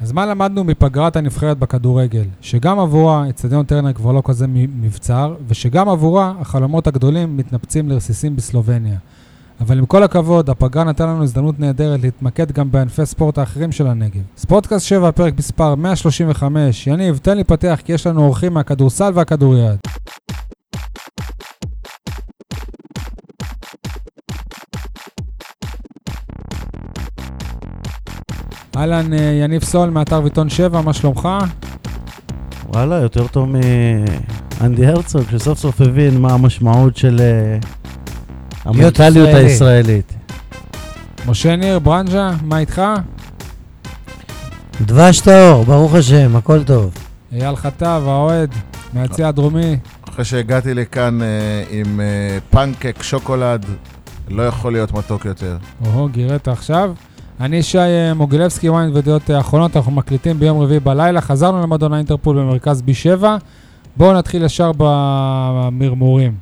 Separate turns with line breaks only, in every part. אז מה למדנו מפגרת הנבחרת בכדורגל? שגם עבורה אצטדיון טרנר כבר לא כזה מ- מבצר, ושגם עבורה החלומות הגדולים מתנפצים לרסיסים בסלובניה. אבל עם כל הכבוד, הפגרה נתן לנו הזדמנות נהדרת להתמקד גם בענפי ספורט האחרים של הנגב. ספורטקאסט 7, פרק מספר 135. יניב, תן לי פתח כי יש לנו אורחים מהכדורסל והכדוריד. אהלן, אה, יניב סול מאתר ועיתון 7, מה שלומך?
וואלה, יותר טוב מאנדי הרצוג, שסוף סוף הבין מה המשמעות של אה,
להיות
המנטליות
ישראלי.
הישראלית.
משה ניר, ברנז'ה, מה איתך?
דבש טהור, ברוך השם, הכל טוב.
אייל חטב, האוהד, מהיציע הדרומי.
אחרי שהגעתי לכאן אה, עם אה, פנקק שוקולד, לא יכול להיות מתוק יותר.
אוהו, גירית עכשיו. אני שי אה, מוגילבסקי, ויין ודעות אה, אחרונות, אנחנו מקליטים ביום רביעי בלילה, חזרנו למועדון האינטרפול במרכז B7. בואו נתחיל ישר במרמורים.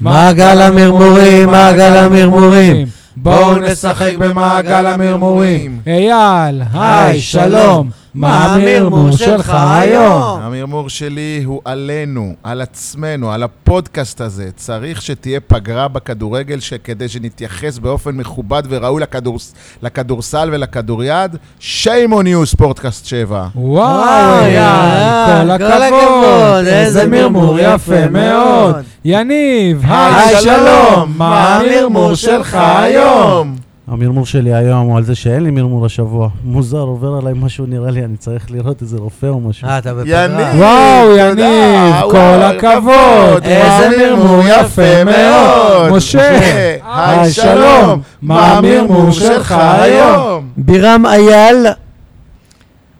מעגל המרמורים, מעגל המרמורים.
בואו נ...
נשחק במעגל המרמורים.
אייל, היי,
היי,
שלום,
שלום.
מה המרמור שלך היום?
המרמור שלי הוא עלינו, על עצמנו, על הפודקאסט הזה. צריך שתהיה פגרה בכדורגל ש- כדי שנתייחס באופן מכובד וראוי לכדורס- לכדורסל ולכדוריד. shame on you, ספורטקאסט 7.
וואו, אייל, כל הכבוד, איזה מרמור יפה מאוד. יניב, היי,
היי,
שלום,
שלום,
מה המרמור שלך היום?
המרמור שלי היום הוא על זה שאין לי מרמור השבוע. מוזר, עובר עליי משהו, נראה לי, אני צריך לראות איזה רופא או משהו.
אה, אתה בפגרה.
יניב,
וואו,
תודה,
יניב,
וואו,
כל הכבוד.
איזה מרמור
יפה מאוד. משה, היי,
היי,
שלום,
שלום,
מה המרמור שלך היום?
בירם אייל,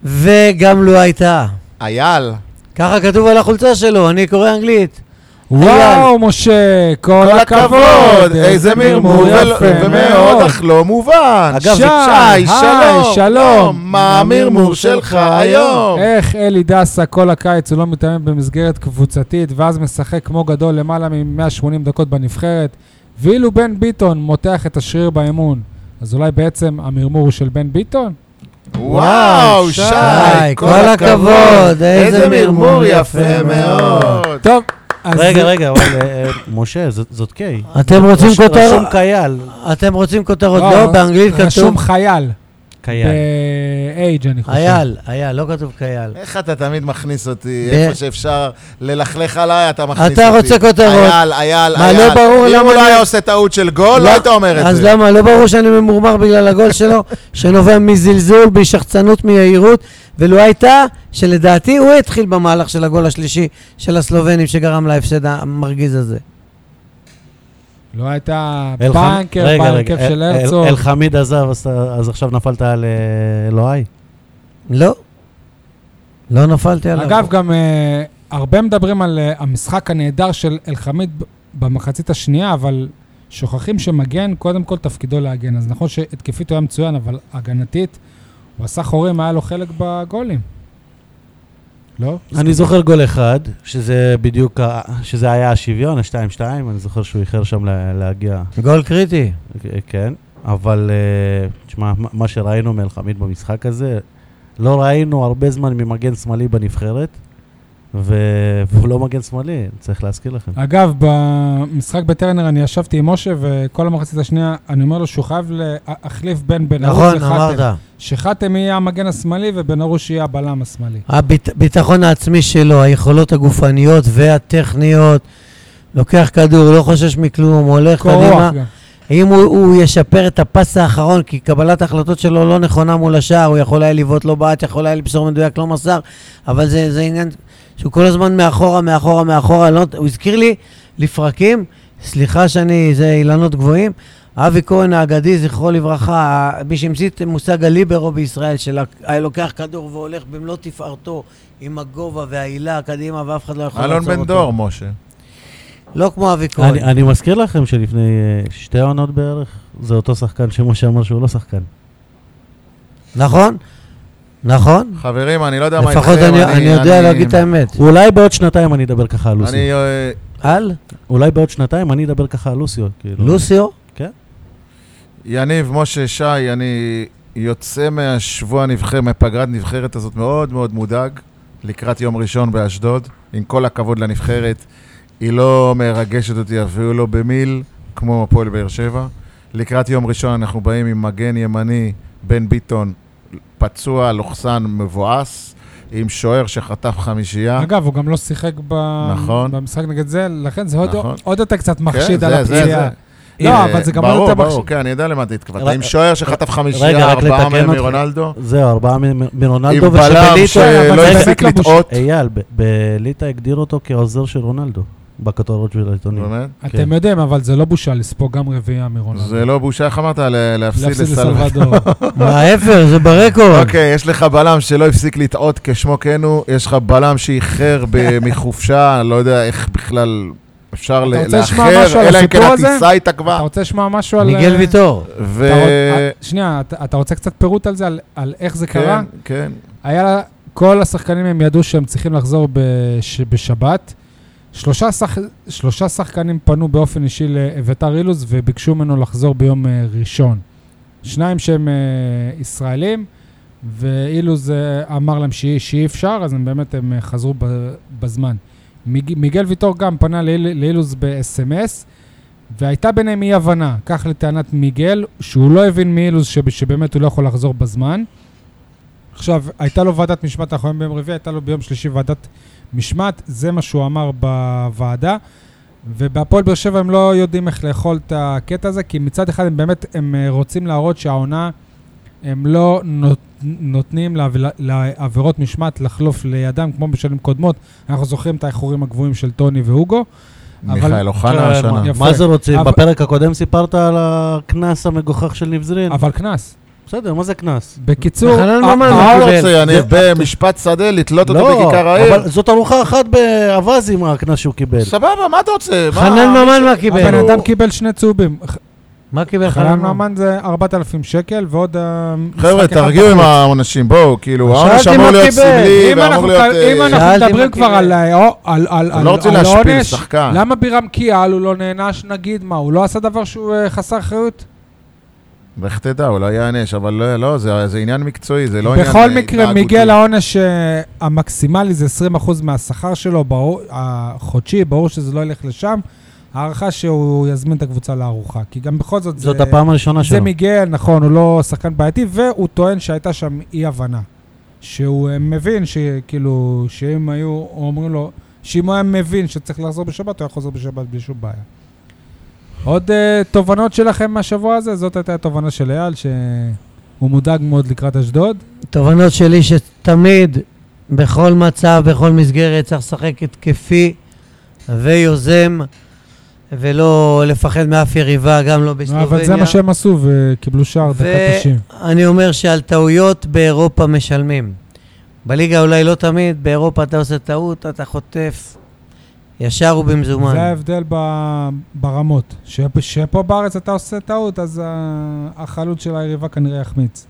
וגם לו הייתה.
אייל.
ככה כתוב על החולצה שלו, אני קורא אנגלית.
וואו, משה, כל הכבוד.
איזה מרמור יפה ומאוד, אך לא מובן.
אגב, זה שי,
שי,
היי,
שלום,
שלום. אה,
מה המרמור שלך היום?
איך אלי דסה כל הקיץ הוא לא מתאמן במסגרת קבוצתית, ואז משחק כמו גדול למעלה מ-180 דקות בנבחרת, ואילו בן ביטון מותח את השריר באמון. אז אולי בעצם המרמור הוא של בן ביטון?
וואו, שי,
שי, כל הכבוד, איזה מרמור יפה מאוד.
טוב, אז...
רגע, רגע, וואלה, אה, משה, זאת- זאת קיי.
אתם רוצים
רש- רשום
כותרות?
קייל.
אתם רוצים כותרות?
לא,
לא, באנגלית כתוב
רשום חייל.
קייל.
ב-H, אני חושב.
אייל, אייל, לא כתוב קייל.
איך אתה תמיד מכניס אותי,
ב-
איפה שאפשר ללכלך עליי, אתה מכניס אותי.
אתה רוצה כותרות.
אייל, אייל,
מה,
אייל.
לא ברור
אם
למה
הוא לא
אני-
היה עושה טעות של גול, לא
לא,
היית אומר את
אז
זה.
למה? לא ברור שאני ממורמר בגלל הגול שלו, שנובע מזלזול, בשחצנות, מיהירות, ולו הייתה שלדעתי הוא התחיל במהלך של הגול השלישי של הסלובנים שגרם להפסד המרגיז הזה.
לא הייתה
אה,
אל חמ-
בנקר
רגע, רגע,
בהרכב של
אל- אל-
הרצוג.
אלחמיד עזב, אז- אז עכשיו נפלת על אה, אלוהי?
לא. לא נפלתי עליו.
אגב, גם אה, הרבה מדברים על אה, המשחק הנהדר של אלחמיד ב- במחצית השנייה, אבל שוכחים שמגן, קודם כל תפקידו להגן. אז נכון שהתקפית הוא היה מצוין, אבל הגנתית, הוא עשה חורים, היה לו חלק בגולים. לא?
אני זוכר גול אחד, שזה בדיוק, ה- שזה היה השוויון, ה-2-2, אני זוכר שהוא איחר שם לה- להגיע,
גול קריטי.
אה, כן, אבל אה, תשמע, מה- מה שראינו מאלחמיד במשחק הזה, לא ראינו הרבה זמן ממגן שמאלי בנבחרת, ו- והוא לא מגן שמאלי, צריך להזכיר לכם.
אגב, במשחק בטרנר אני ישבתי עם משה, וכל המחצית השנייה, אני אומר לו שהוא חייב להחליף בין בן ארוש
נכון,
לחתם.
אמרת.
שחתם יהיה המגן השמאלי ובן ארוש יהיה הבלם השמאלי.
הביטחון העצמי שלו, היכולות הגופניות והטכניות, לוקח כדור, לא חושש מכלום, הולך
קור
קדימה.
רוח גם.
אם הוא, הוא ישפר את הפס האחרון, כי קבלת ההחלטות שלו לא נכונה מול השער, הוא יכול היה לבעוט לא בעט, יכול היה לבשור מדויק, לא מסר, אבל זה, זה עניין שהוא כל הזמן מאחורה, מאחורה, מאחורה, לא, הוא הזכיר לי לפרקים, סליחה שאני, זה אילנות גבוהים, אבי כהן האגדי, זכרו לברכה, מי שהמציא את מושג הליברו בישראל, שהיה לוקח כדור והולך במלוא תפארתו, עם הגובה והעילה קדימה, ואף אחד לא יכול
אלון בן דור, משה.
לא כמו אבי כהן.
אני, אני מזכיר לכם שלפני אה, שתי עונות בערך, זה אותו שחקן שמשה אמר שהוא לא שחקן.
נכון? נכון?
חברים, אני לא יודע מה איתכם.
לפחות אני, אני, יודע להגיד את האמת.
אולי בעוד שנתיים אני אדבר ככה על לוסיו.
אני אה,
על?
אולי בעוד שנתיים אני אדבר ככה על לוסיו. כאילו.
לוסיו?
יניב, משה, שי, אני
יוצא מהשבוע הנבחרת, מפגרת נבחרת הזאת מאוד מאוד מודאג, לקראת יום ראשון באשדוד. עם כל הכבוד לנבחרת, היא לא מרגשת אותי אפילו לא במיל, כמו הפועל באר שבע. לקראת יום ראשון אנחנו באים עם מגן ימני, בן ביטון, פצוע, לוחסן, מבואס, עם שוער שחטף חמישייה. כן,
אגב, הוא גם לא שיחק ב...
אה? נכון.
במשחק נגד זה, לכן זה עוד-
נכון.
עוד יותר קצת מחשיד
זה-
על
זה- זה-
הפציעה. לא,
אה,
אבל זה גם עוד
ברור,
יותר
ברור,
מחשיד.
כן, אני יודע למה אתה התכוונת.
רק-
עם שוער שחטף
רגע,
חמישייה,
רק
ארבעה
לתקן
מהם
אותך.
מרונלדו.
זהו, ארבעה מ- מ-
עם
מרונלדו,
בלם
ושבליטא...
אבל
שלא
זה
הפסיק
באמת לא בושה.
לטעות.
אייל, ב- בליטא הגדיר אותו כעוזר של רונלדו, בכותרות של העיתונים.
באמת?
אתם
כן.
יודעים, אבל זה לא בושה לספוג גם רביעייה מרונלדו.
זה לא בושה, איך אמרת? ל- להפסיד
להפסיד
לסלווה.
לסלבדור.
ההפך, זה ברקורד.
אוקיי, יש לך בלם שלא הפסיק לטעות כשמו כן הוא, יש לך בלם שאיחר ב- מחופשה, אני לא יודע איך בכלל אפשר ל-
רוצה לשמוע משהו
לאחר,
על
אלא אם כן
הסיפור הזה?
הטיסה
אתה
התעכבה.
רוצה לשמוע משהו על...
מיגל
אה,
ויטור.
ו...
אתה רוצ- אה, שנייה, אתה- אתה רוצה קצת פירוט על זה, על- על איך זה קרה?
כן, כן.
היה לה, כל השחקנים הם ידעו שהם צריכים לחזור בש, בשבת. שלושה, שח, שלושה שחקנים פנו באופן אישי לאביתר אילוז וביקשו ממנו לחזור ביום אה, ראשון. שניים שהם אה, ישראלים, ואילוז אה, אמר להם שאי, שאי אפשר, אז הם באמת הם אה, חזרו ב, בזמן. מיג, מיגל ויטור גם פנה לאיל- לאילוז ב-SMS, והייתה ביניהם אי-הבנה, כך לטענת מיגל, שהוא לא הבין מאילוז שב- שבאמת הוא לא יכול לחזור בזמן. עכשיו, הייתה לו ועדת משמעת, אנחנו היום ביום רביעי, הייתה לו ביום שלישי ועדת משמעת, זה מה שהוא אמר בוועדה. ובהפועל באר שבע הם לא יודעים איך לאכול את הקטע הזה, כי מצד אחד הם באמת, הם אה, רוצים להראות שהעונה, הם לא נות, נותנים לעב- לעבירות משמעת לחלוף לידם, כמו בשנים קודמות. אנחנו זוכרים את האיחורים הגבוהים של טוני והוגו. אבל-
מיכאל אוחנה
כן,
השנה.
יפה.
מה זה רוצים?
אבל-
בפרק הקודם סיפרת על הקנס המגוחך של נבזרין.
אבל קנס.
בסדר, מה זה קנס?
בקיצור,
חנן
ה-
ממן
ה-
מה
לא
הוא
קיבל.
רוצה? אני
אה,
זה-
במשפט שדה לתלות
לא,
אותו בכיכר העיר?
אבל זאת ארוחה אחת באווז עם הקנס שהוא קיבל.
סבבה, מה אתה רוצה? מה-
חנן ממן מה
הבן
קיבל?
אבל-
אדם קיבל שני צהובים. ח-
מה קיבל חנן
חנן
ממן?
ממן זה 4,000 שקל, ועוד... אה, משחק
חבר'ה,
אחד
תרגיעו עם
בחוץ.
העונשים, בואו, כאילו,
שאלתי
העונש אמור
מה
להיות
קיבל.
סמלי,
אם
ואמור
אנחנו
להיות...
כבר- אם
אה,
אנחנו
שאלתי
מדברים
מה
כבר
קיבל.
על אה, על- על-
אני לא רוצה
על- על
להשפיל
עונש,
שחקן.
למה בירם קיאל הוא לא נענש, נגיד, מה, הוא לא עשה דבר שהוא אה, חסר אחריות?
לך תדע, אולי יענש, אבל לא- לא, זה זה עניין מקצועי, זה לא עניין...
בכל
אה,
מקרה,
התנהגותי.
מיגל העונש אה, המקסימלי זה 20% מהשכר שלו, ברור- החודשי, ברור שזה לא ילך לשם. הערכה שהוא יזמין את הקבוצה לארוחה, כי גם בכל זאת
זאת
זה-
הפעם הראשונה שלו.
זה מיגל, נכון, הוא לא שחקן בעייתי, והוא טוען שהייתה שם אי-הבנה. שהוא אה, מבין שכאילו, שאם היו אומרים לו, שאם הוא היה מבין שצריך לחזור בשבת, הוא היה חוזר בשבת בלי שום בעיה. עוד uh, תובנות שלכם מהשבוע הזה? זאת הייתה התובנה של אייל, שהוא מודאג מאוד לקראת אשדוד.
תובנות שלי שתמיד, בכל מצב, בכל מסגרת, צריך לשחק התקפי ויוזם, ולא לפחד מאף יריבה, גם לא בסלובניה.
אבל זה מה שהם עשו, וקיבלו שער דקה 90.
ואני אומר שעל טעויות באירופה משלמים. בליגה אולי לא תמיד, באירופה אתה עושה טעות, אתה חוטף ישר ובמזומן.
זה ההבדל ב- ברמות. ש- שפה בארץ אתה עושה טעות, אז ה- החלוץ של היריבה כנראה יחמיץ.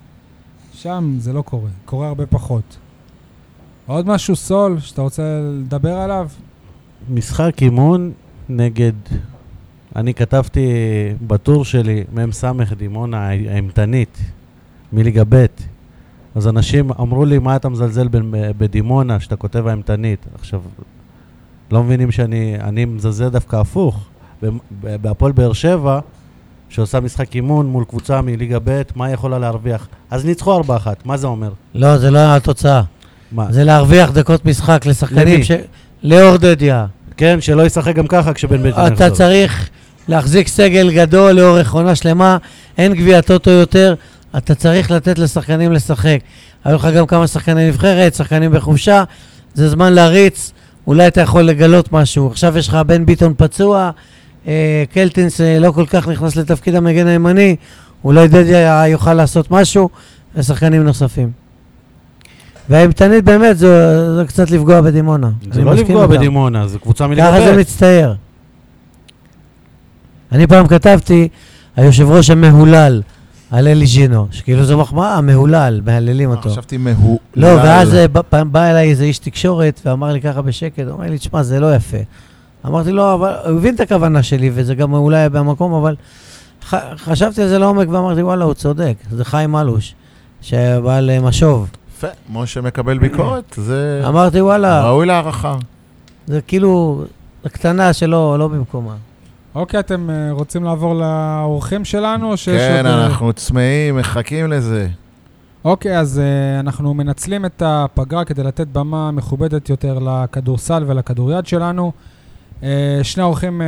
שם זה לא קורה, קורה הרבה פחות. עוד משהו, סול, שאתה רוצה לדבר עליו?
משחק אימון נגד... אני כתבתי בטור שלי, מ"ס דימונה האימתנית, מליגה ב', אז אנשים אמרו לי, מה אתה מזלזל ב- בדימונה, שאתה כותב האימתנית? עכשיו, לא מבינים שאני אני מזלזל דווקא הפוך. במ- ב- בהפועל באר שבע, שעושה משחק אימון מול קבוצה מליגה ב', מה היא יכולה להרוויח? אז ניצחו 4-1, מה זה אומר?
לא, זה לא התוצאה.
מה?
זה להרוויח דקות משחק לשחקנים
למי?
ש... לאור דדיה.
כן, שלא ישחק גם ככה כשבן ביטון יחזור.
אתה צריך להחזיק סגל גדול לאורך עונה שלמה, אין גביע טוטו יותר, אתה צריך לתת לשחקנים לשחק. היו לך גם כמה שחקני נבחרת, שחקנים בחופשה, זה זמן להריץ, אולי אתה יכול לגלות משהו. עכשיו יש לך בן ביטון פצוע, אה, קלטינס אה, לא כל כך נכנס לתפקיד המגן הימני, אולי דדיה יוכל לעשות משהו, ושחקנים נוספים. והאימתנית באמת, זה, זה קצת לפגוע בדימונה.
זה
אני
לא
מסכים
לפגוע
איתם.
בדימונה, זו קבוצה מליגה
ככה זה
ב'.
מצטייר. אני פעם כתבתי, היושב ראש המהולל על אלי ג'ינו, שכאילו זו מחמאה, מהולל, מהללים
אה,
אותו.
חשבתי מהולל.
לא, ואז אה, ב- פעם בא אליי איזה איש תקשורת ואמר לי ככה בשקט, הוא אמר לי, תשמע, זה לא יפה. אמרתי לו, אבל הוא הבין את הכוונה שלי, וזה גם אולי היה במקום, אבל ח- חשבתי על זה לעומק ואמרתי, וואלה, הוא צודק, זה חיים אלוש. אה, שבא למשוב.
יפה, משה מקבל ביקורת, זה
אמרתי,
אה,
וואלה,
ראוי להערכה.
זה כאילו הקטנה שלא לא במקומה.
אוקיי, אתם אה, רוצים לעבור לאורחים שלנו? או שיש
כן,
עוד, אה,
אנחנו צמאים, מחכים לזה.
אוקיי, אז אה, אנחנו מנצלים את הפגרה כדי לתת במה מכובדת יותר לכדורסל ולכדוריד שלנו. אה, שני האורחים אה,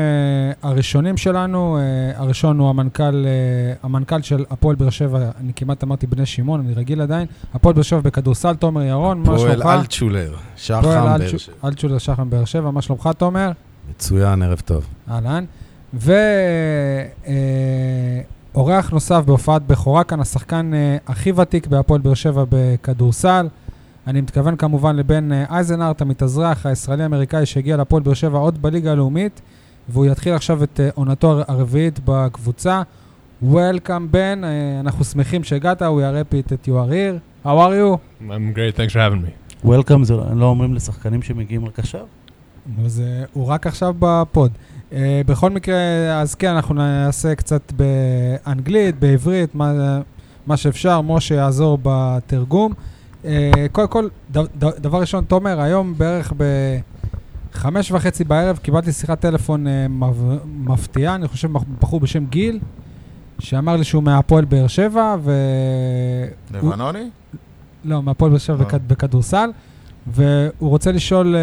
הראשונים שלנו, אה, הראשון הוא המנכ"ל, אה, המנכ"ל של הפועל באר שבע, אני כמעט אמרתי בני שמעון, אני רגיל עדיין, הפועל באר שבע בכדורסל, תומר ירון, מה שלומך?
פועל אלטשולר, שחם באר שבע.
אלצ'ולר שחם באר שבע, מה שלומך תומר?
מצוין, ערב טוב.
אהלן. ואורח נוסף בהופעת בכורה כאן, השחקן אה, הכי ותיק בהפועל באר שבע בכדורסל. אני מתכוון כמובן לבן אה, אייזנארט המתאזרח, הישראלי-אמריקאי שהגיע להפועל באר שבע עוד בליגה הלאומית, והוא יתחיל עכשיו את אה, עונתו הר- הרביעית בקבוצה. Welcome בן, אה, אנחנו שמחים שהגעת, הוא יראה פית את your ear. How are you?
I'm great. Thanks for having me.
וולקאם זה לא אומרים לשחקנים שמגיעים רק עכשיו?
אז אה, הוא רק עכשיו בפוד. אה, בכל מקרה, אז כן, אנחנו נעשה קצת באנגלית, בעברית, מה, אה, מה שאפשר, משה יעזור בתרגום. אה, קודם כל, ד, ד, דבר ראשון, תומר, היום בערך ב... חמש וחצי בערב קיבלתי שיחת טלפון אה, מב- מפתיעה, אני חושב מח- בחור בשם גיל, שאמר לי שהוא מהפועל באר שבע, ו...
לבנוני?
לא, מהפועל באר שבע
אה.
בכד- בכדורסל, והוא רוצה לשאול אה,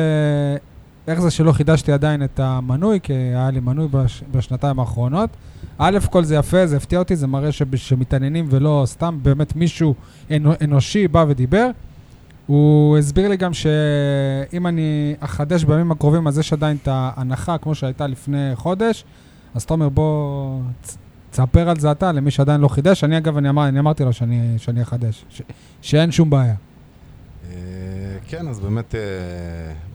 איך זה שלא חידשתי עדיין את המנוי, כי היה לי מנוי בש, בשנתיים האחרונות. א', כל זה יפה, זה הפתיע אותי, זה מראה שב- שמתעניינים ולא סתם באמת מישהו אנו- אנושי בא ודיבר. הוא הסביר לי גם שאם אני אחדש בימים הקרובים, אז יש עדיין את ההנחה כמו שהייתה לפני חודש. אז תומר, בוא צ- תספר על זה אתה, למי שעדיין לא חידש. אני, אגב, אני, אמר, אני אמרתי לו שאני, שאני אחדש, ש, שאין שום בעיה.
אה, כן, אז באמת אה,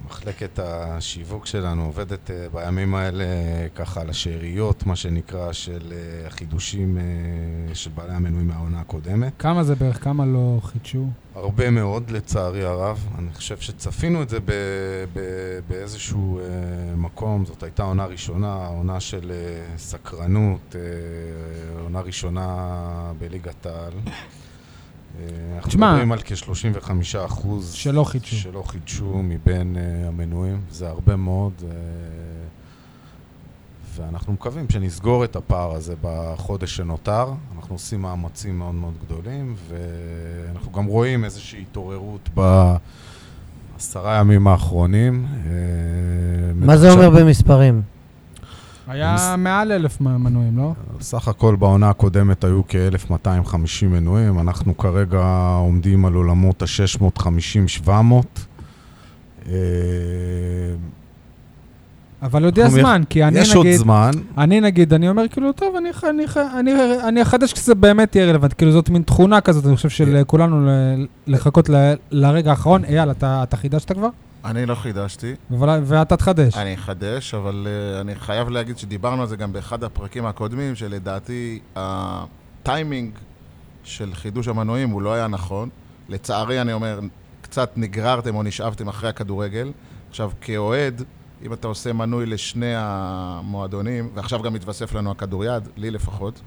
מחלקת השיווק שלנו עובדת אה, בימים האלה אה, ככה על השאריות, מה שנקרא, של אה, החידושים אה, של בעלי המנוי מהעונה הקודמת.
כמה זה בערך? כמה לא חידשו?
הרבה מאוד, לצערי הרב. אני חושב שצפינו את זה ב- ב- באיזשהו אה, מקום. זאת הייתה עונה ראשונה, עונה של אה, סקרנות, אה, עונה ראשונה בליגת העל. אה, אנחנו
תשמע-
מדברים על כ-35 אחוז
שלא חידשו.
שלא חידשו מבין אה, המנויים, זה הרבה מאוד. אה, ואנחנו מקווים שנסגור את הפער הזה בחודש שנותר. אנחנו עושים מאמצים מאוד מאוד גדולים, ואנחנו גם רואים איזושהי התעוררות בעשרה ימים האחרונים. אה,
מה זה
מתחשב-
אומר במספרים?
היה
מס-
מעל אלף מנויים, לא?
סך הכל בעונה הקודמת היו כ-1250 מנויים, אנחנו כרגע עומדים על עולמות ה-650-700. אה,
אבל עוד יש
אנחנו מייח-
זמן, כי אני
יש עוד
נגיד,
זמן,
אני נגיד, אני אומר כאילו, טוב, אני, ח- אני, ח- אני, אני אחדש כשזה באמת יהיה רלוונטי. כאילו, זאת מין תכונה כזאת, אני חושב של אה, כולנו ל- לחכות ל- לרגע האחרון. אייל, אתה, אתה חידשת כבר?
אני לא חידשתי.
אבל- ואתה תחדש.
אני אחדש, אבל אה, אני חייב להגיד שדיברנו על זה גם באחד הפרקים הקודמים, שלדעתי הטיימינג של חידוש המנועים הוא לא היה נכון. לצערי, אני אומר, קצת נגררתם או נשאבתם אחרי הכדורגל. עכשיו, כאוהד, אם אתה עושה מנוי לשני המועדונים, ועכשיו גם מתווסף לנו הכדוריד, לי לפחות,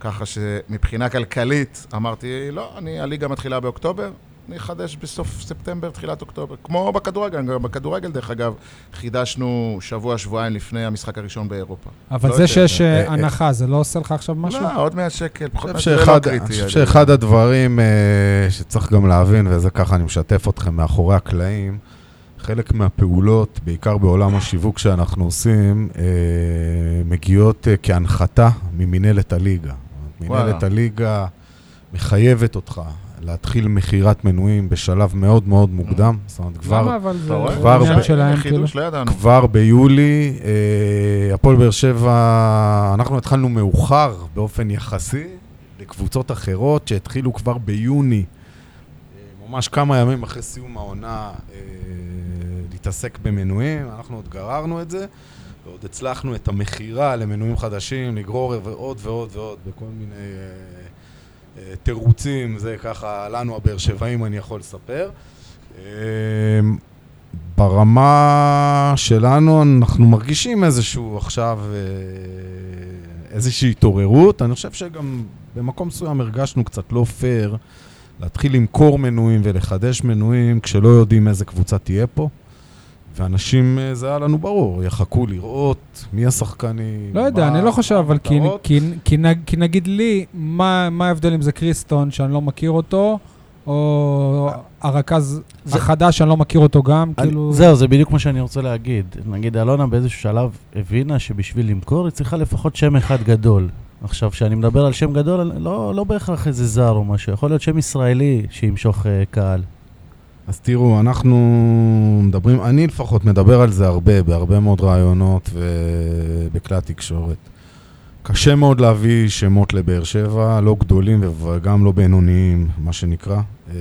ככה שמבחינה כלכלית אמרתי, לא, אני, הליגה מתחילה באוקטובר, אני אחדש בסוף ספטמבר, תחילת אוקטובר. כמו בכדורגל, גם בכדורגל, דרך אגב, חידשנו שבוע, שבועיים לפני המשחק הראשון באירופה.
אבל
לא
זה
יודע.
שיש אה,
אה, אה.
הנחה, זה לא עושה לך עכשיו משהו?
לא, עוד 100 שקל, פחות
אני
מ-
חושב
זה לא
שאחד- אני
קריטי.
חושב שאחד הדברים אה, שצריך גם להבין, וזה ככה אני משתף אתכם מאחורי הקלעים, חלק מהפעולות, בעיקר בעולם השיווק שאנחנו עושים, אה, מגיעות אה, כהנחתה ממינהלת הליגה.
וואלה.
מינהלת הליגה מחייבת אותך להתחיל מכירת מנויים בשלב מאוד מאוד מוקדם, זאת אומרת, כבר
למה לא, אבל זה
אתה רואה?
כבר
עניין
הרבה-
שלהם, כאילו?
חידוש, לא ידענו.
כבר ביולי, אה, הפועל באר שבע, אנחנו התחלנו מאוחר באופן יחסי לקבוצות אחרות שהתחילו כבר ביוני, אה, ממש כמה ימים אחרי סיום העונה, אה, להתעסק במנויים, אנחנו עוד גררנו את זה, ועוד הצלחנו את המכירה למנויים חדשים, לגרור ועוד ועוד ועוד בכל מיני אה, אה, תירוצים, זה ככה לנו הבאר שבעים אני יכול לספר. אה, ברמה שלנו אנחנו מרגישים איזשהו עכשיו, אה, איזושהי התעוררות. אני חושב שגם במקום מסוים הרגשנו קצת לא פייר להתחיל למכור מנויים ולחדש מנויים כשלא יודעים איזה קבוצה תהיה פה. ואנשים, אה, זה היה לנו ברור, יחכו לראות מי השחקנים.
לא יודע,
מה
אני לא חושב, אבל כי-
המטרות.
כי- כי נג- כי נגיד לי, מה מה ההבדל אם זה קריסטון, שאני לא מכיר אותו, או הרכז
זה-
החדש, שאני לא מכיר אותו גם,
אני-
כאילו...
זהו, זה בדיוק מה שאני רוצה להגיד. נגיד, אלונה באיזשהו שלב הבינה שבשביל למכור היא צריכה לפחות שם אחד גדול. עכשיו, כשאני מדבר על שם גדול, אני- לא, לא בהכרח איזה זר או משהו, יכול להיות שם ישראלי שימשוך אה, קהל.
אז תראו, אנחנו מדברים, אני לפחות מדבר על זה הרבה, בהרבה מאוד ראיונות ובכלי התקשורת. קשה מאוד להביא שמות לבאר שבע, לא גדולים וגם לא בינוניים, מה שנקרא. אה,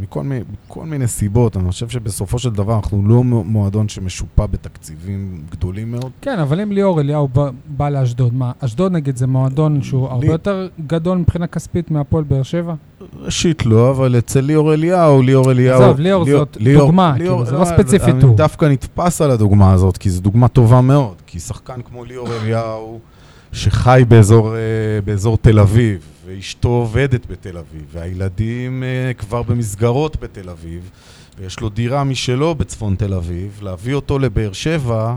מכל, מי- מכל מיני סיבות, אני חושב שבסופו של דבר אנחנו לא מועדון שמשופע בתקציבים גדולים מאוד.
כן, אבל אם ליאור אליהו בא- בא לאשדוד, מה, אשדוד נגיד זה מועדון שהוא הרבה
לי-
יותר גדול מבחינה כספית מהפועל באר שבע?
ראשית לא, אבל אצל ליאור אליהו, ליאור אליהו...
עזוב, ליאור זאת דוגמה, כאילו, זה לא ספציפי
אני
טור.
דווקא נתפס על הדוגמה הזאת, כי זו דוגמה טובה מאוד. כי שחקן כמו ליאור אליהו, שחי באזור, אה, באזור תל אביב, ואשתו עובדת בתל אביב, והילדים אה, כבר במסגרות בתל אביב, ויש לו דירה משלו בצפון תל אביב, להביא אותו לבאר שבע...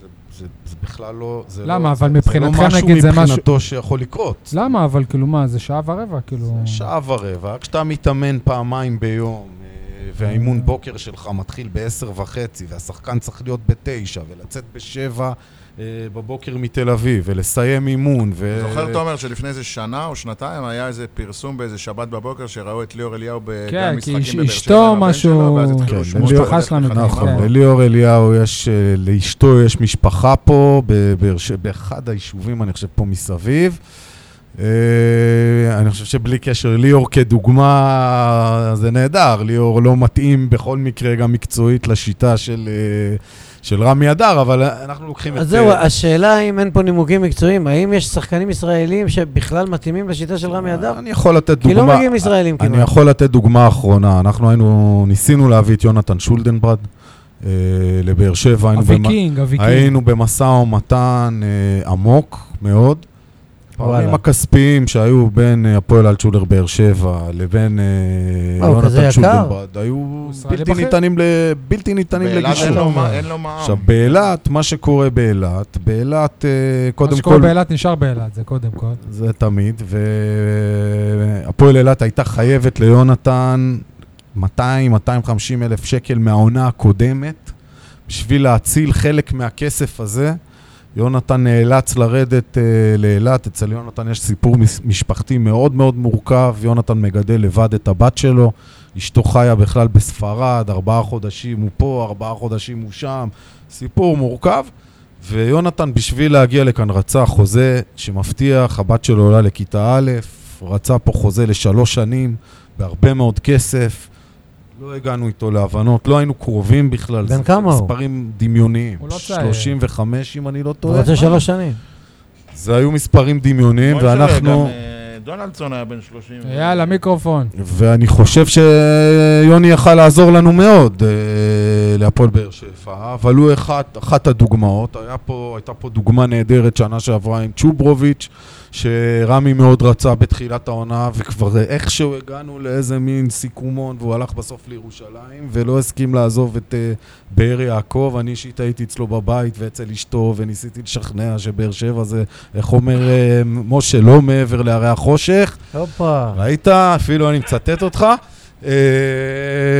זה- זה- זה בכלל לא... זה
למה?
לא,
אבל
זה-
מבחינתכם,
זה לא
נגיד, זה משהו-
מבחינתו שיכול לקרות.
למה? אבל כאילו מה, זה שעה ורבע, כאילו...
זה שעה ורבע, כשאתה מתאמן פעמיים ביום, אה, והאימון בוקר שלך מתחיל בעשר וחצי, והשחקן צריך להיות בתשע, ולצאת בשבע אה, בבוקר מתל אביב, ולסיים אימון, ו...
זוכר, תומר, שלפני איזה שנה או שנתיים היה איזה פרסום באיזה שבת בבוקר שראו את ליאור אליהו
כן,
בגן
כי
משחקים
איש-
בבאר
אשתו
שבע, והבן
משהו-
שלו, ואז התחילו
כן,
שמות
משפחה
בדרך
שלנו,
לחתימה.
נכון,
אה?
כן.
לליאור אליהו יש, אה, לאשתו יש משפחה פה, בבאר ש- באחד היישובים, אני חושב, פה מסביב. אה, אני חושב שבלי קשר, ליאור כדוגמה זה נהדר, ליאור לא מתאים בכל מקרה גם מקצועית לשיטה של, אה, של רמי הדר, אבל אנחנו לוקחים את...
אז זהו,
אה,
השאלה אם אין פה נימוקים מקצועיים, האם יש שחקנים ישראלים שבכלל מתאימים לשיטה של רמי אדר?
אני יכול לתת
כי לא
דוגמה.
מגיעים ישראלים
אה, אני
כמעט.
יכול לתת דוגמה אחרונה, אנחנו היינו, ניסינו להביא את יונתן שולדנברד אה, לבאר שבע, היינו במ-
הוויקינג, הוויקינג.
היינו במשא ומתן אה, עמוק מאוד.
וואלה.
הפערים הכספיים שהיו בין אה, הפועל אלטשולר באר שבע לבין אה,
מה, הוא כזה
יונתן
יקר?
שולדנברד, היו
ישראלי
בלתי
בכיר?
ניתנים ל- בלתי ניתנים
באילת אין
לגישור.
לו מה- אין לו מע"מ.
עכשיו, באילת, מה שקורה באילת, באילת, אה,
מה
קודם
שקורה
כל,
באילת נשאר באילת, זה קודם כל.
זה תמיד, והפועל אילת הייתה חייבת ליונתן 200-250 אלף שקל מהעונה הקודמת, בשביל להציל חלק מהכסף הזה. יונתן נאלץ לרדת אה, לאילת, אצל יונתן יש סיפור מס- משפחתי מאוד מאוד מורכב, יונתן מגדל לבד את הבת שלו, אשתו חיה בכלל בספרד, ארבעה חודשים הוא פה, ארבעה חודשים הוא שם, סיפור מורכב. ויונתן, בשביל להגיע לכאן, רצה חוזה שמבטיח, הבת שלו עולה לכיתה א', רצה פה חוזה לשלוש שנים, בהרבה מאוד כסף. לא הגענו איתו להבנות, לא היינו קרובים בכלל.
בן
זה
כמה הוא?
מספרים דמיוניים.
הוא לא צעיר.
35, אם אני לא
הוא
טועה.
רוצה שלוש שנים.
זה היו מספרים דמיוניים,
בואי נראה,
ואנחנו...
גם, אה, דונלדסון היה בן 30.
יאללה, מיקרופון.
ואני חושב שיוני יכל לעזור לנו מאוד אה, להפועל באר שבע, אבל הוא אחת, אחת הדוגמאות. היה פה, הייתה פה דוגמה נהדרת שנה שעברה עם צ'וברוביץ', שרמי מאוד רצה בתחילת העונה, וכבר איכשהו הגענו לאיזה מין סיכומון, והוא הלך בסוף לירושלים, ולא הסכים לעזוב את אה, באר יעקב. אני אישית הייתי אצלו בבית ואצל אשתו, וניסיתי לשכנע שבאר שבע זה, איך אומר אה, משה, לא מעבר להרי החושך.
הופה.
ראית? אפילו אני מצטט אותך. אה,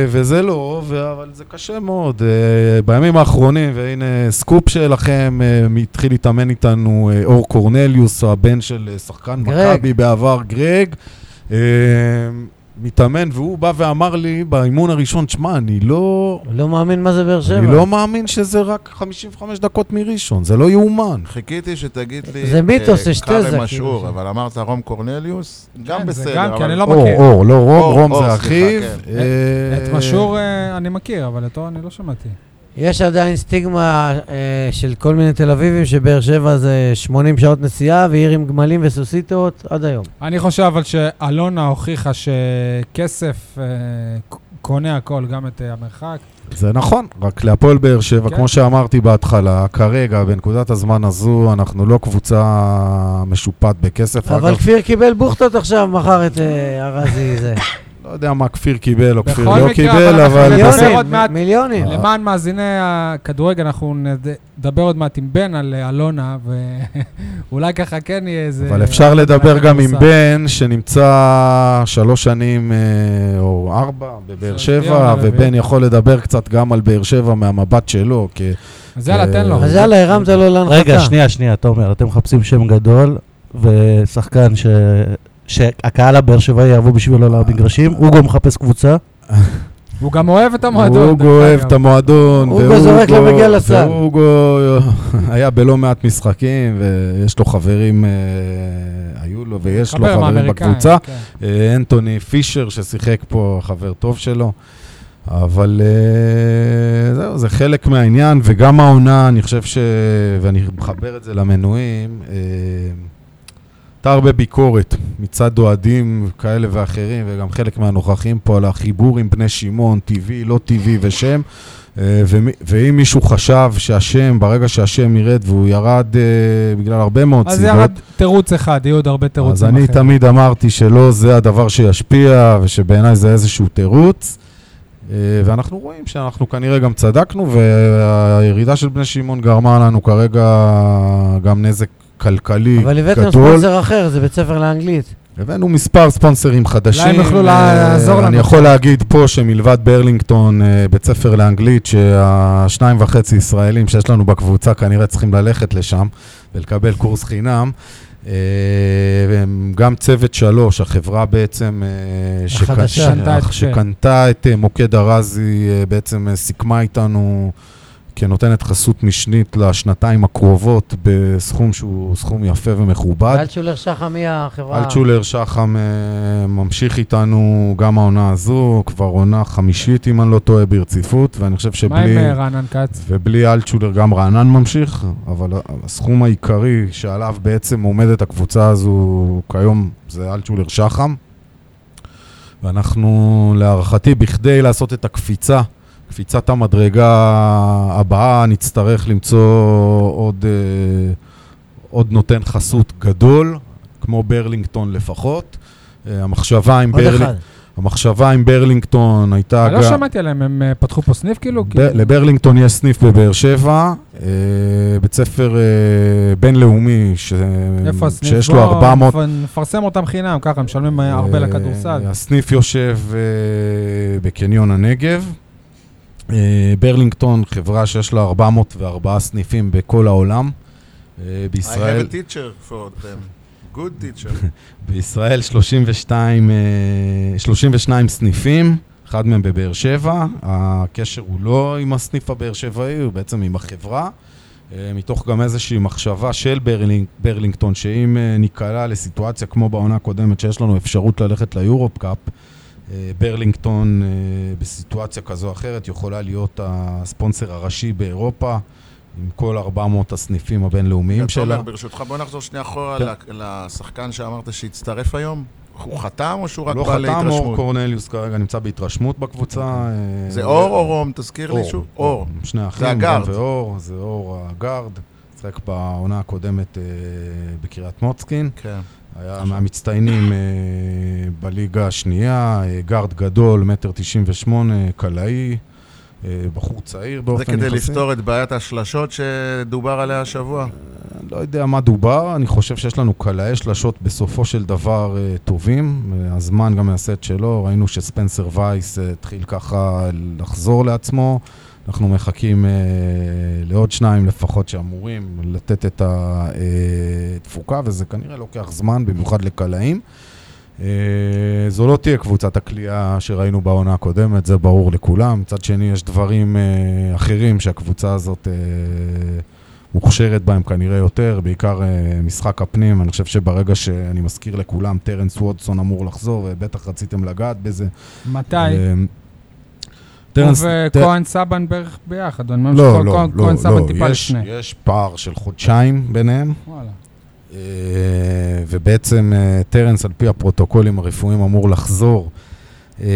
וזה לא, ו- אבל זה קשה מאוד. אה, בימים האחרונים, והנה סקופ שלכם, אה, התחיל להתאמן איתנו אה, אור קורנליוס, הבן של אה, שחקן
גרג.
מכבי בעבר, גרג. אה, מתאמן, והוא בא ואמר לי באימון הראשון, שמע, אני לא...
לא מאמין מה זה באר שבע.
אני לא מאמין שזה רק 55 דקות מראשון, זה לא יאומן.
חיכיתי שתגיד לי...
זה מיתוס, זה שתי זה,
קארם
כאילו.
משעור, אבל אמרת רום קורנליוס, גם
כן, זה
בסדר.
גם, כי
אבל-
אני לא
אור,
מכיר.
אור, לא
אור,
רום, רום
אור,
זה
סליחה,
אחיו.
כן.
אה,
את משור אה, אני מכיר, אבל אותו אני לא שמעתי.
יש עדיין סטיגמה אה, של כל מיני תל אביבים שבאר שבע זה 80 שעות נסיעה ועיר עם גמלים וסוסיתות עד היום.
אני חושב אבל שאלונה הוכיחה שכסף, אה, ק- קונה הכל, גם את אה, המרחק.
זה נכון, רק להפועל באר שבע,
כן.
כמו שאמרתי בהתחלה, כרגע, בנקודת הזמן הזו, אנחנו לא קבוצה משופעת בכסף.
אבל
אגב,
כפיר קיבל בוכטות עכשיו, מכר את אה, ארזי זה.
לא יודע מה כפיר קיבל או כפיר
בכל
לא
מקרה,
קיבל,
אבל
אבל
אנחנו נדבר
בסדר.
עוד מעט.
מיליונים, מיליונים.
אה.
למען מאזיני הכדורגל, אנחנו נד- נדבר עוד מעט עם בן על אה, אלונה, ואולי ככה כן יהיה איזה...
אבל אפשר לדבר גם עם
הכדורסל.
בן, שנמצא שלוש שנים אה, או ארבע בבאר שבע,
הרביעי.
ובן יכול לדבר קצת גם על באר שבע מהמבט שלו, כי
אז יאללה, תן לו.
אה,
אז יאללה, לא- הרמת לו להנחתה.
רגע, שנייה, שנייה, תומר, אתם מחפשים שם גדול ושחקן ש... שהקהל הבאר שבעי יעבור בשבילו
אה.
למגרשים, אוגו מחפש קבוצה,
הוא גם אוהב את המועדון.
אוגו
דרך
אוהב
אגב.
את המועדון.
אוגו
ואוגו-
זורק למגיע לסל.
ואוגו היה בלא מעט משחקים, ויש לו חברים, אה, היו לו ויש לו
חבר
חברים
מהאמריקאים,
בקבוצה.
כן.
אה, אנטוני פישר ששיחק פה, חבר טוב שלו. אבל אה, זהו, זה חלק מהעניין, וגם העונה, אני חושב ש... ואני מחבר את זה למנויים, אה, הייתה הרבה ביקורת מצד אוהדים כאלה ואחרים, וגם חלק מהנוכחים פה על החיבור עם בני שמעון, טבעי, לא טבעי ושם. אה, ומי- ואם מישהו חשב שהשם, ברגע שהשם ירד, והוא ירד אה, בגלל הרבה מאוד
אז
סיבות,
ירד תירוץ אחד, יהיו עוד הרבה תירוצים
אז אני תמיד אמרתי שלא זה הדבר שישפיע, ושבעיניי זה איזשהו תירוץ. אה, ואנחנו רואים שאנחנו כנראה גם צדקנו, והירידה של בני שמעון גרמה לנו כרגע גם נזק כלכלי
אבל הבאתם
גדול.
ספונסר אחר, זה בית ספר לאנגלית.
הבאנו מספר ספונסרים חדשים.
אולי הם יוכלו
אה,
לעזור לנו.
אני יכול להגיד פה שמלבד ברלינגטון, אה, בית ספר לאנגלית, שהשניים וחצי ישראלים שיש לנו בקבוצה כנראה צריכים ללכת לשם ולקבל קורס חינם. אה, והם גם צוות שלוש, החברה בעצם אה, שק-
החדשה.
שקנתה את-
שקנתה את אה, מוקד ארזי, אה, בעצם אה, סיכמה איתנו כנותנת חסות משנית לשנתיים הקרובות בסכום שהוא סכום יפה ומכובד.
אלטשולר שחם היא החברה.
אלטשולר שחם אה, ממשיך איתנו גם העונה הזו, כבר עונה חמישית, אם אני לא טועה, ברציפות, ואני חושב
מה עם
שבלי...
אה, רענן כץ?
ובלי אלטשולר גם רענן ממשיך, אבל הסכום העיקרי שעליו בעצם עומדת הקבוצה הזו כיום זה אלטשולר שחם. ואנחנו, להערכתי, בכדי לעשות את הקפיצה, קפיצת המדרגה הבאה, נצטרך למצוא עוד, אה, עוד נותן חסות גדול, כמו ברלינגטון לפחות. אה, המחשבה עם,
עוד
ברל...
אחד.
המחשבה עם ברלינגטון הייתה
אני לא שמעתי עליהם, הם אה, פתחו פה סניף כאילו?
ב-
כי-
לברלינגטון יש סניף בבאר שבע, אה, בית ספר אה, בינלאומי, ש-
איפה הסניף?
שיש לו
בוא
400...
נפ- נפרסם אותם חינם, ככה, משלמים אה, הרבה
אה,
לכדורסל.
הסניף יושב אה, בקניון הנגב. אה, ברלינגטון, חברה שיש לה 404 סניפים בכל העולם. אה,
I have
בישראל,
a teacher for them. Good teacher.
בישראל 32, אה, 32 סניפים, אחד מהם בבאר שבע. הקשר הוא לא עם הסניף הבאר שבעי, הוא בעצם עם החברה. אה, מתוך גם איזושהי מחשבה של ברלינג, ברלינגטון, שאם אה, ניקלע לסיטואציה כמו בעונה הקודמת, שיש לנו אפשרות ללכת ליורופ קאפ, אה, ברלינגטון אה, בסיטואציה כזו או אחרת יכולה להיות הספונסר הראשי באירופה, עם כל 400 הסניפים הבינלאומיים שלה.
אה, תומר, ברשותך, בוא נחזור שנייה אחורה
כן.
ל- לשחקן שאמרת שהצטרף היום. הוא חתם או שהוא רק
לא
בא
חתם אור
להתרשמות?
קורנליוס כרגע נמצא בהתרשמות בקבוצה. אה,
זה אור או רום? תזכיר לי שוב. אור.
שני אחים,
זה
רום
הגארד.
ואור, זה אור הגארד. שיחק בעונה הקודמת אה, בקריית מוצקין.
כן.
היה מהמצטיינים אה, בליגה השנייה, אה, גארד גדול, מטר תשעים ושמונה, קלעי, אה, בחור צעיר באופן
זה
יחסי.
כדי לפתור את בעיית השלשות שדובר עליה השבוע?
אני לא יודע מה דובר, אני חושב שיש לנו קלעי שלשות בסופו של דבר אה, טובים. אה, הזמן גם יעשה את שלו, ראינו שספנסר וייס אה, התחיל ככה לחזור לעצמו. אנחנו מחכים אה, לעוד שניים לפחות שאמורים לתת את התפוקה, וזה כנראה לוקח זמן, במיוחד לקלעים. אה, זו לא תהיה קבוצת הקליעה שראינו בעונה הקודמת, זה ברור לכולם. מצד שני, יש דברים אה, אחרים שהקבוצה הזאת אה, מוכשרת בהם כנראה יותר, בעיקר אה, משחק הפנים. אני חושב שברגע שאני מזכיר לכולם, טרנס וודסון אמור לחזור, ובטח רציתם לגעת בזה.
מתי?
אה,
הוא
טרנס- טר-
וכהן סבן בערך ביחד, אני מאמין
לא,
שכל
לא,
אה, כהן-
לא,
כהן סבן טיפה
לא, יש,
לפני.
יש פער של חודשיים ביניהם,
וואלה.
אה, ובעצם אה, טרנס, על פי הפרוטוקולים הרפואיים, אמור לחזור אה, אה,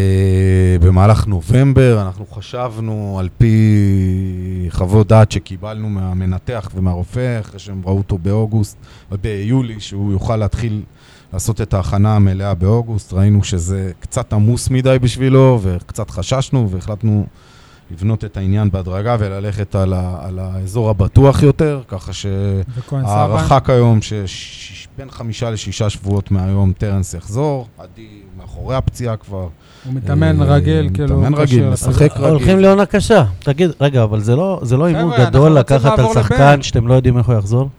במהלך נובמבר. אנחנו חשבנו, על פי חוות דעת שקיבלנו מהמנתח ומהרופא, אחרי שהם ראו אותו באוגוסט, אה, ביולי, שהוא יוכל להתחיל לעשות את ההכנה המלאה באוגוסט. ראינו שזה קצת עמוס מדי בשבילו, וקצת חששנו, והחלטנו לבנות את העניין בהדרגה וללכת על, ה, על האזור הבטוח יותר, ככה ש...
וכהן סבא,
ההערכה כיום שבין חמישה לשישה שבועות מהיום טרנס יחזור, עדי מאחורי הפציעה כבר.
הוא מתאמן
אה,
רגיל, כאילו...
מתאמן
הוא
רגיל,
כשיר.
משחק
הולכים
רגיל.
לעונה קשה.
תגיד, רגע, אבל זה לא, זה לא
חבר'ה,
הימור
אנחנו
גדול
רוצים
לקחת על
לעבור
שחקן
לבן.
שאתם לא יודעים איך הוא יחזור?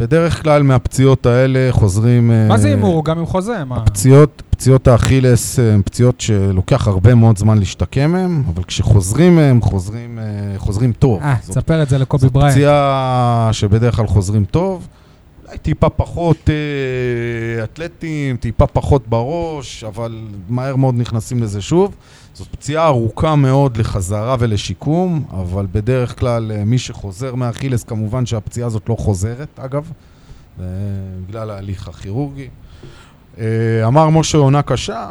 בדרך כלל מהפציעות האלה חוזרים...
מה זה
אה,
הימור? הוא גם עם חוזה, מה?
הפציעות, פציעות האכילס אה, הן פציעות שלוקח הרבה מאוד זמן להשתקם מהן, אבל כשחוזרים מהן, חוזרים, אה, חוזרים טוב.
אה,
זאת
תספר את זה לקובי בריין.
פציעה שבדרך כלל חוזרים טוב, אולי טיפה פחות אה, אתלטים, טיפה פחות בראש, אבל מהר מאוד נכנסים לזה שוב. זאת פציעה ארוכה מאוד לחזרה ולשיקום, אבל בדרך כלל אה, מי שחוזר מהאכילס, כמובן שהפציעה הזאת לא חוזרת, אגב, אה, בגלל ההליך הכירורגי. אה, אמר משה עונה קשה.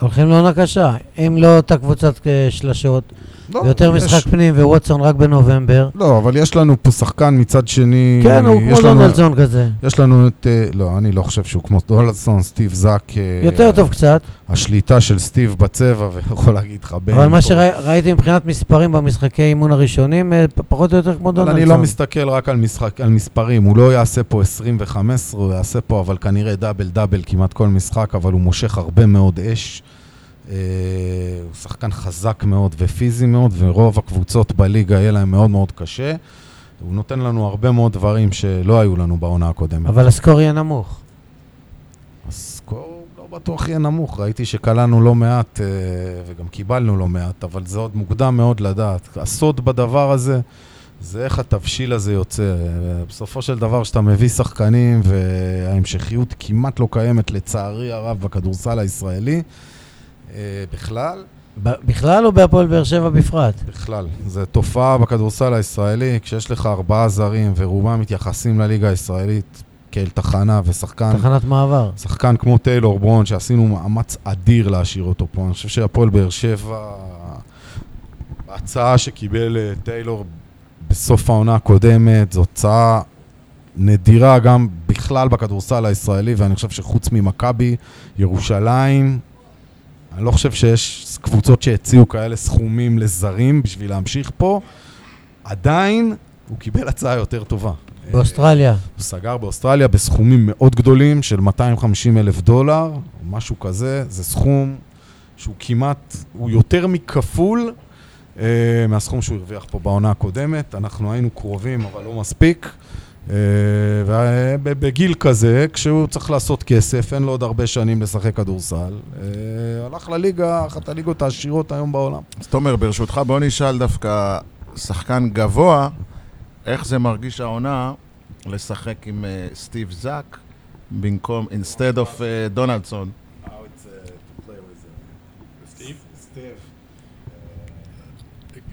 הולכים לעונה קשה. אם לא אותה קבוצת אה, שלשות,
לא,
ויותר
יש-
משחק פנים וווטסון רק בנובמבר.
לא, אבל יש לנו פה שחקן מצד שני...
כן, הוא
יש
כמו
לנו-
דונלדזון כזה.
יש לנו את, אה, לא, אני לא חושב שהוא כמו דולדסון, סטיב זאק. אה,
יותר טוב קצת,
השליטה של סטיב בצבע, ויכול להגיד לך, בין...
אבל מה
פה.
שראיתי מבחינת מספרים במשחקי אימון הראשונים, אה, פ- פחות או יותר כמו
אבל אני לא
דונלדסון.
מסתכל רק על, משחק, על מספרים, הוא לא יעשה פה 20 ו-15, הוא יעשה פה אבל כנראה דאבל דאבל כמעט כל משחק, אבל הוא מושך הרבה מאוד אש. אה, הוא שחקן חזק מאוד ופיזי מאוד, ורוב הקבוצות בליגה יהיה להם מאוד מאוד קשה. הוא נותן לנו הרבה מאוד דברים שלא היו לנו בעונה הקודמת.
אבל הסקור יהיה נמוך.
הסקור לא בטוח יהיה נמוך, ראיתי שקלענו לא מעט אה, וגם קיבלנו לא מעט, אבל זה עוד מוקדם מאוד לדעת. הסוד בדבר הזה זה איך התבשיל הזה יוצא. אה, בסופו של דבר כשאתה מביא שחקנים וההמשכיות כמעט לא קיימת לצערי הרב בכדורסל הישראלי, אה, בכלל,
ב- בכלל או בהפועל באר שבע בפרט?
בכלל, זו תופעה בכדורסל הישראלי, כשיש לך ארבעה זרים ורובם מתייחסים לליגה הישראלית כאל תחנה ושחקן
תחנת מעבר.
שחקן כמו טיילור ברון, שעשינו מאמץ אדיר להשאיר אותו פה. אני חושב שהפועל באר שבע, ההצעה שקיבל אה, טיילור בסוף העונה הקודמת, זו הצעה נדירה גם בכלל בכדורסל הישראלי, ואני חושב שחוץ ממכבי, ירושלים, אני לא חושב שיש קבוצות שהציעו כאלה סכומים לזרים בשביל להמשיך פה. עדיין, הוא קיבל הצעה יותר טובה.
באוסטרליה.
הוא סגר באוסטרליה בסכומים מאוד גדולים של 250 אלף דולר, או משהו כזה, זה סכום שהוא כמעט, הוא יותר מכפול אה, מהסכום שהוא הרוויח פה בעונה הקודמת. אנחנו היינו קרובים, אבל לא מספיק. אה, ובגיל כזה, כשהוא צריך לעשות כסף, אין לו עוד הרבה שנים לשחק כדורסל, אה, הלך לליגה, אחת הליגות העשירות היום בעולם.
אז תומר, ברשותך, בוא נשאל דווקא שחקן גבוה, איך זה מרגיש העונה לשחק עם אה, סטיב זאק במקום, instead of אה, דונלדסון.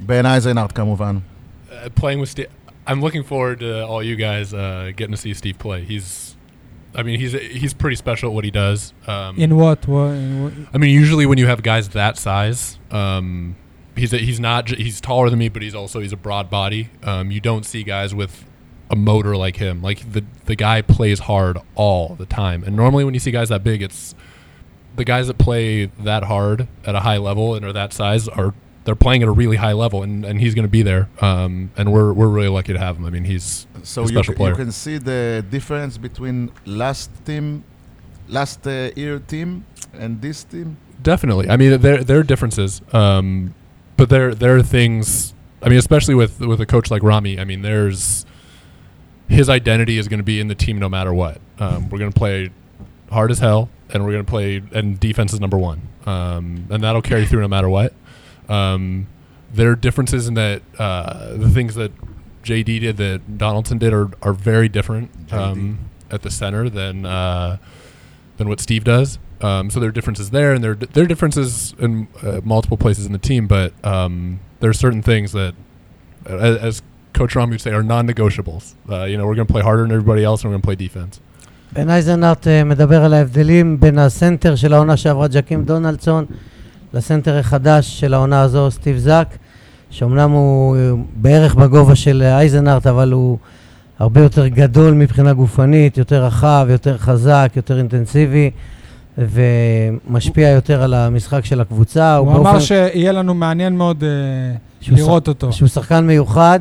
בן אייזנארט כמובן.
Uh, playing with Steve, I'm looking forward to all you guys uh, getting to see Steve play. He's, I mean, he's he's pretty special at what he does. Um,
In what? What- in
אה,
what-
I mean, usually when you have guys that size, um, he's a, he's not j- he's taller than me, but he's also he's a broad body. Um, you don't see guys with a motor like him. Like the the guy plays hard all the time, and normally when you see guys that big, it's the guys that play that hard at a high level and are that size are they're playing at a really high level, and, and he's going to be there. Um, and we're we're really lucky to have him. I mean, he's
So
a
you,
special
c- you
player.
can see the difference between last team, last uh, year team and this team.
Definitely. I mean, there there are differences, um, but there there are things. I mean, especially with with a coach like Rami. I mean, there's his identity is going to be in the team no matter what. Um, we're going to play hard as hell, and we're going to play and defense is number one, um, and that'll carry through no matter what. Um, there are differences in that uh, the things that JD did that Donaldson did are, are very different um, at the center than uh, than what Steve does. Um, so there are differences there, and there are di- there are differences in uh, multiple places in the team. But um, there are certain things that, uh, as, as Coach Rami would say, are non-negotiables. Uh, you know, we're going to play harder than everybody else, and we're going to play defense.
בן אייזנארט אה, מדבר על ההבדלים בין הסנטר של העונה שעברה ג'קים דונלדסון לסנטר החדש של העונה הזו, סטיב זאק, שאומנם הוא אה, בערך בגובה של אייזנארט, אבל הוא הרבה יותר גדול מבחינה גופנית, יותר רחב, יותר חזק, יותר אינטנסיבי, ומשפיע יותר על המשחק של הקבוצה.
הוא
באופן-
אמר שיהיה לנו מעניין מאוד אה,
שהוא
לראות אותו.
שהוא שחקן מיוחד,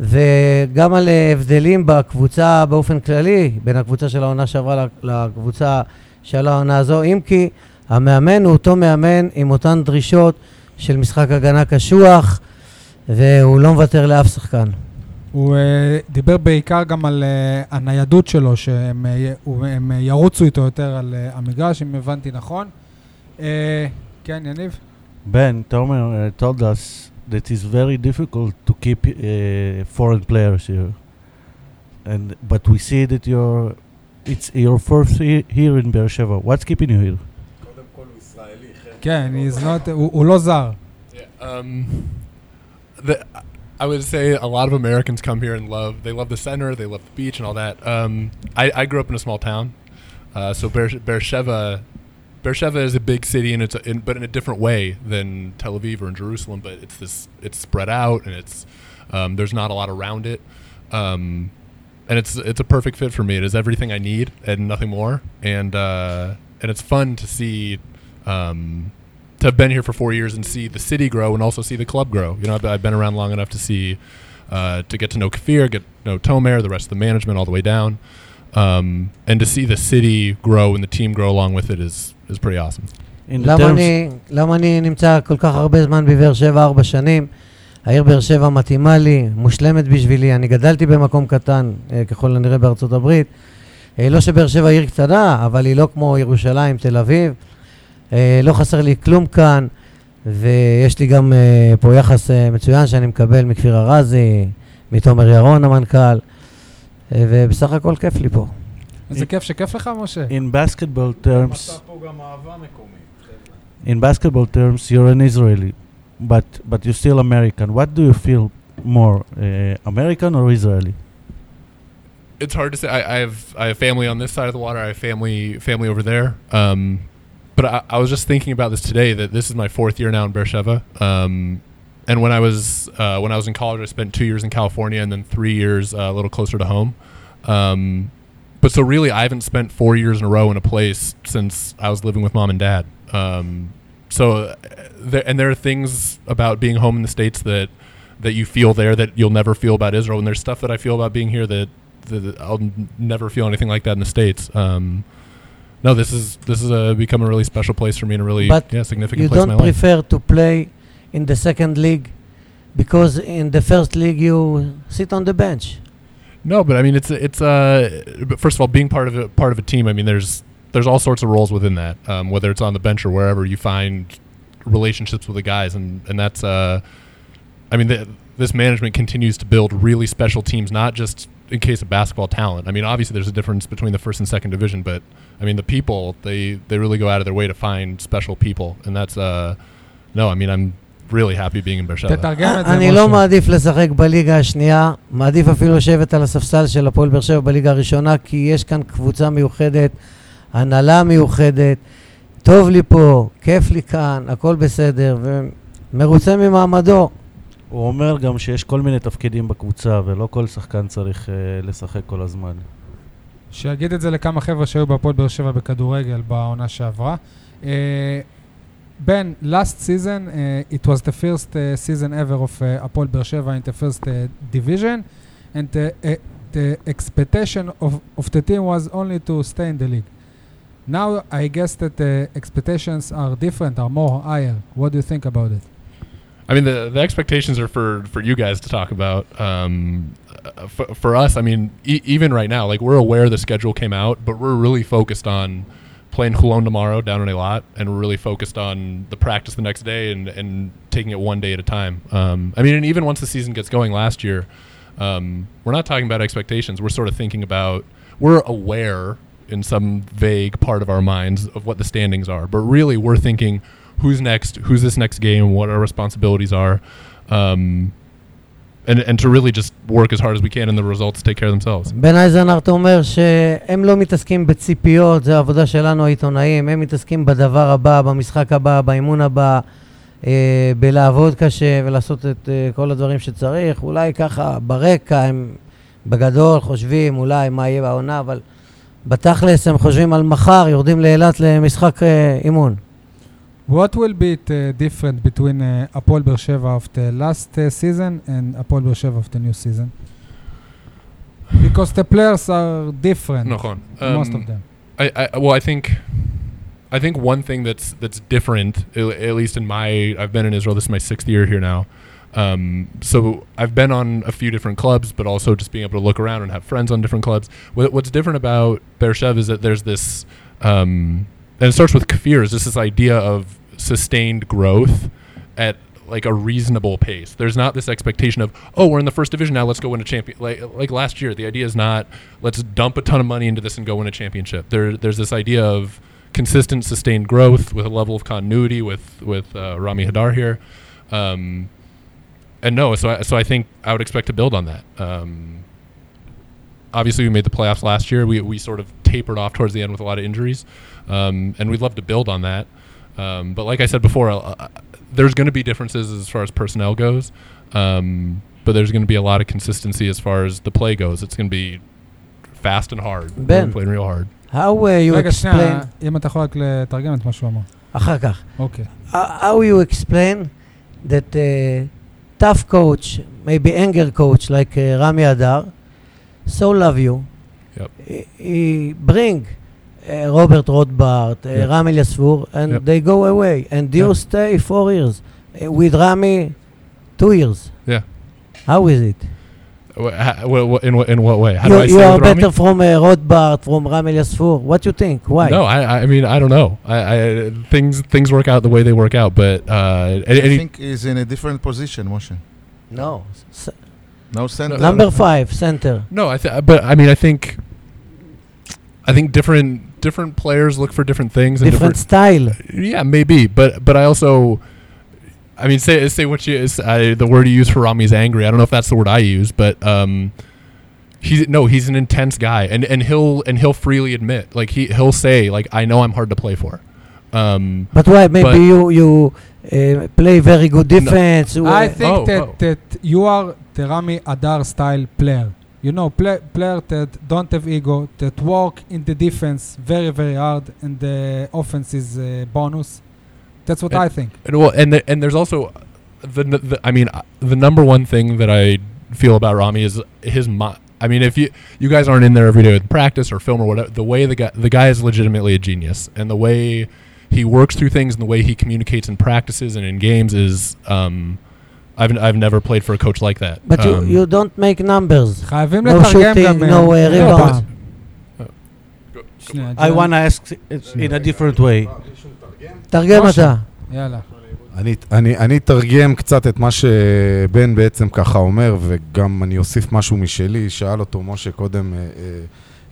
וגם על אה, הבדלים בקבוצה באופן כללי, בין הקבוצה של העונה שעברה ל- לקבוצה של העונה הזו, אם כי המאמן הוא אותו מאמן עם אותן דרישות של משחק הגנה קשוח, והוא לא מוותר לאף שחקן.
הוא אה, דיבר בעיקר גם על אה, הניידות שלו, שהם אה, י- הוא- הם, אה, ירוצו איתו יותר על אה, המגרש, אם הבנתי נכון. אה, כן, יניב?
Ben Tomer uh, told us that it's very difficult to keep uh, foreign players here, and but we see that you're it's your fourth year here in Beersheba. What's keeping you here?
כן, he's not- הוא הוא לא זר.
Yeah, um, the, I would say a lot of Americans come here and love. They love the center. They love the beach and all that. Um, I, I grew up in a small town, uh, so Beer, Beersheba, Beersheba is a big city, and it's a, in, but in a different way than Tel Aviv or in Jerusalem. But it's this. It's spread out, and it's um, there's not a lot around it. Um, and it's it's a perfect fit for me. It is everything I need and nothing more. And uh, and it's fun to see um, to have been here for four years and see the city grow and also see the club grow. You know, I've, I've been around long enough to see uh, to get to know Kafir, get to know Tomer, the rest of the management all the way down, um, and to see the city grow and the team grow along with it is is pretty awesome.
In the
למה
terms-
אני, למה אני נמצא כל כך הרבה זמן בבאר שבע, ארבע שנים? העיר באר שבע מתאימה לי, מושלמת בשבילי. אני גדלתי במקום קטן, אה, ככל הנראה בארצות הברית. אה, לא שבאר שבע עיר קטנה, אבל היא לא כמו ירושלים, תל אביב. אה, לא חסר לי כלום כאן, ויש לי גם אה, פה יחס אה, מצוין שאני מקבל מכפיר ארזי, מתומר ירון המנכ"ל, אה, ובסך הכל כיף לי פה.
איזה כיף שכיף לך, משה.
in basketball terms, in basketball terms, you're an Israeli, but but you're still American. What do you feel more, uh, American or Israeli?
it's hard to say. I, I have I have family on this side of the water. I have family family over there. Um, but I, I was just thinking about this today. That this is my fourth year now in Beersheba. Um, and when I was uh, when I was in college, I spent two years in California and then three years uh, a little closer to home. Um, but so really, I haven't spent four years in a row in a place since I was living with mom and dad. Um, so, uh, there, and there are things about being home in the states that that you feel there that you'll never feel about Israel. And there's stuff that I feel about being here that, that that I'll n- never feel anything like that in the states. Um, no, this is this is a, become a really special place for me and a really
But
yeah significant
you
place in my
don't
life.
prefer to play in the second league because in the first league you sit on the bench.
No, but I mean it's it's uh but first of all being part of a part of a team. I mean there's there's all sorts of roles within that. Um, whether it's on the bench or wherever you find relationships with the guys, and and that's uh, I mean th- this management continues to build really special teams, not just in case of basketball talent. I mean obviously there's a difference between the first and second division, but I mean the people they they really go out of their way to find special people, and that's uh no, I mean I'm really happy being in Beersheba.
תתרגם את זה, משה.
אני לא מעדיף לשחק בליגה השנייה, מעדיף אפילו לשבת על הספסל של הפועל באר שבע בליגה הראשונה, כי יש כאן קבוצה מיוחדת, הנהלה מיוחדת, טוב לי פה, כיף לי כאן, הכל בסדר, ומרוצה ממעמדו.
הוא אומר גם שיש כל מיני תפקידים בקבוצה, ולא כל שחקן צריך אה, לשחק כל הזמן.
שיגיד את זה לכמה חבר'ה שהיו בהפועל באר שבע בכדורגל בעונה שעברה. אה, בן, last season, uh, it was the first uh, season ever of uh, הפועל באר שבע in the first uh, division, and the, uh, the expectation of, of the team was only to stay in the league. Now I guess that the expectations are different, are more higher. What do you think about it?
I mean, the, the expectations are for, for you guys to talk about. Um, uh, for, for us, I mean, e- even right now, like we're aware the schedule came out, but we're really focused on playing Hulon tomorrow down in a lot, and we're really focused on the practice the next day and, and taking it one day at a time. Um, I mean, and even once the season gets going last year, um, we're not talking about expectations. We're sort of thinking about, we're aware in some vague part of our minds of what the standings are. But really, we're thinking who's next, who's this next game, what our responsibilities are. Um, and and to really just work as hard as we can, and the results take care of themselves.
בן אייזנארט אומר שהם לא מתעסקים בציפיות, זו העבודה שלנו העיתונאים, הם מתעסקים בדבר הבא, במשחק הבא, באימון הבא, אה, בלעבוד קשה ולעשות את אה, כל הדברים שצריך. אולי ככה ברקע הם בגדול חושבים אולי מה יהיה בעונה, אבל בתכלס הם חושבים על מחר, יורדים לאילת למשחק אה, אימון.
What will be it, uh, different between uh, Apol Beersheva of the last uh, season and Apol Beersheva of the new season? Because the players are different,
Nahon.
most
Um,
of them.
I, I well, I think, I think one thing that's that's different, a- at least in my, I've been in Israel. This is my sixth year here now, um, so I've been on a few different clubs, but also just being able to look around and have friends on different clubs. What, what's different about Bereshev is that there's this, um, and it starts with Kafir. Is just this idea of sustained growth at like a reasonable pace. There's not this expectation of, oh, we're in the first division now, let's go win a champion. Like, like last year, the idea is not let's dump a ton of money into this and go win a championship. There, there's this idea of consistent, sustained growth with a level of continuity with with uh, Rami Hadar here, um, and no, so I, so I think I would expect to build on that. Um, obviously, we made the playoffs last year. We we sort of tapered off towards the end with a lot of injuries, um, and we'd love to build on that. Um, but like I said before, uh, uh, there's going to be differences as far as personnel goes, um, but there's going to be a lot of consistency as far as the play goes. It's going to be fast and hard. We're
Ben.
playing real hard.
How uh, you
רגע, שנייה,
explain...
אם אתה יכול רק לתרגם את מה שהוא אמר.
אחר כך.
אוקיי.
how how you explain that uh, tough coach, maybe anger coach like uh, Rami Adar, so love you.
Yep.
He, he bring uh, Robert Rothbart, uh,
Yep.
Rami Yasfur, and
Yep.
they go away. And you
Yep.
stay four years uh, with Rami, two years.
Yeah.
How is it?
Wha- ha- wha- wha- in, what, in what way? How
you
do I
you
say
are
with Rami?
better from uh, Rothbart, from Rami Yasfur. What you think? Why?
No, I, I mean I don't know. I, I things things work out the way they work out, but uh, any,
I
any-
think he's in a different position, Moshe.
No. S-
No center.
number five, center.
no, I th- but I mean I think I think different different players look for different things and
Different style.
Yeah, maybe, but but I also, I mean, say say what you is uh, the word you use for Rami is angry. I don't know if that's the word I use, but um, he's no, he's an intense guy, and and he'll and he'll freely admit, like he he'll say, like I know I'm hard to play for. Um,
But why? Maybe
But-
you you uh, play very good defense. you,
I
uh,
think
Oh,
that,
oh.
that you are the Rami Adar style player. You know, play, player that don't have ego, that work in the defense very, very hard, and the offense is a bonus. That's what
And-
I think.
And well, and the, and there's also the, n- the I mean uh, the number one thing that I feel about Rami is his mi- I mean, if you you guys aren't in there every day with practice or film or whatever, the way the guy the guy is legitimately a genius, and the way he works through things and the way he communicates in practices and in games is um, I've n- I've never played for a coach like that.
but you,
Um,
you don't make numbers.
חייבים
No
לתרגם
shooting,
גם... אה,
no, אה,
לא,
rebound.
אבל-
אה, go-
שנייה,
I
ג'ון.
want to ask it in a different way.
תרגם
משה.
אתה.
יאללה.
אני, אני, אני אתרגם קצת את מה שבן בעצם ככה אומר, וגם אני אוסיף משהו משלי. שאל אותו משה קודם אה, אה,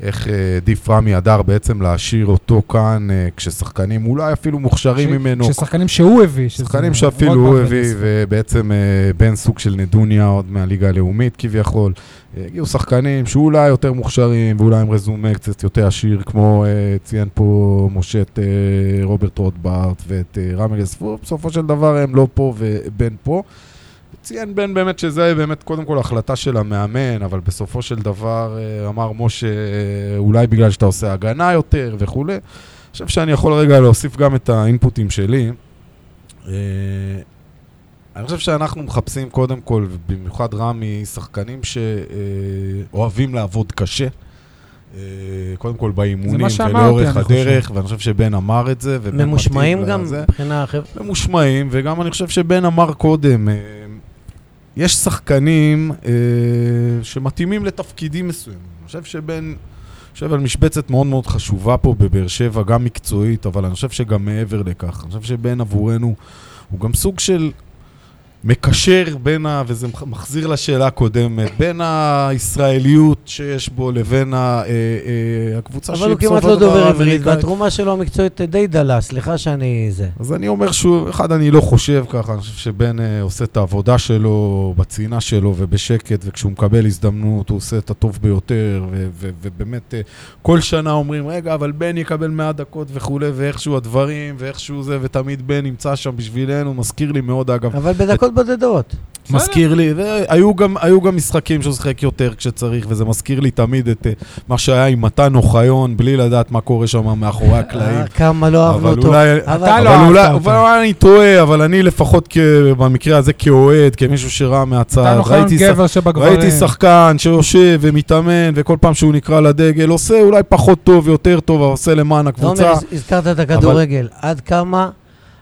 איך אה, דיף רמי הדר בעצם להשאיר אותו כאן אה, כששחקנים אולי אפילו מוכשרים
ש-
ממנו.
ששחקנים שהוא הביא. שזה
שחקנים שאפילו
רוטמן
הוא
וניסו.
הביא, ובעצם אה, בן סוג של נדוניה עוד מהליגה הלאומית כביכול. אה, הגיעו שחקנים שאולי יותר מוכשרים, ואולי עם רזומה קצת יותר עשיר, כמו אה, ציין פה משה את אה, רוברט רוטברט ואת אה, רמל יספור, בסופו של דבר הם לא פה ובן פה. ציין בן באמת שזה באמת קודם כל החלטה של המאמן, אבל בסופו של דבר אה, אמר משה, אה, אולי בגלל שאתה עושה הגנה יותר וכולי. אני חושב שאני יכול רגע להוסיף גם את האינפוטים שלי. אה, אני חושב שאנחנו מחפשים קודם כל, במיוחד רמי, שחקנים שאוהבים לעבוד קשה. אה, קודם כל
זה מה
באימונים
שאמרתי,
ולאורך
אני חושב.
הדרך, ואני חושב שבן אמר את זה. ובן
ממושמעים
מתאים
גם
לזה.
מבחינה אחרת.
ממושמעים, וגם אני חושב שבן אמר קודם, אה, יש שחקנים אה, שמתאימים לתפקידים מסוימים. אני חושב שבן, אני חושב על משבצת מאוד מאוד חשובה פה בבאר שבע, גם מקצועית, אבל אני חושב שגם מעבר לכך. אני חושב שבן עבורנו הוא גם סוג של מקשר בין ה... וזה מח- מחזיר לשאלה הקודמת, בין הישראליות שיש בו לבין ה, אה, אה, הקבוצה
אבל הוא
בסופו
כמעט לא
של דבר
דובר עברית,
האמריקאית.
והתרומה שלו המקצועית די דלה, סליחה שאני זה.
אז אני אומר שוב, אחד, אני לא חושב ככה, אני חושב שבן אה, עושה את העבודה שלו, בצנעה שלו ובשקט, וכשהוא מקבל הזדמנות, הוא עושה את הטוב ביותר, ו- ו- ובאמת, אה, כל שנה אומרים, רגע, אבל בן יקבל 100 דקות וכולי, ואיכשהו הדברים, ואיכשהו זה, ותמיד בן נמצא שם בשבילנו, מזכיר לי מאוד, אגב,
אבל בדקות בודדות.
מזכיר לי, והיו גם, היו גם משחקים שהוא שיחק יותר כשצריך, וזה מזכיר לי תמיד את אה, מה שהיה עם מתן אוחיון, בלי לדעת מה קורה שם מאחורי הקלעים.
אה, כמה לא אהבנו
אבל
אותו.
אולי...
אבל-
אתה לא
אבל
אהבת
אולי,
אותו.
אבל אולי אני טועה, אבל אני לפחות כ... במקרה הזה כאוהד, כמישהו שראה
אתה
מהצד,
נכון
ראיתי, שח...
גבר שבגברים.
ראיתי שחקן שיושב ומתאמן, וכל פעם שהוא נקרא לדגל, עושה אולי פחות טוב, יותר טוב, אבל עושה
לא
למען
תומר,
הקבוצה.
הז- הזכרת את הכדורגל, עד כמה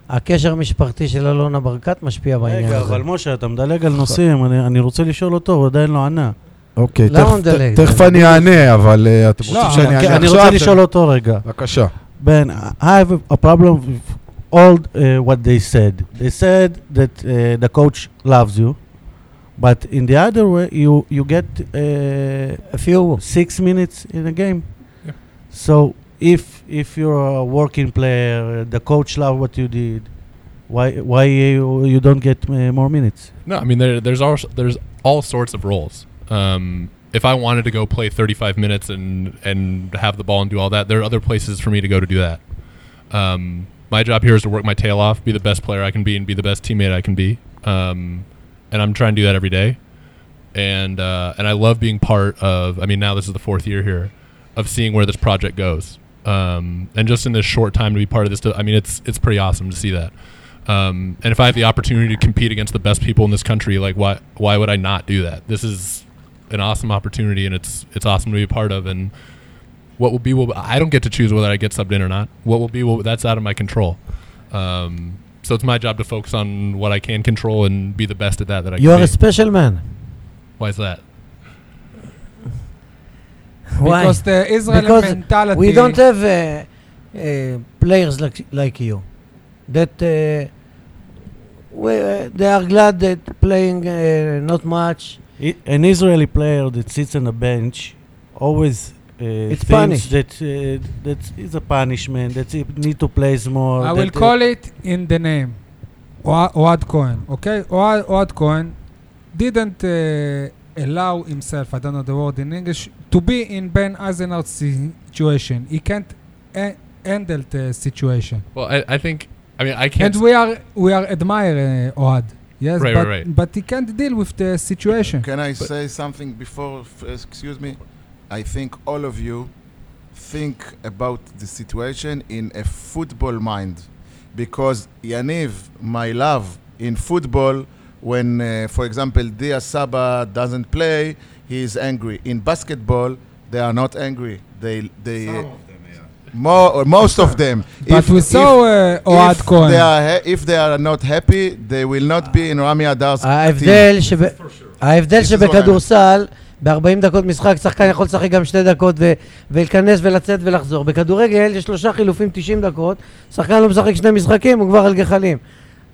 הקשר המשפחתי של אלונה ברקת משפיע בעניין
רגע,
הזה.
אבל משה, אתה מדלג על נושאים, אני- אני רוצה לשאול אותו, הוא עדיין לא ענה.
אוקיי,
למה הוא
תכף-
מדלג?
תכף אני אענה, אבל אה, אתם
לא,
רוצים שאני
כן,
אענה
אני רוצה
עכשיו?
לשאול אותו רגע.
בבקשה.
Ben, I have a problem with all uh, what they said. They said that uh, the coach loves you, but in the other way, you you get uh,
A few.
six minutes in a game.
Yeah.
So if if you're a working player, the coach loves what you did. Why why you, you don't get uh, more minutes?
No, I mean there, there's all there's all sorts of roles. Um, if I wanted to go play 35 minutes and and have the ball and do all that, there are other places for me to go to do that. Um, my job here is to work my tail off, be the best player I can be, and be the best teammate I can be. Um, and I'm trying to do that every day. And uh, and I love being part of. I mean, now this is the fourth year here, of seeing where this project goes. Um, and just in this short time to be part of this, I mean, it's it's pretty awesome to see that. Um, and if I have the opportunity to compete against the best people in this country, like why why would I not do that? This is an awesome opportunity, and it's it's awesome to be a part of. And what will be will I don't get to choose whether I get subbed in or not. What will be will that's out of my control. Um, so it's my job to focus on what I can control and be the best at that that I
You are
can.
a
Be.
special man.
Why is that?
Why?
Because the Israeli
Because
mentality...
We don't have uh, uh, players like, like you. That uh, we, uh, they are glad that playing uh, not much.
I, an Israeli player that sits on a bench always. Uh,
It's
thinks
punished.
that uh, that is a punishment. That he need to play more.
I will
that, uh,
call it in the name. אוה- אוהד כהן, אוקיי? אוה- אוהד כהן didn't uh, allow himself, I don't know the word in English, to be in Ben Eisenhower's situation. He can't a- handle the situation.
Well, I, I think I mean I
And
can't.
we are, we are admire uh, Oad. Yes,
Right,
but,
right, right.
but he can't deal with the situation.
Can I say something before? f- Excuse me. I think all of you think about the situation in a football mind, because Yaniv, my love in football, when uh, for example Dia Saba doesn't play, he is angry. In basketball, they are not angry. They they. More, most of them.
But
If-
we
if-
saw uh, Oad
if
Cohen.
They are ha- if they are not happy, they will not be in Rami Adar's
Ah,
ההבדל, שב... ההבדל
This is what I-
שבכדורסל, ב-40 דקות משחק, שחקן יכול לשחק גם שתי דקות ו- ולהיכנס ולצאת ולחזור. בכדורגל יש שלושה חילופים 90 דקות, שחקן לא משחק שני משחקים, הוא כבר על גחלים.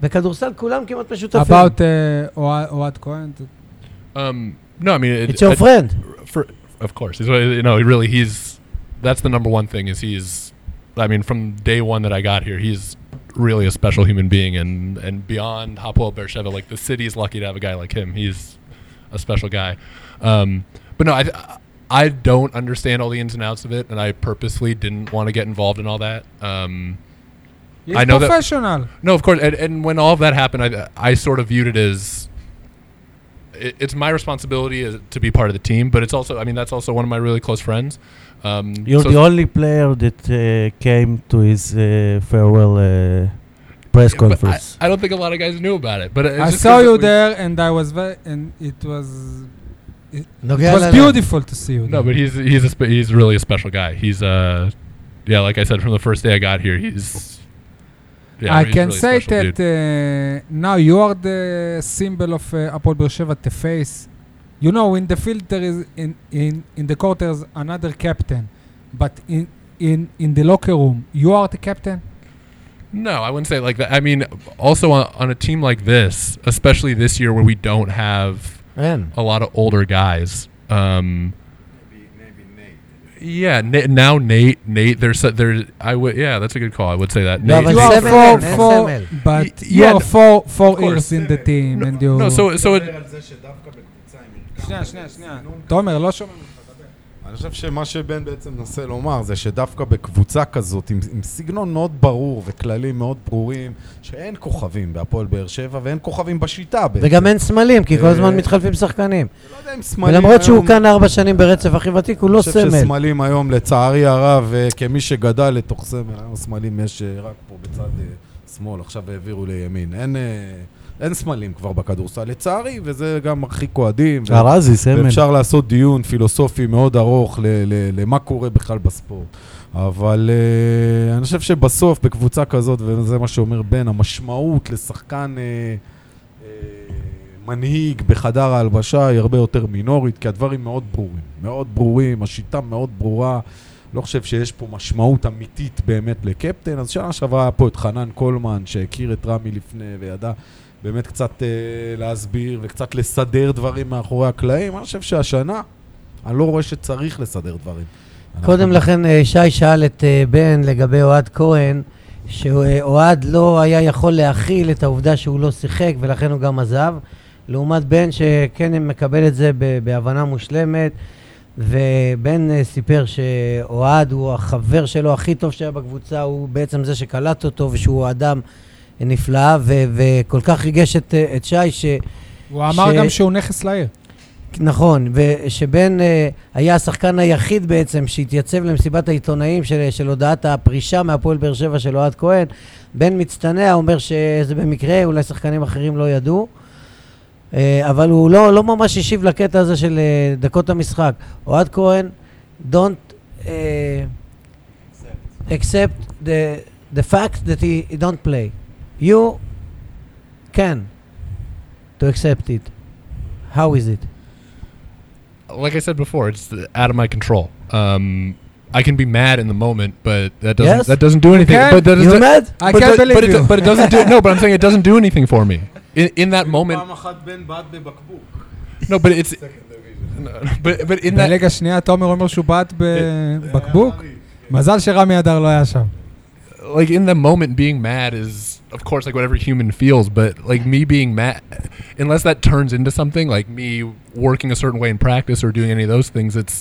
בכדורסל כולם כמעט משותפים.
About uh, Oad Oad Cohen.
Um, no, I mean
אה,
it,
It's your
I-
friend.
for, of course. He's, you know, really, he's that's the number one thing is he's. I mean, from day one that I got here, he's really a special human being, and and beyond Hapoel Beersheba, like the city's lucky to have a guy like him. He's a special guy. Um, but no, I I don't understand all the ins and outs of it, and I purposely didn't want to get involved in all that. Um,
He's
I know that-
professional.
no, of course. And, and when all of that happened, I, I sort of viewed it as it, it's my responsibility as- to be part of the team, but it's also, I mean, that's also one of my really close friends. Um,
You're
so-
the only player that uh, came to his uh, farewell uh, press
but
conference.
I, I don't think a lot of guys knew about it, but it's
I
just
saw
'cause
you
we-
there, and I was very, and it was it,
נוגע
it was
ללב.
beautiful to see you.
No,
there.
but he's he's a spe- he's really a special guy. He's uh, yeah, like I said from the first day I got here, he's. Yeah,
I
he's
can
really
say
special
that
dude.
uh, now you are the symbol of uh, Apol Beersheva, the face. You know, in the field there is in in in the court there's another captain, but in in in the locker room you are the captain.
No, I wouldn't say it like that. I mean, also on, on a team like this, especially this year where we don't have
אין.
a lot of older guys. Um, yeah, Na- now Nate, Nate, there's so- there. I would, yeah, that's a good call. I would say that.
No,
Nate,
but
You
It's
are
seven
four,
men, it's
four,
seven.
Y-
but you
yeah,
are four, four
course.
years in the team, and you...
no, so so it,
שנייה, שנייה, שנייה. תומר, לא שומעים.
אני חושב שמה שבן בעצם מנסה לומר זה שדווקא בקבוצה כזאת, עם, עם סגנון מאוד ברור וכללים מאוד ברורים, שאין כוכבים בהפועל באר שבע ואין כוכבים בשיטה בעצם.
וגם אין סמלים, כי כל הזמן
אה,
מתחלפים שחקנים.
לא יודע אם סמלים
ולמרות שהוא
היום-
כאן ארבע שנים ברצף הכי ותיק, הוא לא
אני חושב
סמל.
שסמלים היום, לצערי הרב, אה, כמי שגדל לתוך סמל, היום סמלים יש אה, רק פה בצד אה, שמאל, עכשיו העבירו לימין. אין, אה, אין סמלים כבר בכדורסל, לצערי, וזה גם מרחיק אוהדים. ו-
ארזי, סמל.
ואפשר לעשות דיון פילוסופי מאוד ארוך ל- ל- למה קורה בכלל בספורט. אבל אה, אני חושב שבסוף, בקבוצה כזאת, וזה מה שאומר בן, המשמעות לשחקן אה, אה, מנהיג בחדר ההלבשה היא הרבה יותר מינורית, כי הדברים מאוד ברורים. מאוד ברורים, השיטה מאוד ברורה. לא חושב שיש פה משמעות אמיתית באמת לקפטן. אז שנה שעברה היה פה את חנן קולמן, שהכיר את רמי לפני וידע באמת קצת אה, להסביר וקצת לסדר דברים מאחורי הקלעים. אני חושב שהשנה, אני לא רואה שצריך לסדר דברים.
קודם
אנחנו-
לכן אה, שי שאל את אה, בן לגבי אוהד כהן, שאוהד לא היה יכול להכיל את העובדה שהוא לא שיחק ולכן הוא גם עזב, לעומת בן שכן מקבל את זה ב- בהבנה מושלמת, ובן אה, סיפר שאוהד הוא החבר שלו הכי טוב שהיה בקבוצה, הוא בעצם זה שקלט אותו ושהוא אדם נפלא, ו- וכל כך ריגש את, אה, את שי ש...
הוא אמר
ש-
גם שהוא נכס לעיר.
נכון, ושבן אה, היה השחקן היחיד בעצם שהתייצב למסיבת העיתונאים של, של הודעת הפרישה מהפועל באר שבע של אוהד כהן. בן מצטנע, אומר שזה במקרה, אולי שחקנים אחרים לא ידעו. אה, אבל הוא לא, לא ממש השיב לקטע הזה של אה, דקות המשחק. אוהד כהן, don't אה, accept the, the fact that he, he don't play. You can to accept it. How is it?
like I said before, it's out of my control. Um, I can be mad in the moment, but that doesn't
Yes.
that doesn't do anything.
can.
But that
You
doesn't-
mad?
I can't
but that- but
believe
it, do-
you.
but it doesn't do no. But I'm saying it doesn't do anything for me in, in that moment.
פעם אחת בן בעט בבקבוק.
No, but it's no, but but in that
בליגה השנייה תומר אומר שהוא בעט בבקבוק. מזל שרמי אדר לא היה שם.
like in the moment being mad is of course like whatever human feels but like me being mad unless that turns into something like me working a certain way in practice or doing any of those things it's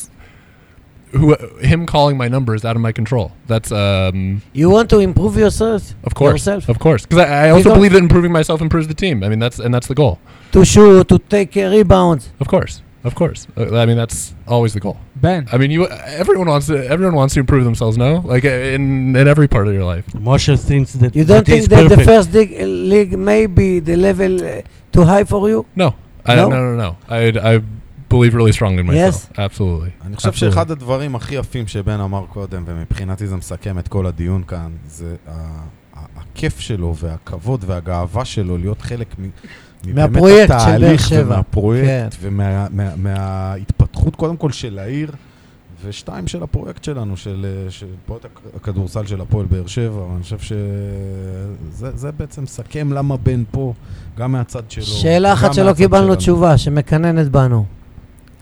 who him calling my number is out of my control that's um
You want to improve yourself?
of course
Yourself?
of course because I, I
Because-
also believe that improving myself improves the team i mean that's and that's the goal
To shoot, to take a rebound.
of course of course Uh, i mean that's always the goal
בן,
i mean you everyone wants to everyone wants to improve themselves no like uh, in in every part of your life
משה thinks that
You don't
that is
think that the
perfect.
first dig- league may be the level uh, too high for you?
No, I
No?
no, no, no. no. I I believe really strongly in myself. Absolutely.
אני חושב
Absolutely.
שאחד הדברים הכי יפים שבן אמר קודם, ומבחינתי זה מסכם את כל הדיון כאן, זה ה- ה- הכיף שלו והכבוד והגאווה שלו להיות חלק מ... מבאמת
מהפרויקט של באר
התהליך
שבע. כן.
ומהפרויקט ומההתפתחות קודם כל של העיר, ושתיים של הפרויקט שלנו, של אה, של פרויקט הכ- הכדורסל של הפועל באר שבע, אני חושב שזה זה בעצם מסכם למה בן פה, גם מהצד שלו.
שאלה
וגם
אחת שלא
מהצד
קיבלנו
שלנו.
תשובה, שמקננת בנו.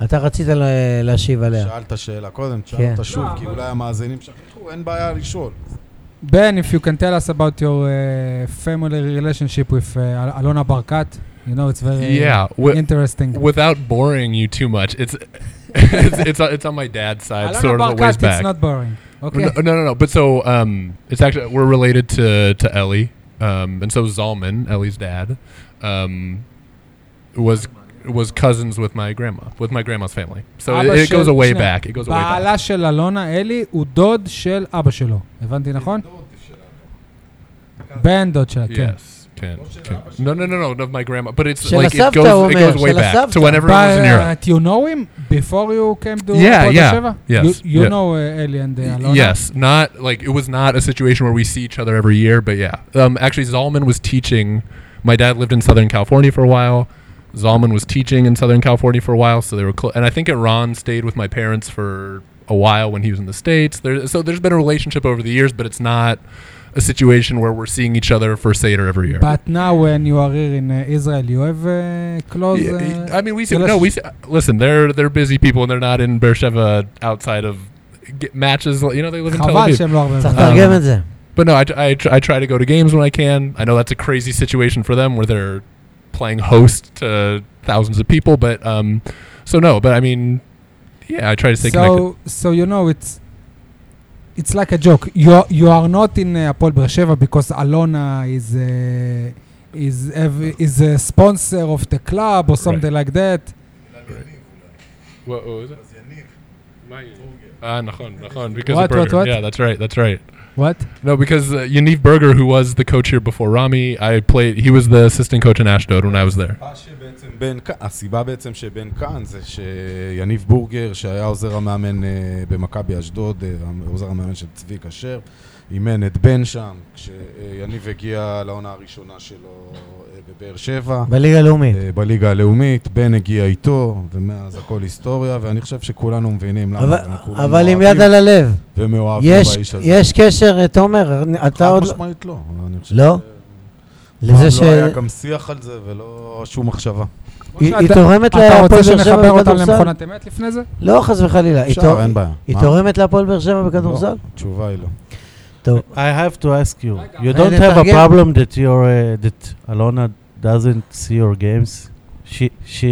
אתה רצית לה- להשיב עליה.
שאלת שאלה קודם,
כן.
תשאל אותה שוב, כי אולי המאזינים שכחו, אין בעיה לשאול.
בן, if you can tell us about your uh, family relationship with uh, Al- Alona Barkat, you know, it's very
yeah. Wi-
interesting.
without boring you too much, it's it's it's, on- it's on my dad's side,
Alona
sort of a
Barkat,
ways
it's
back.
not boring.
No,
Okay.
no, no, no. But so um, it's actually we're related to to Ellie, um, and so Zalman, Ellie's dad, um, was was cousins with my grandma, with my grandma's family. So it,
אבא
it goes
של-
away
שנייה.
back. It goes away back.
בעלה של אלונה אלי הוא דוד של אבא שלו, הבנתי נכון? בן דוד שלה, כן.
Yes. Can, can. No, no, no, no, of my grandma. But it's
Shela
like it
Savta
goes, it
Omer,
goes way
Shela
back to
Savta.
when everyone was in Europe.
But uh, you know him before you came to
Yeah,
Apollo
yeah,
Sheva?
yes,
You, you
yeah.
know uh, Eli and uh, Alona?
Yes, not like it was not a situation where we see each other every year, but yeah. Um, actually, Zalman was teaching. My dad lived in Southern California for a while. Zalman was teaching in Southern California for a while, so they were close. And I think Ron stayed with my parents for a while when he was in the states. There, so there's been a relationship over the years, but it's not a situation where we're seeing each other for Seder every year.
But now when you are here in uh, Israel, you have uh, close.
Yeah,
Uh,
I mean, we see,
Tell us-
no, we see, listen. They're they're busy people, and they're not in Beersheba outside of get matches. You know, they live in Tel
חבל
Aviv.
שהם לא הרבה...
צריך
זמן.
אה,
לתרגם את זה.
But no, I, I, tr- I try to go to games when I can. I know that's a crazy situation for them where they're playing host to thousands of people. But um, so no, but I mean, yeah, I try to stay connected.
so so you know it's it's like a joke you are, you are not in uh, Apol Beer Sheva because Alona is uh, is ev- is a sponsor of the club or something like that
What, what was it? Ah, nachon, nachon, because
What,
of Berger.
what, what?
Yeah, that's right, that's right.
what
No, because uh, Yaniv Berger, who was the coach here before Rami, I played. He was the assistant coach in Ashdod when I was there.
הסיבה שבעצם בין כ- הסיבה בעצם שבין כאן זה שיניב בורגר, שהיה עוזר המאמן אה, במכבי אשדוד, אה, עוזר המאמן של צבי כשר, אימן את בן שם, כשיניב הגיע לעונה הראשונה שלו אה, בבאר שבע.
בליגה הלאומית.
אה, בליגה הלאומית, בן הגיע איתו, ומאז הכל היסטוריה, ואני חושב שכולנו מבינים למה.
אבל-
אנחנו כולנו
אבל
אוהבים
עם יד על הלב,
ומאוהבים
יש-
באיש הזה.
יש קשר, אה, תומר, אתה
חד
עוד... לא-
משמעית לא. אני חושב
לא? לזה
ש...
ש...
לא היה גם שיח על זה ולא שום מחשבה.
היא
אתה-
היא תורמת
אתה
להפועל
רוצה
באר שבע
שנחבר אותם
בכדורסל?
למכונת אמת לפני זה?
לא, חס וחלילה. היא תור-
אפשר, אין בעיה.
היא
מה?
תורמת להפועל באר שבע בכדורסל?
לא, התשובה היא לא.
טוב.
I have to ask you. You
רגע,
don't
רגע,
have a
תתרגם.
problem that your uh, that Alona doesn't see your games. She she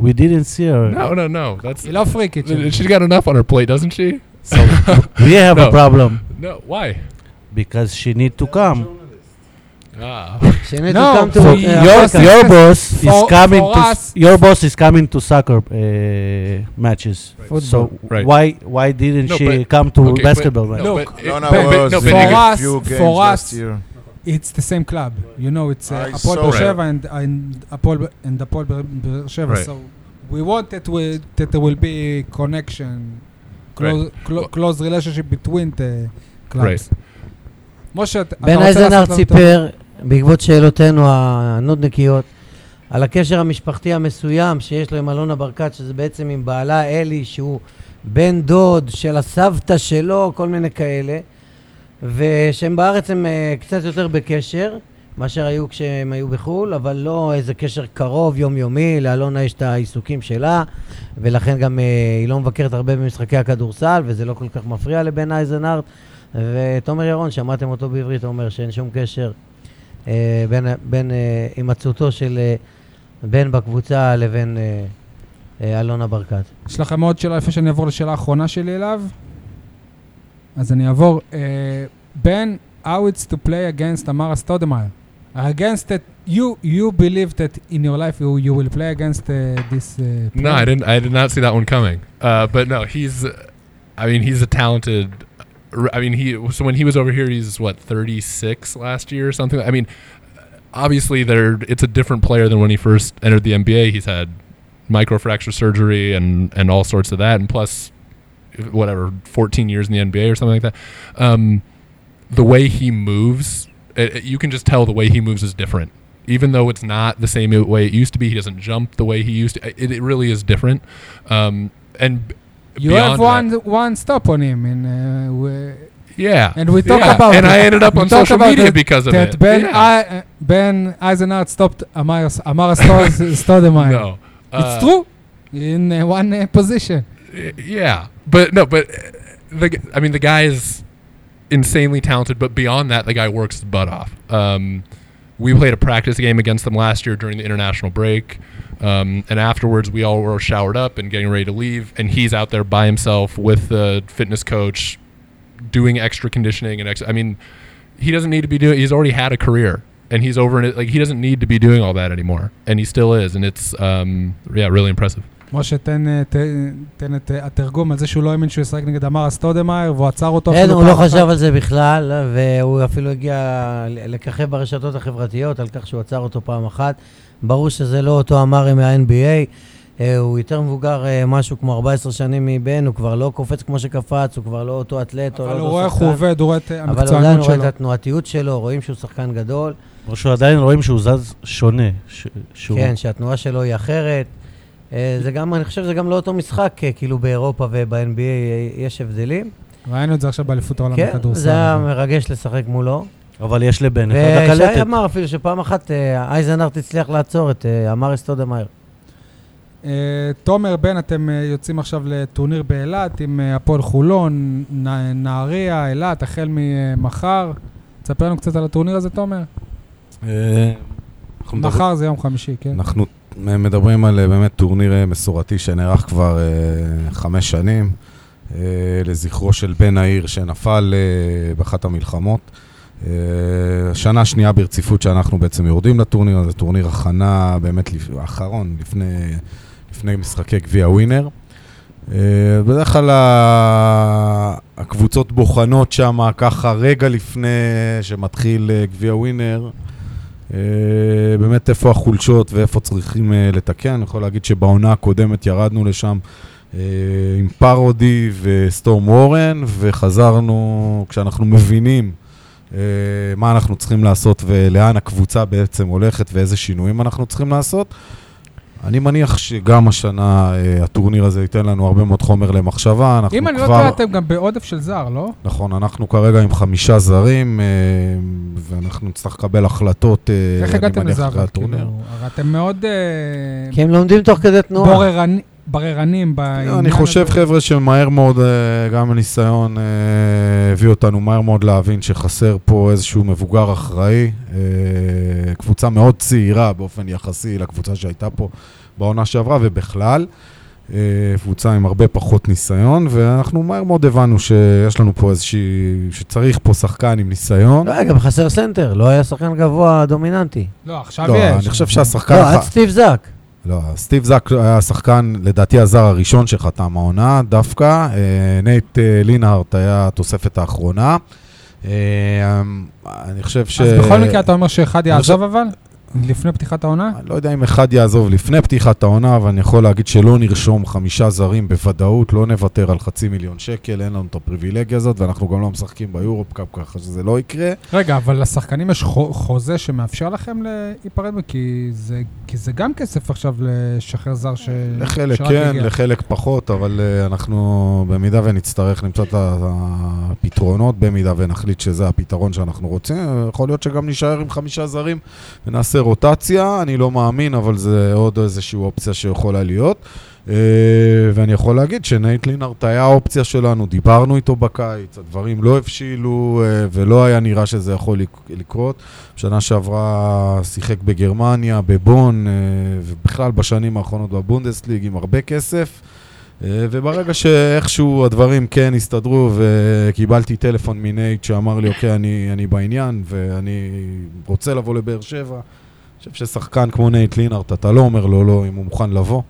we didn't see her.
No, no, no. That's
היא לא פריקית שלי.
she's got enough on her plate, doesn't she?
So we have a
No.
problem
No, why?
because she need to come.
Ah,
שני
לא,
תוקם
for-
תור-
your-
אה,
Your
Yes,
אחר כך.
your
yes.
boss
For-
is coming
for
to
us-
s- your boss is coming to soccer uh, matches. So
Right.
why why didn't
No,
she
but-
come to
okay, but-
basketball match?
no,
Look,
but,
Alona
but- but-
was
no,
in
but
for
a
you-
us-
few games
for
last
us,
year.
It's the same club, you know. It's uh,
I
Apol
saw
Beer
it.
Sheva and and Apol and Apol Beer Sheva.
Right.
So we want that we that there will be connection, close clo-
Well-
close relationship between the clubs. משה, אתה אתה
בן
רוצה
אייזנר
לעשות לנו את ה-
סיפר, בעקבות שאלותינו הנודניקיות, על הקשר המשפחתי המסוים שיש לו עם אלונה ברקת, שזה בעצם עם בעלה אלי, שהוא בן דוד של הסבתא שלו, כל מיני כאלה, ושהם בארץ הם אה, קצת יותר בקשר. מאשר היו כשהם היו בחו"ל, אבל לא איזה קשר קרוב, יומיומי, לאלונה יש את העיסוקים שלה, ולכן גם אה, היא לא מבקרת הרבה במשחקי הכדורסל, וזה לא כל כך מפריע לבן אייזנארט. ותומר ירון, שמעתם אותו בעברית, אומר שאין שום קשר אה, בין, בין אה, הימצאותו של אה, בן בקבוצה לבין אה, אה, אלונה ברקת.
יש לכם עוד שאלה לפני שאני אעבור לשאלה האחרונה שלי אליו? אז אני אעבור. בן, how it's to play against Amara Stoudemire? Against that, you you believe that in your life you you will play against uh, this. Uh,
No, I didn't. I did not see that one coming. Uh, but no, he's. uh, I mean, he's a talented. r- I mean, he. So when he was over here, he's what 36 last year or something. I mean, obviously, there. It's a different player than when he first entered the NBA. He's had microfracture surgery and and all sorts of that, and plus, whatever, 14 years in the NBA or something like that. Um, the way he moves, it, it- you can just tell the way he moves is different. Even though it's not the same way it used to be, he doesn't jump the way he used to. uh, It, it really is different. Um, and b-
You
beyond
have
that-
one one stop on him, and uh, we,
yeah.
and we talk
yeah.
about
And
it.
I ended up
We
on
talk
social
about
media
that-
because of
that
it.
Ben
Yeah.
I, uh, Ben Eisenhardt stopped Amara Amara Stoudemire.
no. Uh,
It's true. In uh, one uh, position.
Y- yeah but no but uh, the g- i mean the guy is insanely talented but beyond that the guy works his butt off um, we played a practice game against them last year during the international break um, and afterwards we all were showered up and getting ready to leave and he's out there by himself with the fitness coach doing extra conditioning and ex- i mean he doesn't need to be doing he's already had a career and he's over in it like he doesn't need to be doing all that anymore and he still is and it's um, yeah really impressive
משה, תן, אה, ת- תן את אה, התרגום על זה שהוא לא האמין שהוא ישחק נגד אמרה סטודמאייר, והוא עצר אותו.
אין,
אפילו
הוא לא
פעם אחת.
חשב על זה בכלל, והוא אפילו הגיע ל- לככב ברשתות החברתיות על כך שהוא עצר אותו פעם אחת. ברור שזה לא אותו אמרי מה-NBA. אה, הוא יותר מבוגר, אה, משהו כמו 14 שנים מבן, הוא כבר לא קופץ כמו שקפץ, הוא כבר לא אותו אתלט, או לא
אבל הוא
אותו
רואה איך
שחקן.
הוא עובד, הוא רואה את אה,
אבל עדיין
המקצוענות
הוא רואה את
שלו.
התנועתיות שלו, רואים שהוא שחקן גדול.
או שעדיין רואים שהוא זז שונה. ש- שהוא-
כן, שהתנועה שלו היא אחרת. אה, זה גם, אני חושב שזה גם לא אותו משחק, אה, כאילו באירופה וב-NBA אה, יש הבדלים.
ראינו את זה עכשיו באליפות העולם
כן,
בכדורסל.
זה היה מרגש לשחק מולו.
אבל יש לבן כן, אחד
ושי
הקלטת.
אמר אפילו שפעם אחת אה, אייזנארט הצליח לעצור את אה, אמריס תודמאייר.
כן.
אה, תומר בן, אתם אה, יוצאים עכשיו לטורניר באילת עם אה, הפועל חולון, נ- נהריה, אילת, החל ממחר. תספר לנו קצת על הטורניר הזה, תומר.
אה, אנחנו מדברים-
מחר זה יום חמישי, כן.
אנחנו מדברים על אה, באמת טורניר אה, מסורתי שנערך כבר אה, חמש שנים, אה, לזכרו של בן העיר שנפל אה, באחת המלחמות. אה, שנה שנייה ברציפות שאנחנו בעצם יורדים לטורניר הזה, טורניר הכנה באמת לפ- האחרון, לפני, לפני משחקי גביע ווינר. אה, בדרך כלל ה- הקבוצות בוחנות שם ככה רגע לפני שמתחיל אה, גביע ווינר, אה, באמת איפה החולשות ואיפה צריכים אה, לתקן. אני יכול להגיד שבעונה הקודמת ירדנו לשם אה, עם פרודי וסטורם וורן, וחזרנו כשאנחנו מבינים אה, מה אנחנו צריכים לעשות ולאן הקבוצה בעצם הולכת ואיזה שינויים אנחנו צריכים לעשות. אני מניח שגם השנה אה, הטורניר הזה ייתן לנו הרבה מאוד חומר למחשבה. אנחנו
אם אני לא
כבר-
טועה, אתם גם בעודף של זר, לא?
נכון, אנחנו כרגע עם חמישה זרים, אה, ואנחנו נצטרך לקבל החלטות, אה,
איך
אני
הגעתם
מניח,
לזה?
אחרי
אבל?
הטורניר.
כאילו, הרי אתם מאוד אה,
כי הם לומדים תוך כדי תנועה.
בוררני- בררנים בעניין הזה.
אני חושב, חבר'ה, שמהר מאוד, אה, גם הניסיון אה, הביא אותנו מהר מאוד להבין שחסר פה איזשהו מבוגר אחראי. אה, קבוצה מאוד צעירה באופן יחסי לקבוצה שהייתה פה בעונה שעברה, ובכלל, אה, קבוצה עם הרבה פחות ניסיון, ואנחנו מהר מאוד הבנו שיש לנו פה איזושהי... שצריך פה שחקן עם ניסיון.
לא היה גם חסר סנטר, לא היה שחקן גבוה דומיננטי.
לא, עכשיו יש.
לא, אני חושב שהשחקן...
לא,
הח-
עד סטיב זאק.
לא, סטיב זק היה השחקן, לדעתי הזר הראשון שחתם העונה דווקא. אה, נייט אה, לינהארט היה התוספת האחרונה. אה, אני חושב ש...
אז בכל מקרה אתה אומר שאחד
אני חושב-
יעזוב אבל? לפני פתיחת העונה?
אני לא יודע אם אחד יעזוב לפני פתיחת העונה, אבל אני יכול להגיד שלא נרשום חמישה זרים בוודאות, לא נוותר על חצי מיליון שקל, אין לנו את הפריבילגיה הזאת, ואנחנו גם לא משחקים ביורופ קאפ ככה שזה לא יקרה.
רגע, אבל לשחקנים יש חו- חוזה שמאפשר לכם להיפרד? ממנו? כי זה- כי זה גם כסף עכשיו לשחרר זר ש...
לחלק
שרק
כן,
הגיע.
לחלק פחות, אבל אה, אנחנו, במידה ונצטרך למצוא את ה- הפתרונות, במידה ונחליט שזה הפתרון שאנחנו רוצים, יכול להיות שגם נישאר עם חמישה זרים ונעשה רוטציה, אני לא מאמין, אבל זה עוד איזושהי אופציה שיכולה להיות. אה, ואני יכול להגיד שנייט לינארט היה האופציה שלנו, דיברנו איתו בקיץ, הדברים לא הבשילו אה, ולא היה נראה שזה יכול לק- לקרות. שנה שעברה שיחק בגרמניה, בבון, אה, ובכלל בשנים האחרונות בבונדסליג עם הרבה כסף. אה, וברגע שאיכשהו הדברים כן הסתדרו וקיבלתי טלפון מנייט שאמר לי, אוקיי, אני, אני בעניין ואני רוצה לבוא לבאר שבע. אני חושב ששחקן כמו נייט לינארט, אתה לא אומר לו לא אם הוא מוכן לבוא.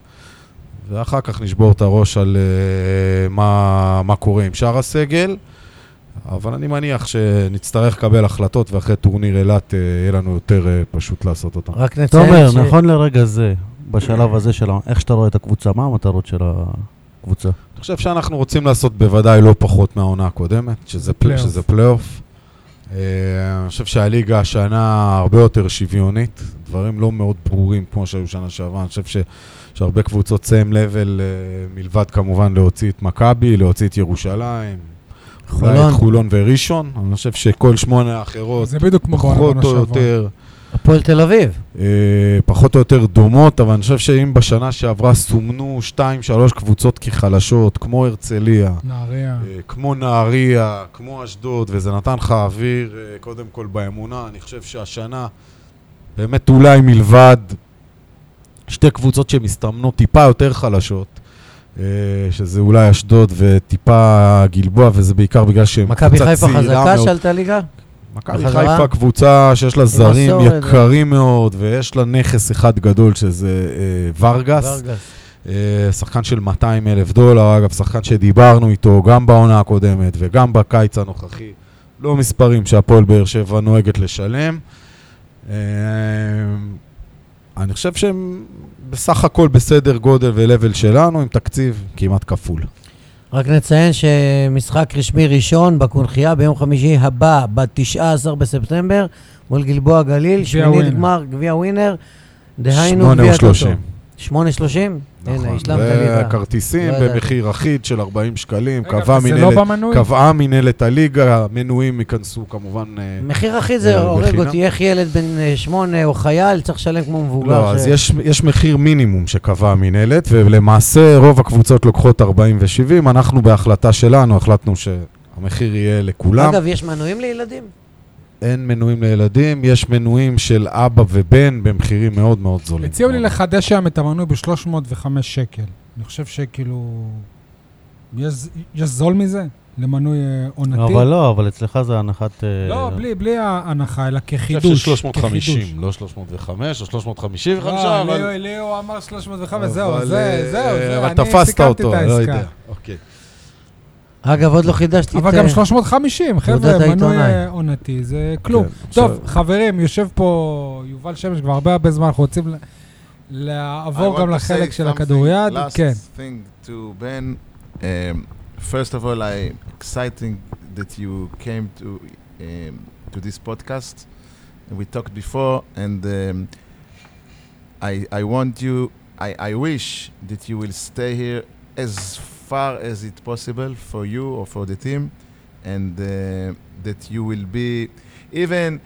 ואחר כך נשבור את הראש על אה, מה, מה קורה עם שאר הסגל. אבל אני מניח שנצטרך לקבל החלטות, ואחרי טורניר אילת אה, יהיה לנו יותר אה, פשוט לעשות אותן.
רק נציין
תומר,
ש-
נכון לרגע זה, בשלב הזה של ה- איך שאתה רואה את הקבוצה, מה המטרות של הקבוצה?
אני חושב שאנחנו רוצים לעשות בוודאי לא פחות מהעונה הקודמת, שזה פלי-
פלייאוף.
שזה פלייאוף. אה, אני חושב שהליגה השנה הרבה יותר שוויונית, דברים לא מאוד ברורים כמו שהיו שנה שעברה. אני חושב ש- שהרבה קבוצות סיים לבל, אה, מלבד כמובן להוציא את מכבי, להוציא את ירושלים, אולי
חולון.
את חולון וראשון. אני חושב שכל שמונה האחרות,
זה בדיוק כמו בעונה
פחות
בעונה
או
שעברה.
יותר,
הפועל תל אביב.
אה, פחות או יותר דומות, אבל אני חושב שאם בשנה שעברה סומנו 2-3 קבוצות כחלשות, כמו הרצליה,
נהריה.
אה, כמו נהריה, כמו אשדוד, וזה נתן לך אוויר, אה, קודם כל באמונה, אני חושב שהשנה, באמת אולי מלבד שתי קבוצות שמסתמנות טיפה יותר חלשות, אה, שזה אולי אשדוד וטיפה גלבוע, וזה בעיקר בגלל שהם
מכבי
קבוצה
חיפה
צעירה
חזקה
מאוד.
שעלתה ליגה?
מכבי
בחזרה?
חיפה קבוצה שיש לה זרים
מסורת. אה.
יקרים מאוד, ויש לה נכס אחד גדול, שזה אה, ורגס.
ורגס.
אה, שחקן של 200 אלף דולר, אגב, שחקן שדיברנו איתו גם בעונה הקודמת וגם בקיץ הנוכחי. לא מספרים שהפועל באר שבע נוהגת לשלם. אה, אני חושב שהם בסך הכל בסדר גודל ולבל שלנו, עם תקציב כמעט כפול.
רק נציין שמשחק רשמי ראשון בקונכייה ביום חמישי הבא, ב-19 בספטמבר, מול גלבוע גליל,
גביע
שמינית
ווינר.
גמר גביע ווינר, דהיינו
שמונה
גביע
או
טוטו.
שלושים.
8.30? הנה,
נכון.
השלמת לי ב-
וכרטיסים
לא ידעתי.
במחיר אחיד של 40 שקלים,
רגע,
קבעה
זה לא
מנהלת-
במנוי?
קבעה מנהלת הליגה, מנויים ייכנסו כמובן... אה,
מחיר אחיד זה
אה,
הורג
בחינם?
אותי, איך ילד בן אה, שמונה או חייל צריך לשלם כמו מבוגר.
לא,
ש-
אה,
אז יש, יש מחיר מינימום שקבעה המינהלת, ולמעשה רוב הקבוצות לוקחות 40 ו-70, אנחנו בהחלטה שלנו החלטנו שהמחיר יהיה לכולם. אגב,
אגב, יש מנויים לילדים?
אין מנויים לילדים, יש מנויים של אבא ובן במחירים מאוד מאוד זולים.
הציעו לי לחדש היום את המנוי ב-305 שקל. אני חושב שכאילו... יש, יש זול מזה? למנוי אה, עונתי?
אבל לא, אבל אצלך זה הנחת... אה,
לא, בלי, בלי ההנחה, אלא כחידוש.
חידוש, 350,
כחידוש.
לא 305 או
לא,
355,
לי-
אבל...
לי הוא אמר 305, זהו,
אבל,
זה, זהו,
אה,
זה,
אבל
אני
תפסת
סיכמתי
אותו,
את
לא
העסקה.
יודע. אוקיי.
אגב, עוד לא חידשתי את...
אבל גם 350, חבר'ה,
תעודת
מנוי
העיתונאי.
אה, עונתי, זה כלום.
כן,
טוב,
בסדר.
חברים, יושב פה יובל שמש כבר הרבה הרבה זמן, אנחנו רוצים ל-
I
לעבור
want
גם
to
לחלק
say
של
something,
הכדוריד.
Last
כן.
thing to Ben. Um, first of all, I'm excited that you came to um, to this podcast. We talked before, and um, I I want you. I, I wish that you will stay here as far as it possible for you or for the team, and uh, that you will be even.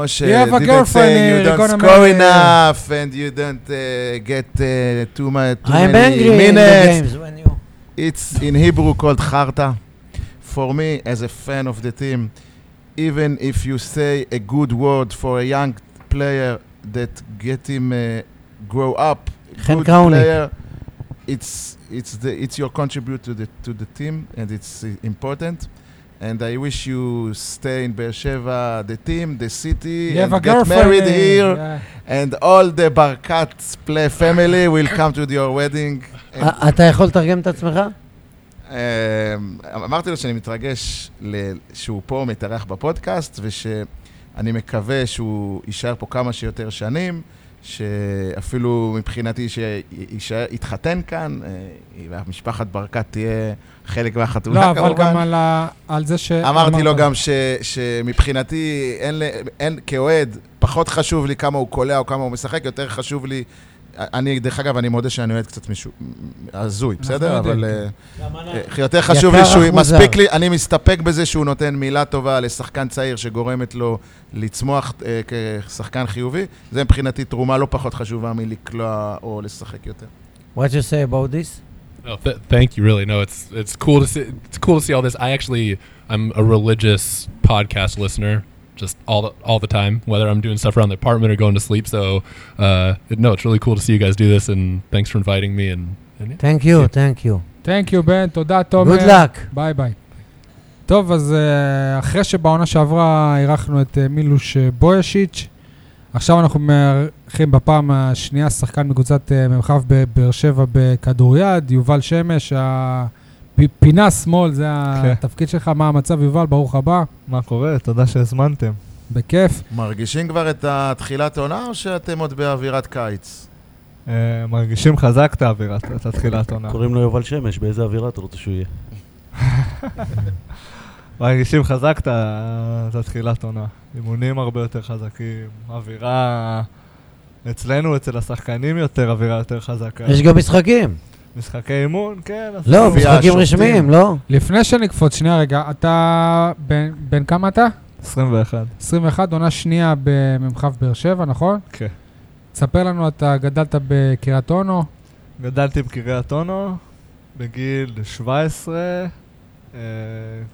Moshe
You have a
didn't
girlfriend,
say
uh,
you don't
gonna
score
marry-
enough and you don't uh, get uh, too, ma- too
I'm
many
angry in the
minutes.
games when you...
It's in Hebrew called Kharta. For me, as a fan of the team, even if you say a good word for a young player that get him uh, grow up,
חן
good
קראוני.
player, it's it's the it's your contribute to the to the team and it's uh, important. And I wish you stay in Beersheba, the team, the city,
You have a
and get
girlfriend,
married
אה,
here.
אה,
And all the Barkat play family will come to your wedding.
אה,
And,
אה, אתה יכול לתרגם את עצמך?
אמ, אמרתי לו שאני מתרגש ל- שהוא פה מתארח בפודקאסט, ושאני מקווה שהוא יישאר פה כמה שיותר שנים, שאפילו מבחינתי שיתחתן כאן, אה, והמשפחת ברקת תהיה חלק מהחתונה
לא,
כמובן.
אבל גם על ה- על זה ש...
אמרתי לו
אמרת.
גם ש, שמבחינתי, אין, ל- אין, כאוהד, פחות חשוב לי כמה הוא קולע או כמה הוא משחק, יותר חשוב לי... אני, דרך אגב, אני מודה שאני אוהד קצת מישהו הזוי,
אנחנו
בסדר?
יודעים.
אבל אה, אה, יותר חשוב לי
יקר
שהוא
אך מוזר.
מספיק לי, אני מסתפק בזה שהוא נותן מילה טובה לשחקן צעיר שגורמת לו לצמוח אה, כשחקן חיובי. זה מבחינתי תרומה לא פחות חשובה מלקלוע או לשחק יותר.
What you say about this?
No, th- thank you. Really, no, it's it's cool to see. It's cool to see all this. I actually, I'm a religious podcast listener, just all the, all the time, whether I'm doing stuff around the apartment or going to sleep. So, uh, it- no, it's really cool to see you guys do this, and thanks for inviting me. And, and yeah.
Thank you, thank you.
Thank you, בן, תודה, כן. תומר.
Good luck.
ביי ביי. טוב, אז אה, אחרי שבעונה שעברה אירחנו את אה, מילוש אה, בויאשיץ', עכשיו אנחנו מארחים בפעם השנייה שחקן מקבוצת אה, מ"כ בבאר שבע בכדוריד, יובל שמש, הפינה שמאל, זה התפקיד שלך, מה המצב, יובל, ברוך הבא,
מה קורה? תודה שהזמנתם.
בכיף.
מרגישים כבר את התחילת עונה, או שאתם עוד באווירת קיץ?
אה, מרגישים חזק את האווירה, את התחילת עונה.
קוראים לו יובל שמש, באיזה אווירה אתה רוצה שהוא יהיה?
מרגישים חזק את ה- את התחילת עונה. אימונים הרבה יותר חזקים, אווירה... אצלנו, אצל השחקנים יותר, אווירה יותר חזקה.
יש גם משחקים.
משחקי אימון, כן. אז-
לא,
גביע
משחקים
השופטים.
רשמיים, לא?
לפני שנקפוץ, שנייה רגע, אתה בן, בן כמה אתה?
21.
21, עונה שנייה במ"כ באר שבע, נכון?
כן.
ספר לנו, אתה גדלת בקריית אונו,
גדלתי בקריית אונו, בגיל 17, אה,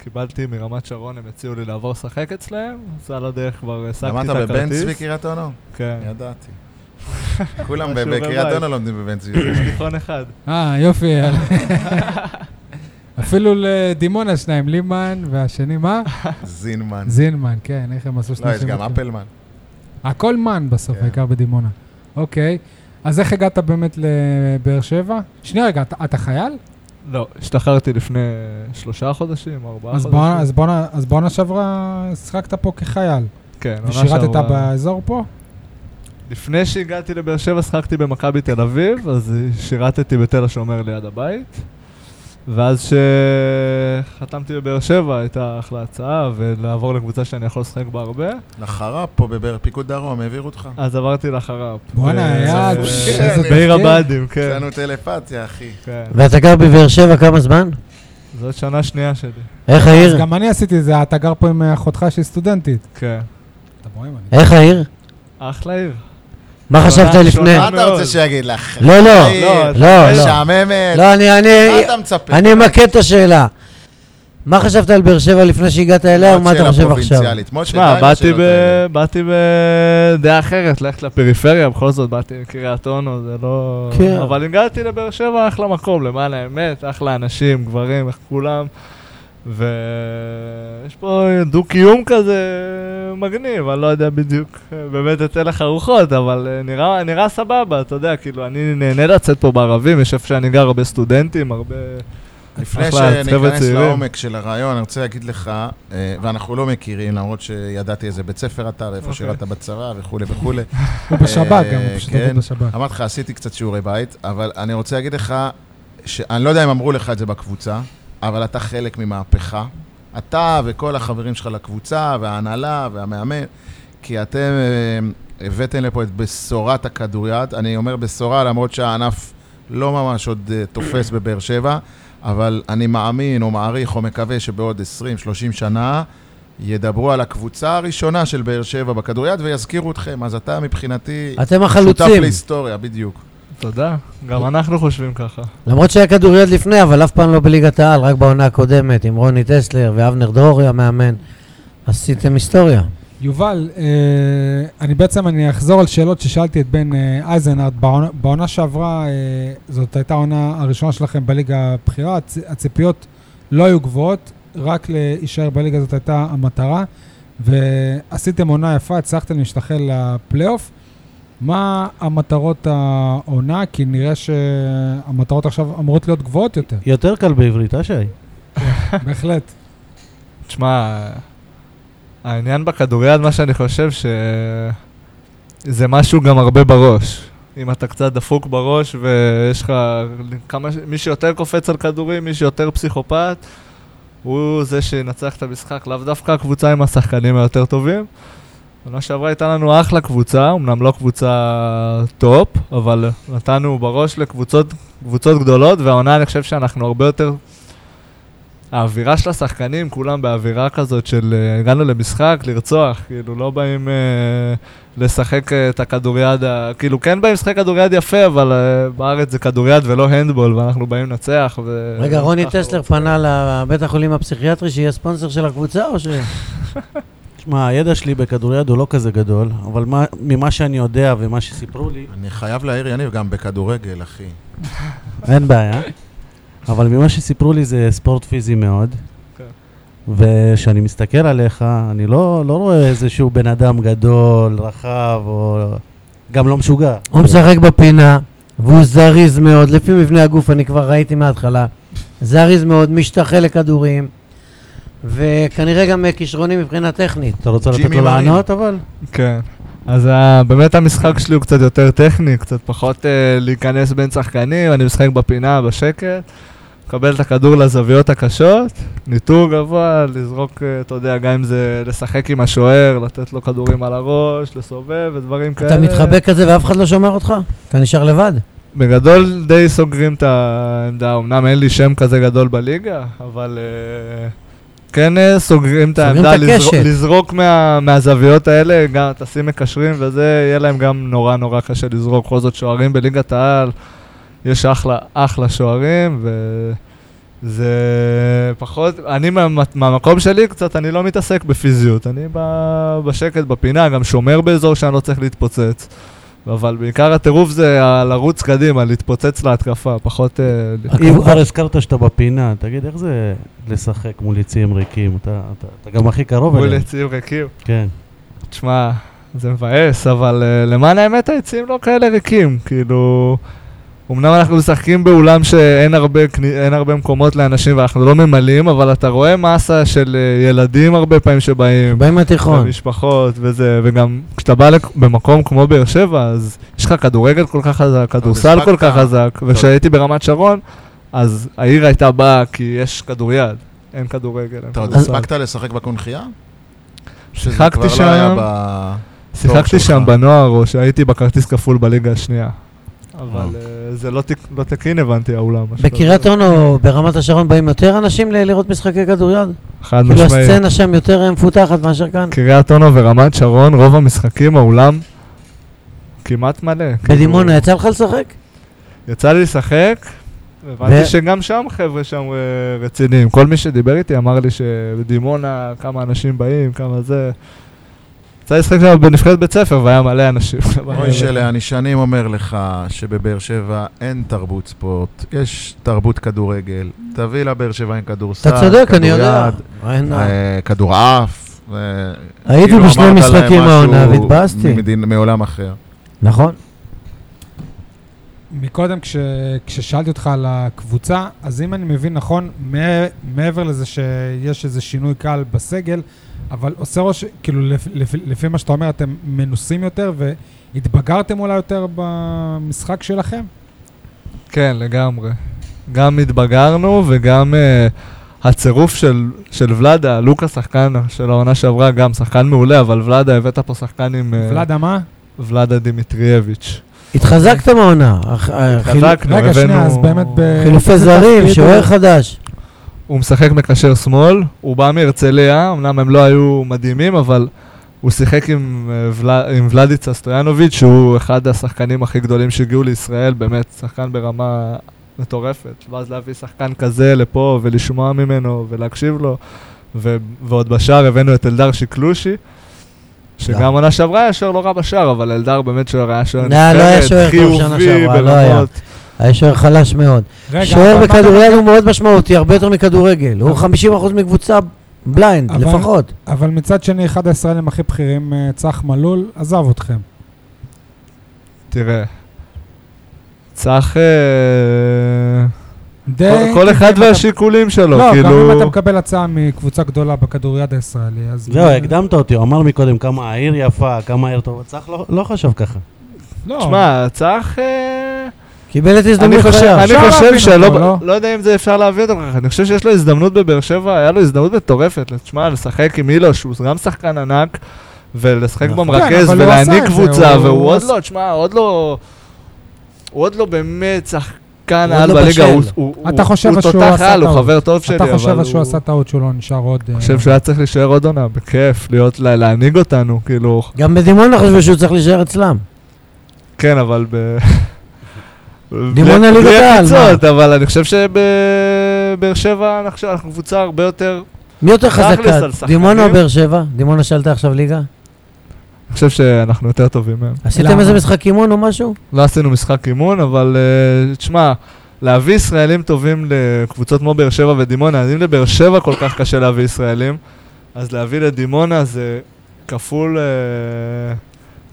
קיבלתי מרמת שרון, הם הציעו לי לעבור לשחק אצלם, אז על הדרך כבר השגתי את
למדת
הכרטיס.
בבן צבי קריית אונו?
כן,
ידעתי. כולם
משהו
בקריית
בבית.
אונו לומדים בבן צבי.
יש תיכון אחד.
אה, יופי. אפילו לדימונה שניים, לימן והשני מה?
זינמן.
זינמן, כן, איך הם עשו
לא,
שני
יש גם
כאלה.
אפלמן.
הכל מן בסוף,
כן.
העיקר בדימונה. אוקיי, אז איך הגעת באמת לבאר שבע? שנייה רגע, אתה- אתה חייל?
לא, השתחררתי לפני שלושה חודשים, ארבעה
אז
חודשים.
בעונה- אז בעונה- אז בעונה שעברה שיחקת פה כחייל,
כן,
לא
עונה
ושירתת
שעברה.
באזור פה?
לפני שהגעתי לבאר שבע שחקתי במכבי תל אביב, אז שירתתי בתל השומר ליד הבית. ואז כשחתמתי בבאר שבע הייתה אחלה הצעה, ולעבור לקבוצה שאני יכול לשחק בה הרבה,
לחרא פה בבאר- פיקוד דרום, העבירו אותך.
אז עברתי לחרב.
בואנה, היה-
אה,
איזה
בעיר
תפקיד.
הבה"דים,
יש
כן.
לנו טלפתיה, אחי.
כן.
ואתה גר בבאר שבע כמה זמן?
זאת שנה שנייה שלי.
איך העיר?
אז גם אני עשיתי את זה, אתה גר פה עם אחותך שהיא סטודנטית.
כן.
אתה רואה? אני-
איך העיר?
אחלה עיר.
מה חשבת
שונה,
לפני?
מה
שונה.
אתה
מאוד.
רוצה שיגיד לך?
כן. לא, לא,
לא,
לא, לא.
משעממת.
לא, אני,
מה
אני,
אתה מצפה?
אני אמקד את השאלה. מה חשבת על באר שבע לפני שהגעת אליה, ומה אתה
שאלה
חושב עכשיו?
פרובינציאלית. משה, די
תשמע,
עם
באתי
השאלות
ב-
האלה.
באתי בדעה אחרת, ללכת לפריפריה, בכל זאת באתי מקריית אונו, זה לא...
כן.
אבל הגעתי לבאר שבע, אחלה מקום, למען האמת, אחלה אנשים, גברים, איך כולם. ויש פה דו-קיום כזה מגניב, אני לא יודע בדיוק אה, באמת יוצא לך רוחות, אבל אה, נראה, נראה סבבה, אתה יודע, כאילו, אני נהנה לצאת פה בערבים, יש איפה שאני גר הרבה סטודנטים, הרבה...
לפני
אחלה, חבר'ה
שניכנס
צעירים.
לעומק של הרעיון, אני רוצה להגיד לך, אה, ואנחנו לא מכירים, למרות שידעתי איזה בית ספר אתה, ואיפה
אוקיי.
שירדת בצבא וכולי וכולי.
הוא בשב"כ גם,
אה,
הוא פשוט עובד
כן.
בשב"כ.
אמרתי לך, עשיתי קצת שיעורי בית, אבל אני רוצה להגיד לך, ש- אני לא יודע אם אמרו לך את זה בקבוצה, אבל אתה חלק ממהפכה. אתה וכל החברים שלך לקבוצה, וההנהלה, והמאמן, כי אתם אה, הבאתם לפה את בשורת הכדוריד. אני אומר בשורה, למרות שהענף לא ממש עוד אה, תופס בבאר שבע, אבל אני מאמין, או מעריך, או מקווה שבעוד 20-30 שנה... ידברו על הקבוצה הראשונה של באר שבע בכדוריד ויזכירו אתכם. אז אתה מבחינתי...
אתם
שותף
החלוצים.
להיסטוריה, בדיוק.
תודה. גם אנחנו חושבים ככה.
למרות שהיה כדוריד לפני, אבל אף פעם לא בליגת העל, רק בעונה הקודמת, עם רוני טסלר ואבנר דרורי המאמן. עשיתם היסטוריה.
יובל, אה, אני בעצם, אני אחזור על שאלות ששאלתי את בן אה, אייזנארט. בעונה- בעונה שעברה, אה, זאת הייתה העונה הראשונה שלכם בליגה הבכירה, הצ- הציפיות לא היו גבוהות, רק להישאר בליגה זאת הייתה המטרה, ועשיתם עונה יפה, הצלחתם להשתחל לפלייאוף. מה המטרות העונה? כי נראה שהמטרות עכשיו אמורות להיות גבוהות יותר,
יותר קל בעברית, אה שי?
בהחלט.
תשמע, העניין בכדוריד, מה שאני חושב ש... זה משהו גם הרבה בראש. אם אתה קצת דפוק בראש ויש לך כמה... ש- מי שיותר קופץ על כדורים, מי שיותר פסיכופת, הוא זה שינצח את המשחק, לאו דווקא הקבוצה עם השחקנים היותר טובים. עונה שעברה הייתה לנו אחלה קבוצה, אמנם לא קבוצה טופ, אבל נתנו בראש לקבוצות קבוצות גדולות, והעונה אני חושב שאנחנו הרבה יותר האווירה של השחקנים, כולם באווירה כזאת של אה, הגענו למשחק, לרצוח, כאילו לא באים אה, לשחק אה, את הכדוריד, ה- כאילו כן באים לשחק כדוריד יפה, אבל אה, בארץ זה כדוריד ולא הנדבול, ואנחנו באים לנצח. ו...
רגע, רוני
ככה
טסלר פנה לבית החולים הפסיכיאטרי שיהיה ספונסר של הקבוצה, או ש...
תשמע, הידע שלי בכדוריד הוא לא כזה גדול, אבל מה- ממה שאני יודע ומה שסיפרו לי,
אני חייב להעיר, יניב, גם בכדורגל, אחי.
אין בעיה. אבל ממה שסיפרו לי זה ספורט פיזי מאוד.
כן.
וכשאני מסתכל עליך, אני לא, לא רואה איזשהו בן אדם גדול, רחב, או גם לא משוגע.
הוא משחק בפינה, והוא זריז מאוד, לפי מבנה הגוף, אני כבר ראיתי מההתחלה. זריז מאוד, משתחל לכדורים, וכנראה גם אה, כישרוני מבחינה טכנית.
אתה רוצה לתת
ג'ימי
לו
מרין.
לענות אבל?
כן. אז ה- באמת המשחק שלי הוא קצת יותר טכני, קצת פחות אה, להיכנס בין שחקנים, אני משחק בפינה, בשקט, מקבל את הכדור לזוויות הקשות, ניטור גבוה, לזרוק, אה, אתה יודע, גם אם זה לשחק עם השוער, לתת לו כדורים על הראש, לסובב ודברים כאלה.
אתה מתחבא כזה ואף אחד לא שומר אותך? אתה נשאר לבד?
בגדול די סוגרים את העמדה, אמנם אין לי שם כזה גדול בליגה, אבל אה, כן אה, סוגרים את
סוגרים
העמדה,
את
לזרוק,
הקשת.
לזרוק מה, מהזוויות האלה, גם תשים מקשרים וזה, יהיה להם גם נורא נורא קשה לזרוק. בכל זאת שוערים בליגת העל, יש אחלה, אחלה שוערים, ו... זה פחות, אני מה, מהמקום שלי קצת, אני לא מתעסק בפיזיות, אני ב, בשקט, בפינה, גם שומר באזור שאני לא צריך להתפוצץ. אבל בעיקר הטירוף זה ה- לרוץ קדימה, להתפוצץ להתקפה, פחות... אה, ל-
אם כבר הזכרת שאתה בפינה, תגיד, איך זה לשחק מול יציאים ריקים? אתה, אתה, אתה גם הכי קרוב
מול
אליהם.
יציאים ריקים.
כן.
תשמע, זה מבאס, אבל אה, למען האמת היציאים לא כאלה ריקים, כאילו... אמנם אנחנו משחקים באולם שאין הרבה, קני- אין הרבה מקומות לאנשים ואנחנו לא ממלאים, אבל אתה רואה מסה של אה, ילדים הרבה פעמים שבאים.
בא עם
נכון.
התיכון.
ומשפחות וזה, וגם כשאתה בא לק- במקום כמו באר שבע, אז יש לך כדורגל כל כך חזק, כדורסל
משחק
כל כך
קר.
חזק, וכשהייתי ברמת שרון, אז העיר הייתה באה כי יש כדוריד, אין כדורגל. אין
אתה
אה,
עוד
כדורסל.
הספקת לשחק בקונכייה?
שיחקתי
שזה כבר לא היה
שם,
ב...
שיחקתי
שלך.
שם בנוער, או שהייתי בכרטיס כפול בליגה השנייה. אבל אה, זה לא תק- לא תקין הבנתי האולם. משהו
בקריית
כזה.
אונו, או ברמת השרון, באים יותר אנשים ל- לראות משחקי כדוריד?
חד
כאילו
משמעית.
הסצנה שם יותר מפותחת מאשר כאן?
כן,
קריית אונו ורמת שרון, רוב המשחקים, האולם כמעט מלא. כאילו,
כן.
כן.
בדימונה, יצא לך לשחק?
יצא לי לשחק,
ו-
הבנתי שגם שם חבר'ה שם אה, רציניים. כל מי שדיבר איתי אמר לי שבדימונה כמה אנשים באים, כמה זה. יצא לי לשחק שם בנבחרת בית ספר והיה מלא אנשים.
אוי שלה, אני שנים אומר לך שבבאר שבע אין תרבות ספורט, יש תרבות כדורגל. תביא לבאר שבע עם כדורסל,
אתה צודק, אני יודע.
כדוריד,
אין-
אה, כדורעף. אה,
הייתי
כאילו
בשני
אמרת להם
משחקים העונה
משהו
והתבאסתי.
ממדין- מעולם אחר.
נכון.
מקודם כש, כששאלתי אותך על הקבוצה, אז אם אני מבין נכון, מע- מעבר לזה שיש איזה שינוי קל בסגל, אבל עושה רושם, כאילו לפ, לפ, לפי מה שאתה אומר, אתם מנוסים יותר והתבגרתם אולי יותר במשחק שלכם?
כן, לגמרי. גם התבגרנו וגם אה, הצירוף של, של ולאדה, לוקה שחקן של העונה שעברה, גם שחקן מעולה, אבל ולאדה, הבאת פה שחקן עם אה,
ולאדה, מה?
ולאדה דימיטריאביץ'.
התחזקתם העונה. אה, הח-
כן.
החיל-
חזקנו,
כאילו, רגע, שנייה, אז באמת ב...
חילופי זרים,
תפקיד,
שוער
אה?
חדש.
הוא משחק מקשר שמאל, הוא בא מהרצליה, אמנם הם לא היו מדהימים, אבל הוא שיחק עם, אה, ול... עם ולדיצה סטויאנוביץ', שהוא אחד השחקנים הכי גדולים שהגיעו לישראל, באמת, שחקן ברמה מטורפת. ואז להביא שחקן כזה לפה, ולשמוע ממנו, ולהקשיב לו, ו... ועוד בשער הבאנו את אלדר שקלושי.
לא.
שגם עונה שעברה היה שוער לא רע בשער, אבל אלדר באמת שוער היה שוער
לא, לא היה שוער טוב שנה שעברה, לא היה.
ברמות.
היה שוער חלש מאוד.
רגע,
שוער
אבל מה אתה-
בכדוריד הוא מאוד משמעותי, הרבה יותר מכדורגל. הוא 50% מקבוצה בליינד,
אבל-
לפחות.
אבל מצד שני, אחד הישראלים הכי בכירים, אה, צח מלול, עזב אתכם.
תראה, צח... אה,
די...
כל- כל אחד והשיקולים שלו,
כן, לא,
כאילו...
גם אם אתה מקבל הצעה מקבוצה גדולה בכדוריד הישראלי, אז...
זהו, הקדמת אותי, הוא אמר מקודם כמה העיר יפה, כמה העיר טובה. צריך לא- לא חשב ככה.
לא,
תשמע, צריך... אה,
קיבל את
אני
הזדמנות
חושב,
חייו.
אני
אפשר
חושב
להבין אותו,
שלא...
לא?
לא יודע אם זה אפשר להביא אותו ככה, אני חושב שיש לו הזדמנות בבאר שבע, היה לו הזדמנות מטורפת. תשמע, לשחק עם אילוש, שהוא גם שחקן ענק, ולשחק
נכון.
כן,
במרכז,
אבל הוא עשה
ולהעניק
את זה,
קבוצה,
הוא-
והוא
הוא
עוד
עשה-
לא, תשמע, עוד לא... הוא עוד לא באמת שחקן
הוא עוד
על
לא בשל.
בליגה, הוא- הוא הוא-
אתה חושב
הוא
שהוא
תותח
עשה
על, הוא
טעות.
חבר טוב שלי,
אתה
אבל הוא...
חושב שהוא עשה טעות שהוא לא נשאר עוד... אה,
אני חושב שהוא היה צריך להישאר עוד עונה, בכיף, להיות, לה- להנהיג אותנו, כאילו,
גם בדימונה חשבו שהוא צריך להישאר אצלם.
כן, אבל ב...
דימונה
בלי-
ליגת
בלי
העל,
עקיצות, אבל אני חושב שבבאר שבע אנחנו עכשיו- אנחנו קבוצה הרבה יותר...
מי יותר
תכלס על
חזקה?
שחקנים.
דימונה או באר שבע? דימונה שאלת עכשיו ליגה?
אני חושב שאנחנו יותר טובים מהם.
עשיתם
למה?
איזה משחק אימון או משהו?
לא עשינו משחק אימון, אבל אה, תשמע, להביא ישראלים טובים לקבוצות כמו באר שבע ודימונה, אז אם לבאר שבע כל כך קשה להביא ישראלים, אז להביא לדימונה זה כפול... אה,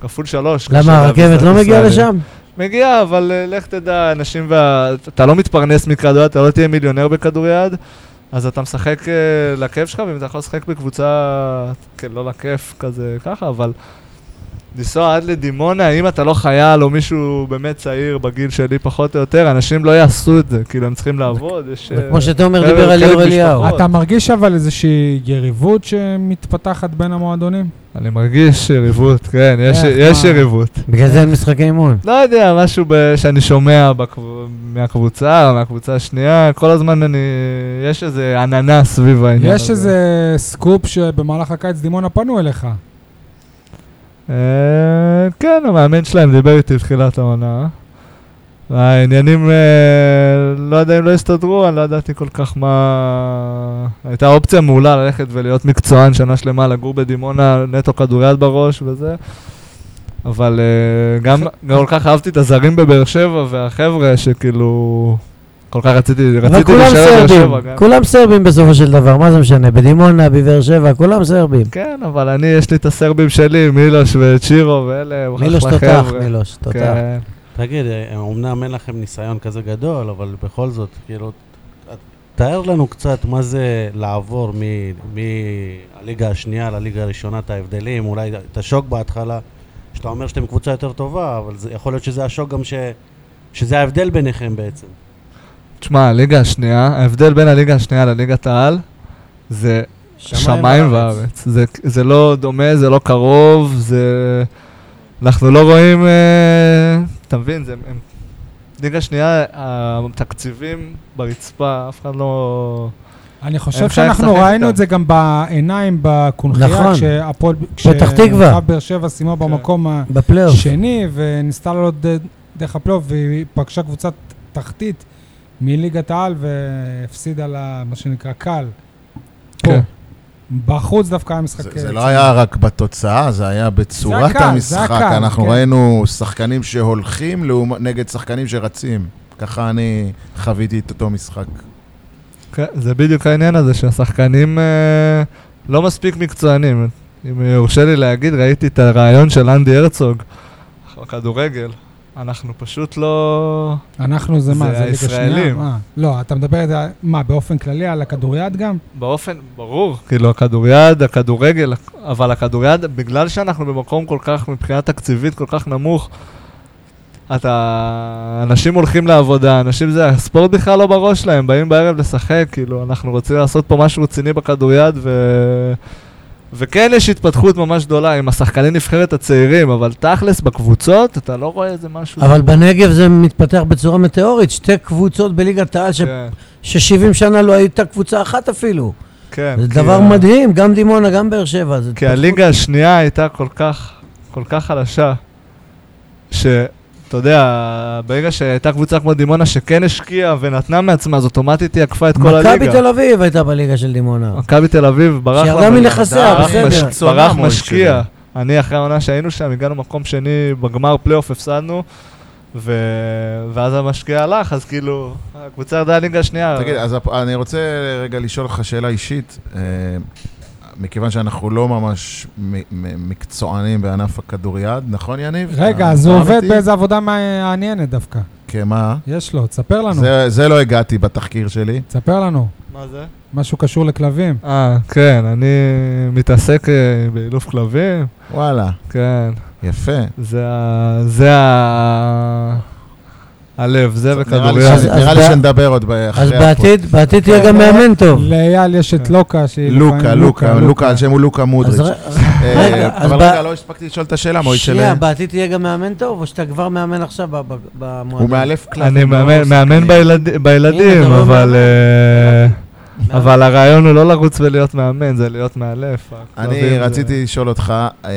כפול שלוש. קשה
למה
להביא
הרכבת לא מגיעה
ישראלים.
לשם?
מגיע, אבל אה, לך תדע, אנשים וה... אתה לא מתפרנס מכדוריד, אתה לא תהיה מיליונר בכדוריד, אז אתה משחק אה, לכיף שלך, ואם אתה יכול לשחק בקבוצה, כן, לא לכיף, כזה, ככה, אבל... לנסוע עד לדימונה, אם אתה לא חייל או מישהו באמת צעיר בגיל שלי פחות או יותר, אנשים לא יעשו את זה, כאילו הם צריכים לעבוד, יש... אה,
כמו שתומר
חלק-
דיבר על
חלק
ליאור אליהו.
משפחות.
אתה מרגיש אבל איזושהי יריבות שמתפתחת בין המועדונים?
אני מרגיש יריבות, כן, יש-
איך,
יש
מה?
יריבות.
בגלל זה אין משחקי אימון.
לא יודע, משהו ב... שאני שומע בקב... מהקבוצה, מהקבוצה השנייה, כל הזמן אני... יש איזה עננה סביב העניין
יש
הזה.
איזה סקופ שבמהלך הקיץ דימונה פנו אליך.
אה, כן, המאמן שלהם דיבר איתי בתחילת העונה. העניינים, אה, לא יודע אם לא הסתדרו, אני לא ידעתי כל כך מה... הייתה אופציה מעולה ללכת ולהיות מקצוען שנה שלמה, לגור בדימונה, נטו כדוריד בראש וזה. אבל אה, גם גם כל כך אהבתי את הזרים בבאר שבע והחבר'ה שכאילו... כל כך רציתי,
אבל
רציתי
כולם
להישאר בבאר שבע.
סרבים,
גם.
כולם סרבים בסופו של דבר, מה זה משנה? בדימונה, בבאר שבע, כולם סרבים.
כן, אבל אני, יש לי את הסרבים שלי, מילוש וצ'ירו ואלה, הם
מילוש
אחלה
תותח,
חבר'ה.
מילוש תותח.
כן.
תגיד, אה, אומנם אין לכם ניסיון כזה גדול, אבל בכל זאת, כאילו, ת- תאר לנו קצת מה זה לעבור מ- מהליגה השנייה לליגה הראשונה, את ההבדלים, אולי את השוק בהתחלה, שאתה אומר שאתם קבוצה יותר טובה, אבל זה, יכול להיות שזה השוק גם ש... שזה ההבדל ביניכם בעצם.
תשמע, הליגה השנייה, ההבדל בין הליגה השנייה לליגת העל זה שמיים וארץ. זה, זה לא דומה, זה לא קרוב, זה... אנחנו לא רואים... אה, אתה מבין, זה... הם... ליגה שנייה, התקציבים ברצפה, אף אחד לא...
אני חושב
אפשר
שאנחנו
לשחק
ראינו
איתם.
את זה גם בעיניים בקונכייה,
נכון.
כשהפועל...
פתח תקווה.
כשמכבי באר שבע סיימה
כן.
במקום ה...
בפלייאוף.
שני, וניסתה לעלות ד- דרך הפלייאוף, והיא פגשה קבוצת תחתית מליגת העל, והפסידה לה, מה שנקרא, קל. פה.
כן.
בחוץ דווקא היה משחק...
זה-
אה,
זה לא היה רק בתוצאה, זה היה בצורת
הקהל, זה
המשחק.
הקהל,
אנחנו
כן.
ראינו שחקנים שהולכים לעומת- נגד שחקנים שרצים. ככה אני חוויתי את אותו משחק.
כן, זה בדיוק העניין הזה שהשחקנים אה, לא מספיק מקצוענים. אם יורשה לי להגיד, ראיתי את הרעיון של אנדי הרצוג, כדורגל. אנחנו פשוט לא...
אנחנו זה מה,
זה
זה ליגה שנייה?
הישראלים.
מה? לא, אתה מדבר, את ה- מה, באופן כללי על הכדוריד גם?
באופן, ברור, כאילו הכדוריד, הכדורגל, אבל הכדוריד, בגלל שאנחנו במקום כל כך, מבחינה תקציבית כל כך נמוך, אתה, אנשים הולכים לעבודה, אנשים זה, הספורט בכלל לא בראש שלהם, באים בערב לשחק, כאילו, אנחנו רוצים לעשות פה משהו רציני בכדוריד, ו... וכן יש התפתחות ממש גדולה עם השחקני נבחרת הצעירים, אבל תכלס בקבוצות, אתה לא רואה איזה משהו...
אבל בנגב זה מתפתח בצורה מטאורית, שתי קבוצות בליגת העל ש-
כן,
ש-70 שנה לא הייתה קבוצה אחת אפילו.
כן.
זה
כי
דבר
ה-
מדהים, גם דימונה, גם באר שבע. זה
כי
התפתחות.
הליגה השנייה הייתה כל כך, כל כך חלשה, שאתה יודע, ברגע שהייתה קבוצה כמו דימונה שכן השקיעה ונתנה מעצמה, אז אוטומטית היא עקפה את כל
מכבי
הליגה. אה,
תל אביב הייתה בליגה של דימונה.
מכבי תל אביב, ברח
שירדה
לה-
מנכסיה,
ברח
בסדר.
מש-
מקצוענה,
ברח
מוישה.
משקיע. אני אחרי העונה שהיינו שם, הגענו מקום שני, בגמר פלייאוף הפסדנו, ו... ואז המשקיע הלך, אז כאילו, הקבוצה ירדה לליגה השנייה.
תגיד, אז הפ- אני רוצה רגע לשאול אותך שאלה אישית. אה, מכיוון שאנחנו לא ממש מ- מ- מקצוענים בענף הכדוריד, נכון, יניב?
רגע,
אתה-
אז הוא
אתה
עובד
איתי?
באיזו עבודה מעניינת דווקא.
כן, מה?
יש לו, תספר לנו.
זה- זה לא הגעתי בתחקיר שלי.
תספר לנו.
מה זה?
משהו קשור לכלבים.
אה, כן, אני מתעסק אה, באילוף כלבים,
וואלה,
כן.
יפה.
זה ה... זה ה... הלב, זה
נראה לי
וכדוריד.
ש-
אז-
נראה
אז
לי
בע-
שנדבר עוד ב- אחרי
אז בעתיד, בעתיד
אוקיי.
תהיה
כן.
גם מאמן טוב.
לאייל יש את לוקה, שהיא...
כן. לוקה,
לפעמים-
לוקה, לוקה, השם הוא לוקה
אז
מודריץ'.
ר-
אה,
רגע, אז
אבל
ב-
רגע, לא הספקתי לשאול את השאלה, מוישה.
שנייה, בעתיד תהיה גם מאמן טוב, או שאתה כבר מאמן עכשיו ב- ב- במועדון?
הוא מאלף כלבים.
אני מאמן- מאמן
אה,
בילד-
הנה,
בילדים,
אתה לא
אבל...
מאמן.
אה,
מאמן.
אבל הרעיון הוא לא לרוץ ולהיות מאמן, זה להיות מאלף. אה,
אני רציתי לשאול אותך, אה,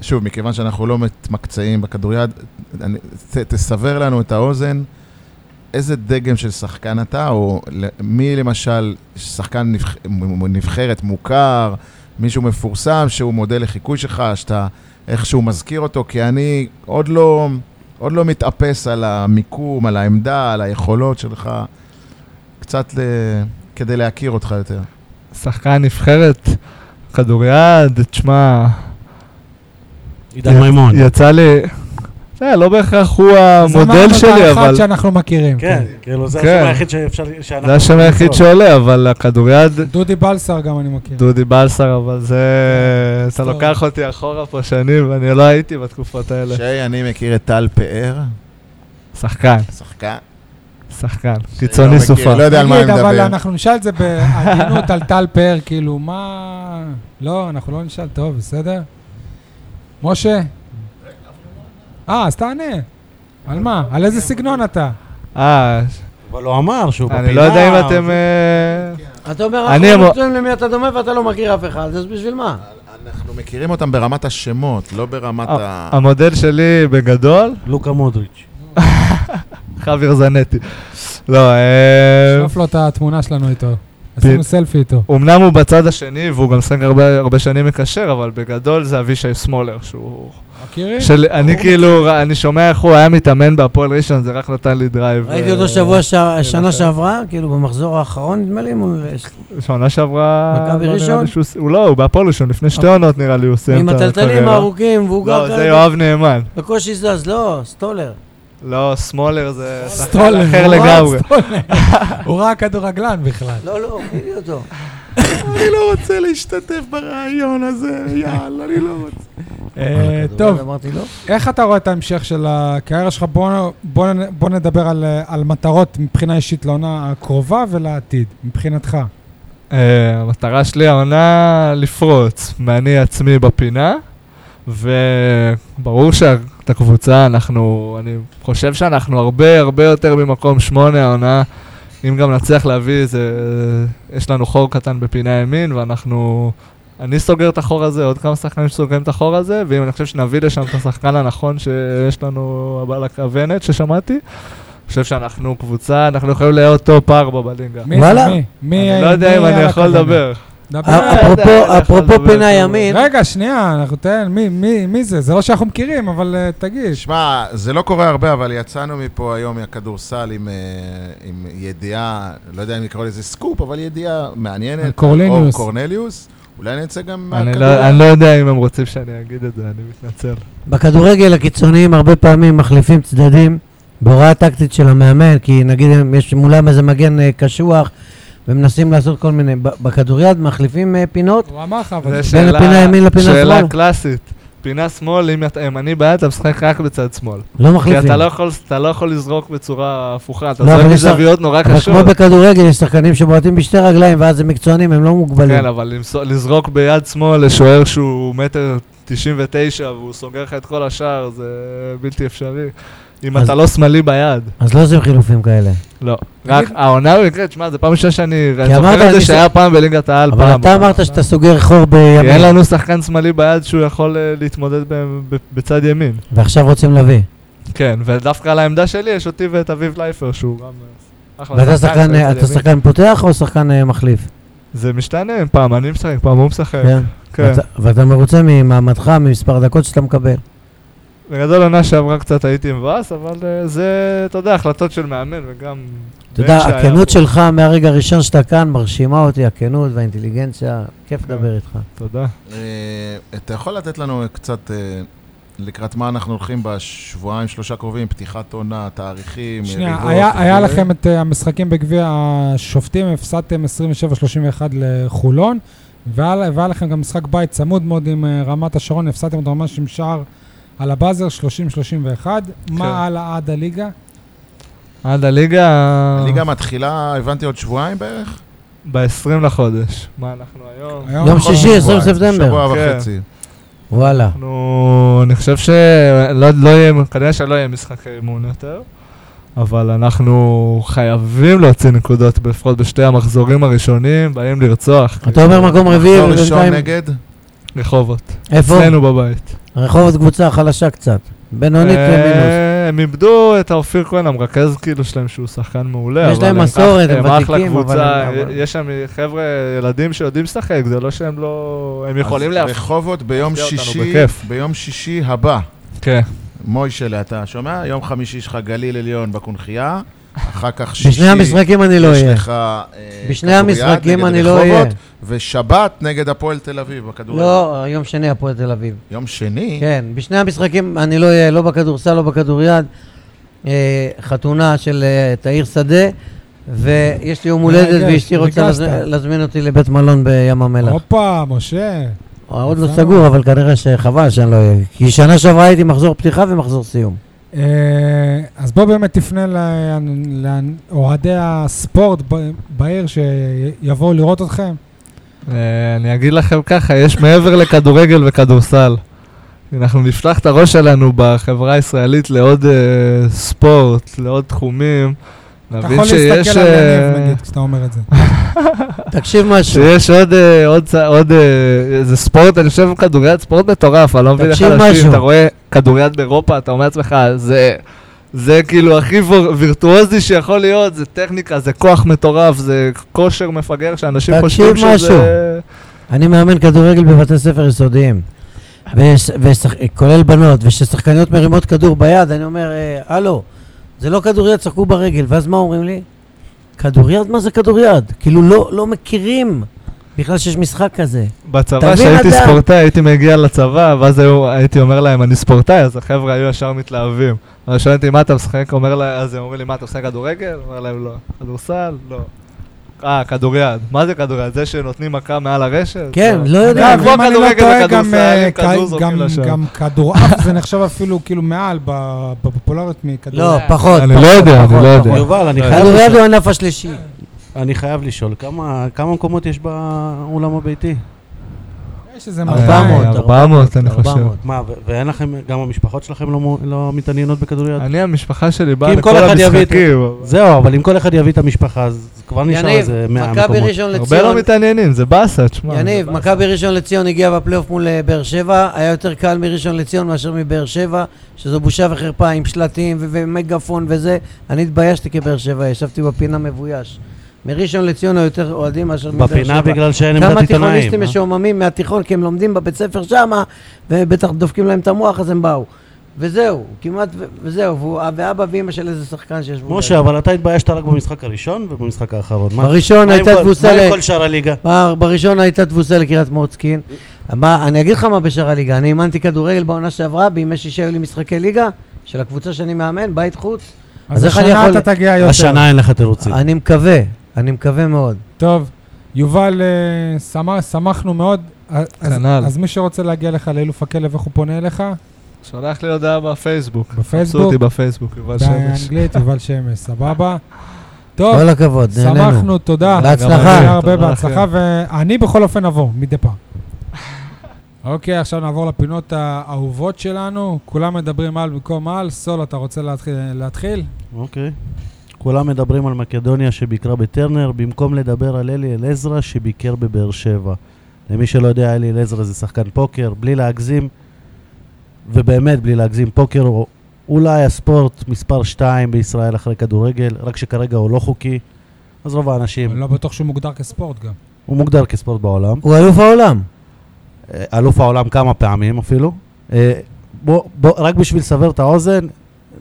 שוב, מכיוון שאנחנו לא מתמקצעים בכדוריד, אני- ת- תסבר לנו את האוזן, איזה דגם של שחקן אתה, או ל- מי למשל שחקן נבח- מ- מ- נבחרת מוכר, מישהו מפורסם שהוא מודל לחיקוי שלך, שאתה איכשהו מזכיר אותו, כי אני עוד לא... עוד לא מתאפס על המיקום, על העמדה, על היכולות שלך, קצת ל... כדי להכיר אותך יותר.
שחקן נבחרת, כדוריד, תשמע,
עידן מימון.
יצא לי... זה לא בהכרח הוא המודל
אז אמרנו
שלי,
את האחד
אבל...
שאנחנו מכירים.
כן, כאילו זה
כן.
השם היחיד שאפשר... שאנחנו
זה השם
יכולים
היחיד
למצוא.
שעולה, אבל הכדוריד,
דודי בלסר גם אני מכיר.
דודי בלסר, אבל זה... אתה
טוב.
לוקח אותי אחורה פה שנים, ואני לא הייתי בתקופות האלה.
שי, אני מכיר את טל פאר,
שחקן,
שחקן.
שחקן,
לא
קיצוני
מכיר,
סופה.
לא יודע על מה אני
תגיד, אבל
מדבר.
אנחנו נשאל את זה בעדינות על טל פאר, כאילו, מה... לא, אנחנו לא נשאל, טוב, בסדר? משה? אה, אז תענה. על מה? על איזה סגנון אתה?
אה,
אבל הוא אמר שהוא בפינה.
אני לא יודע אם אתם... אה,
אתה אומר,
אני
אנחנו
אמור-
לא יודעים למי אתה דומה ואתה לא מכיר אף אחד, אז בשביל מה?
אנחנו מכירים אותם ברמת השמות, לא
אה,
ברמת ה...
המודל שלי בגדול,
לוקה מודריץ'.
חביר זנטי. לא, אה,
שלוף לו את התמונה שלנו איתו. עשינו סלפי איתו.
אמנם הוא בצד השני, והוא גם סנג הרבה הרבה שנים מקשר, אבל בגדול זה אבישי שמאלר, שהוא...
מכירים?
של- אני כאילו, ר- אני שומע איך הוא היה מתאמן בהפועל ראשון, זה רק נתן לי דרייב.
ראיתי
אה,
אותו שבוע, ש- שנה שעברה, כאילו במחזור האחרון, נדמה לי, מול- אה,
שנה שעברה...
מכבי
לא נראה לי
ראשון?
שהוא ס- הוא לא, הוא בהפועל ראשון, לפני שתי עונות נראה לי הוא סיים
עם
את הקריירה.
הטלטלים הארוכים, והוא גר
לא, זה
כרגע,
יואב נאמן.
בקושי זז, לא, סטולר.
לא, שמאלר זה שחקן
סטולר.
אחר
הוא ראה
לגמרי.
סטולר. הוא ראה כדורגלן בכלל.
לא, לא, ראיתי אותו.
אני לא רוצה להשתתף ברעיון הזה, יאללה, אני לא רוצה.
אה, טוב,
אמרתי לא.
איך אתה רואה את ההמשך של הקריירה שלך? בוא, בוא, נ- בוא נדבר על, אה, על מטרות מבחינה אישית לעונה הקרובה ולעתיד, מבחינתך.
אה, המטרה שלי העונה לפרוץ מאני עצמי בפינה, וברור שאת הקבוצה אנחנו, אני חושב שאנחנו הרבה הרבה יותר ממקום שמונה העונה, אם גם נצליח להביא איזה, יש לנו חור קטן בפינה ימין ואנחנו... אני סוגר את החור הזה, עוד כמה שחקנים שסוגרים את החור הזה, ואם אני חושב שנביא לשם את השחקן הנכון שיש לנו הבעל הכוונת ששמעתי, אני חושב שאנחנו קבוצה, אנחנו יכולים להיות טופ 4 בליגה.
מי זה?
וואלה.
מי? מי?
אני לא יודע אם
מי
אני
על
יכול
הכוונה?
לדבר.
דבר.
אה,
אפרופו-
אה,
אפרופו
אה,
פינה
אה,
ימין,
רגע, שנייה, אנחנו תן, מי, מי, מי זה? זה לא שאנחנו מכירים, אבל אה, תגיד.
שמע, זה לא קורה הרבה, אבל יצאנו מפה היום מהכדורסל עם, אה, עם ידיעה, לא יודע אם לקרוא לזה סקופ, אבל ידיעה מעניינת.
קורניליוס.
אור קורנליוס. אולי נצא גם
אני
מהכדור-
לא- אני לא יודע אם הם רוצים שאני אגיד את זה, אני מתנצל.
בכדורגל הקיצוניים הרבה פעמים מחליפים צדדים בהוראה טקטית של המאמן, כי נגיד הם- יש מולם איזה מגן אה, קשוח ומנסים לעשות כל מיני, ב- בכדוריד מחליפים אה, פינות,
הוא אמר לך,
זה
אבל...
שאלה-
לפינה ימין לפינה
שאלה
שמאל.
קלאסית. פינה שמאל, אם אתה ימני בעד, אתה משחק רק בצד שמאל.
לא
כי
מחליפים.
אתה לא יכול- אתה לא יכול לזרוק בצורה הפוכה, אתה
לא,
זורק
אבל יש לך-
מזוויות נורא
אבל כמו
קשות.
בכדורגל יש שחקנים שבועטים בשתי רגליים ואז הם מקצוענים, הם לא מוגבלים.
כן, אבל למסו- לזרוק ביד שמאל לשוער שהוא מטר 99 והוא סוגר לך את כל השער, זה בלתי אפשרי. אם
אז-
אתה לא שמאלי ביד,
אז לא עושים חילופים כאלה.
לא. רק העונה הוא יקרה, תשמע, זו פעם ראשונה שאני... אני
אמרת,
זוכר את זה
אני ש-
שהיה פעם בליגת העל.
אבל
פעם,
אתה אמרת שאתה סוגר חור
כי אין
בימין,
לנו שחקן שמאלי ביד שהוא יכול אה, להתמודד ב- ב- בצד ימין.
ועכשיו רוצים להביא.
כן, ודווקא על העמדה שלי יש אותי ואת אביב לייפר, שהוא גם אה, אחלה
ואתה שחקן,
בצד
אה, אתה
ימין.
שחקן פותח או שחקן אה, מחליף?
זה משתנה, פעם אני משחק, פעם הוא משחק.
כן.
כן.
ואתה- ואתה מרוצה ממעמדך, ממספר הדקות שאתה מקבל.
בגדול עונה שעברה קצת הייתי מבאס, אבל אה, זה, אתה יודע, החלטות של מאמן וגם...
אתה
בן
יודע,
שהיה
הכנות
פה.
שלך מהרגע הראשון שאתה כאן מרשימה אותי, הכנות והאינטליגנציה, כיף לדבר איתך.
תודה.
אה, אתה יכול לתת לנו קצת אה, לקראת מה אנחנו הולכים בשבועיים, שלושה קרובים, פתיחת עונה, תאריכים,
אה,
שנייה,
יריבות
היה,
וכו'.
היה לכם את אה, המשחקים בגביע השופטים, הפסדתם 27-31 לחולון, והיה, והיה לכם גם משחק בית צמוד מאוד עם אה, רמת השרון, הפסדתם אותו ממש עם שער על הבאזר 30-31.
כן.
מה הלאה עד הליגה?
עד הליגה...
הליגה מתחילה, הבנתי, עוד שבועיים בערך?
ב-20 לחודש. מה אנחנו היום?
היום
יום
אנחנו-
שישי, 20
שבועיים,
ספטמבר.
שבוע
כן.
וחצי.
וואלה.
אנחנו, אני חושב שלא לא יהיה, כנראה שלא יהיה משחק אימון יותר, אבל אנחנו חייבים להוציא נקודות, לפחות בשתי המחזורים הראשונים, באים לרצוח,
אתה אומר מקום רביעי,
מחזור ראשון
ובינתיים-
נגד?
רחובות,
איפה?
אצלנו בבית.
רחובות קבוצה חלשה קצת. בינונית
אה,
למינוס.
הם איבדו את האופיר כהן, המרכז כאילו שלהם, שהוא שחקן מעולה.
יש
אבל
להם
הם
מסורת,
אח-
הם
אחלה
ותיקים, אבל
קבוצה,
הם- אבל-
יש שם חבר'ה, ילדים שיודעים לשחק, זה לא שהם לא... הם יכולים
אז
להפ...
רחובות ביום
להפתיע אותנו
שישי,
בכיף.
ביום שישי הבא.
כן.
מוישלה, אתה שומע? יום חמישי שלך גליל עליון בקונכייה, אחר כך שישי...
בשני המשחקים אני לא
יש
אהיה.
לך, אה,
בשני
כדוריד
המשחקים
נגד
אני לא
רחובות,
אהיה.
ושבת נגד הפועל תל אביב בכדורגל.
לא, יום שני הפועל תל אביב.
יום שני?
כן, בשני המשחקים אני לא אהיה, לא בכדורסל, לא בכדוריד. אה, חתונה של אה, תאיר שדה, ויש לי יום הולדת
מרגש,
ואשתי רוצה
אה, ריגשת.
להזמין- להזמין אותי לבית מלון בים המלח.
הופה, משה.
עוד לא
בסדר.
סגור, אבל כנראה שחבל שאני לא אהיה. כי שנה שעברה הייתי מחזור פתיחה ומחזור סיום.
אה, אז בוא באמת תפנה ל- לאוהדי הספורט ב- בעיר שיבואו לראות אתכם.
אה, אני אגיד לכם ככה, יש מעבר לכדורגל וכדורסל. אנחנו נפתח את הראש שלנו בחברה הישראלית לעוד אה, ספורט, לעוד תחומים.
אתה
נבין
יכול
שיש,
להסתכל על
אה,
יניב, נגיד, כשאתה אומר את זה.
תקשיב משהו,
שיש עוד, אה, עוד, צ- עוד אה, איזה ספורט, אני חושב כדוריד, ספורט מטורף, אני לא מבין איך
תקשיב
אנשים,
משהו.
אתה רואה כדוריד באירופה, אתה אומר לעצמך, זה... זה כאילו הכי ויר- וירטואוזי שיכול להיות, זה טכניקה, זה כוח מטורף, זה כושר מפגר שאנשים
תקשיב
חושבים שזה...
משהו. אני מאמן כדורגל בבתי ספר יסודיים. ויש- ושח- כולל בנות, וכששחקניות מרימות כדור ביד, אני אומר, אה, הלו, זה לא כדוריד, שחקו ברגל. ואז מה אומרים לי? כדוריד? מה זה כדוריד? כאילו לא, לא מכירים בכלל שיש משחק כזה.
בצבא,
תבין,
כשהייתי
אדם.
ספורטאי, הייתי מגיע לצבא, ואז היו- הייתי אומר להם, אני ספורטאי, אז החבר'ה היו ישר מתלהבים. אז שאלתי, מה אתה משחק? אומר להם, אז הם אומרים לי, מה, אתה משחק כדורגל? אומר להם, לא. כדורסל? לא. אה, כדוריד. מה זה כדוריד? זה שנותנים מכה מעל הרשת?
כן, לא יודע.
זה
אגב,
כמו
אם אני לא
הכדורגל
טועה, גם,
וכדורסל,
אה,
אם
כ-
כדור
גם-
זורקים לשער.
גם כדורעף זה נחשב אפילו כאילו מעל ב- בפופולריות מכדורעף.
לא, פחות.
אני לא יודע, אני לא יודע.
יובל, אני חייב
כדוריד
לשאול-
הוא הענף השלישי.
אני חייב לשאול, כמה כמה מקומות יש באולם הביתי?
יש איזה
400,
200.
400, "אה, אני חושב.
400.
מה, ו- ואין לכם, גם המשפחות שלכם לא מו- לא מתעניינות בכדוריד?
אני, המשפחה שלי באה
כי אם
לכל
כל אחד יביא את-
המשחקים.
זהו, אבל אם כל אחד יביא את המשפחה, אז כבר נשאר
יניב,
איזה 100
מכבי
מקומות.
ראשון
הרבה לא
לציון,
מתעניינים, זה באסה, תשמע.
יניב, מכבי ראשון לציון הגיעה בפלייאוף מול אה, באר שבע, היה יותר קל מראשון לציון מאשר מבאר שבע, שזו בושה וחרפה עם שלטים ו- ומגפון וזה. אני התביישתי כבאר שבע, ישבתי בפינה מבויש. מראשון לציון היו יותר אוהדים מאשר מבאר שבע.
בפינה בגלל שאין עמדת
כמה
עיתונאים.
תיכוניסטים
אה?
משועממים מהתיכון, כי הם לומדים בבית ספר שמה, ובטח דופקים להם את המוח, אז הם באו. וזהו, כמעט, ו- וזהו, והוא- ואבא ואימא של איזה שחקן שישבו.
משה, אבל אתה התביישת רק במשחק הראשון ובמשחק האחרון. מה-
בראשון
מה עם
הייתה
כל-
תבוסה
מה
ל...
עם כל שאר הליגה?
בר- בראשון הייתה תבוסה לקריית מוצקין. מה, אני אגיד לך מה בשאר הליגה, אני אימנתי כדורגל בעונה שעברה, בימי שישי היו לי משחקי ליגה, של הקבוצה שאני מאמן, בית חוץ.
אז
אז איך אני
השנה
יכול-
אתה תגיע יותר.
השנה אין לך תירוצים.
אני מקווה, אני מקווה מאוד.
טוב, יובל, אה, שמח- שמחנו מאוד. אז- אז-
כנ"ל.
אז מי שרוצה להגיע לך לאלוף הכלב, איך הוא פונה אליך?
שלח לי הודעה בפייסבוק. חפשו
בפייסבוק?
אותי בפייסבוק, יובל שמש.
באנגלית, יובל שמש, סבבה. טוב,
כל הכבוד, נהנינו.
שמחנו, תודה.
בהצלחה.
שיהיה הרבה
תודה
בהצלחה, ואני בכל אופן אבוא, מדי פעם. אוקיי, עכשיו נעבור לפינות האהובות שלנו. כולם מדברים על במקום על. סול, אתה רוצה להתחיל- להתחיל?
אוקיי. כולם מדברים על מקדוניה שביקרה בטרנר, במקום לדבר על אלי אלעזרה שביקר בבאר שבע. למי שלא יודע, אלי אלעזרה זה שחקן פוקר, בלי להגזים, ובאמת בלי להגזים, פוקר הוא אולי הספורט מספר 2 בישראל אחרי כדורגל, רק שכרגע הוא לא חוקי, אז רוב
אני
כן.
האנשים,
לא בטוח שהוא מוגדר כספורט גם.
הוא מוגדר כספורט בעולם.
הוא אלוף העולם.
אה, אלוף העולם כמה פעמים אפילו. אה, בוא, בוא, רק בשביל לסבר את האוזן,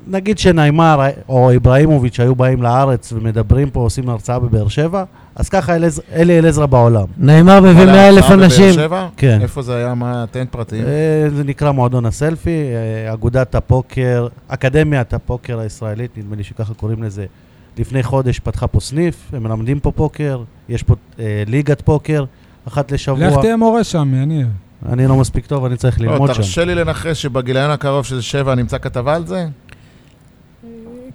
נגיד שניימר אה, או איבראימוביץ' היו באים לארץ ומדברים פה, עושים הרצאה בבאר שבע, אז ככה אלעז- אלי אלעזרה בעולם.
נאמר מביא 100 אלף אנשים.
כן.
איפה זה היה? מה? תן פרטים.
אה, זה נקרא מועדון הסלפי, אה, אגודת הפוקר, אקדמיית הפוקר הישראלית, נדמה לי שככה קוראים לזה. לפני חודש פתחה פה סניף, הם מלמדים פה פוקר, יש פה אה, ליגת פוקר, אחת לשבוע.
לך תהיה מורה שם, יניב.
אני לא מספיק טוב, אני צריך
לא,
ללמוד שם.
תרשה לי לנחש שבגיליון הקרוב של שבע נמצא כתבה על זה?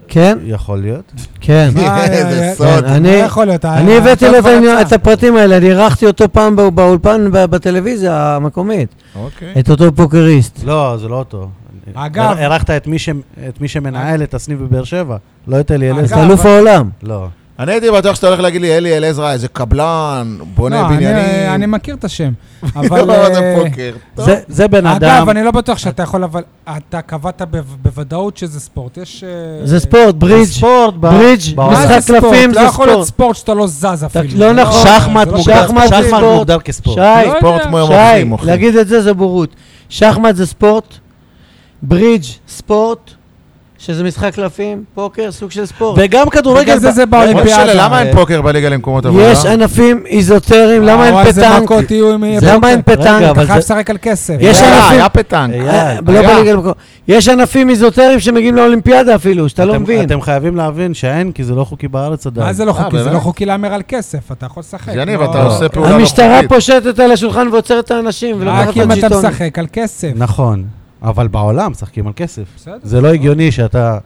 כן,
יכול להיות.
כן.
מה,
איזה
אה,
סוד.
אה,
אני-
מה יכול להיות?
אני
אה,
הבאתי
אתה
לו את
כבר
העניין-
יצא.
את הפרטים האלה, אני אירחתי אותו פעם בא- באולפן ב- בטלוויזיה המקומית,
אוקיי.
את אותו פוקריסט.
לא, זה לא אותו.
אגב-
אירחת את מי שמ- את מי שמנהל את הסניף בבאר שבע, לא את אלי
את
אלעזר.
אגב,
אלוף
אבל-
העולם.
לא.
אני הייתי בטוח שאתה הולך להגיד לי, אלי אלעזרה, איזה קבלן,
לא,
בונה
אני-
בניינים.
אני מכיר את השם. אבל...
לא, זה
אה,
פוקר. טוב.
זה- זה בן אדם,
אגב, אני לא בטוח שאתה יכול, אבל אתה קבעת בו- בוודאות שזה ספורט. יש... אה,
זה ספורט, ברידג',
הספורט ב-
ברידג',
בעולם.
מה זה
משחק
ספורט?
קלפים זה
לא יכול להיות
ספורט.
ספורט שאתה לא זז אפילו.
לא
זה
נכון.
שחמט
זה לא
מוגדר-
שחמט זה
שחמט
ספורט.
מוגדר כספורט.
שי,
לא
ספורט
יודע.
כמו יום
שי,
המוחים, אחי.
להגיד את זה זה בורות. שחמט זה ספורט, ברידג' ספורט, שזה משחק קלפים, פוקר, סוג של ספורט.
וגם
בגלל
כדורגל,
זה
ב-
זה
משה,
באולימפיאדה.
לא למה אין פוקר בליגה למקומות עבודה?
יש ענפים איזוטריים, למה
וואו,
אין
איזה
פטנק?
אה, מכות אה, יהיו אם יהיה
למה אין
פוקר.
רגע,
פטנק?
אתה
אבל
חייב
זה-
לשחק על כסף.
יש
היה,
ענפים-
אה, היה פטנק.
אייל,
לא
היה.
בליגה למקום. יש ענפים איזוטריים שמגיעים לאולימפיאדה אפילו, שאתה לא
אתם-
מבין.
אתם חייבים להבין שאין, כי זה לא חוקי בארץ עדיין.
מה זה לא
אה,
חוקי? זה
באמת?
לא חוקי להמר על כסף, אתה יכול לשחק.
יניב,
לא-
אתה עושה פעולה לא חוקית.
המשטרה פושטת על השולחן ועוצרת את האנשים
רק
ולוקחת
אה, אם
את
אתה
הג'יטון.
משחק על כסף.
נכון, אבל בעולם משחקים על כסף.
בסדר.
זה לא הגיוני שאתה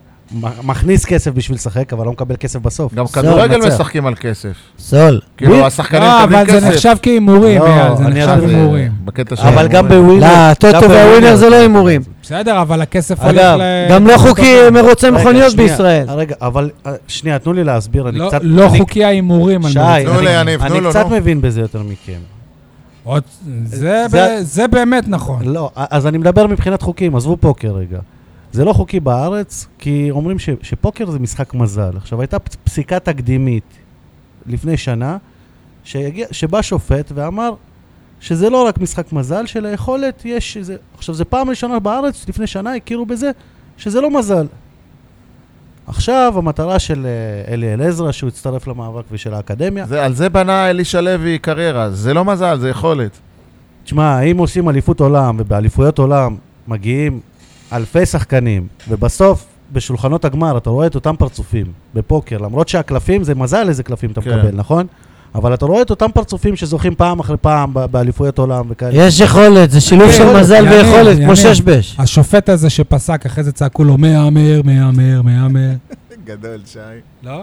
מ- מכניס כסף בשביל לשחק, אבל לא מקבל כסף בסוף.
גם
זהו,
כדורגל
מצב.
משחקים על כסף.
סול.
כאילו, השחקנים
לא,
מקבלים
אבל
כסף.
זה נחשב כהימורים,
לא,
אייל, זה
אני
נחשב
רק-
הימורים.
בקטע של...
אבל גם
ההימורים.
בווינר.
לא,
גם
הטוטו
בווינר
והווינר זה לא הימורים.
בסדר, אבל הכסף הולך
אגב,
ל...
גם לא חוקי מרוצי
רגע,
מכוניות
שנייה,
בישראל.
רגע, אבל אה, שנייה, תנו לי להסביר, אני
לא-
קצת...
לא
אני-
חוקי ההימורים. על
שי,
מרוצים.
תנו
אני-
ליניב, תנו לו,
אני קצת
נו.
מבין בזה יותר מכם.
עוד- זה
זה-
ב- זה באמת נכון.
לא, אז אני מדבר מבחינת חוקים, עזבו פוקר רגע. זה לא חוקי בארץ, כי אומרים ש, שפוקר זה משחק מזל. עכשיו, הייתה פס- פסיקה תקדימית לפני שנה, שיגיע, שבא שופט ואמר שזה לא רק משחק מזל, שליכולת יש איזה... עכשיו, זו פעם ראשונה בארץ, לפני שנה הכירו בזה, שזה לא מזל. עכשיו, המטרה של אה, אלי אלעזרה, שהוא הצטרף למאבק ושל האקדמיה,
זה- על זה בנה אלישע לוי קריירה. זה לא מזל, זה יכולת.
תשמע, אם עושים אליפות עולם, ובאליפויות עולם מגיעים אלפי שחקנים, ובסוף בשולחנות הגמר, אתה רואה את אותם פרצופים בפוקר, למרות שהקלפים, זה מזל איזה קלפים אתה
כן.
מקבל, נכון? אבל אתה רואה את אותם פרצופים שזוכים פעם אחרי פעם ב- באליפויות עולם וכאלה.
יש יכולת, זה שילוב של
יכולת,
מזל
ימין,
ויכולת,
ימין.
כמו ששבש.
השופט הזה שפסק, אחרי זה צעקו לו מהמר, מהמר, מהמר.
גדול, שי.
לא?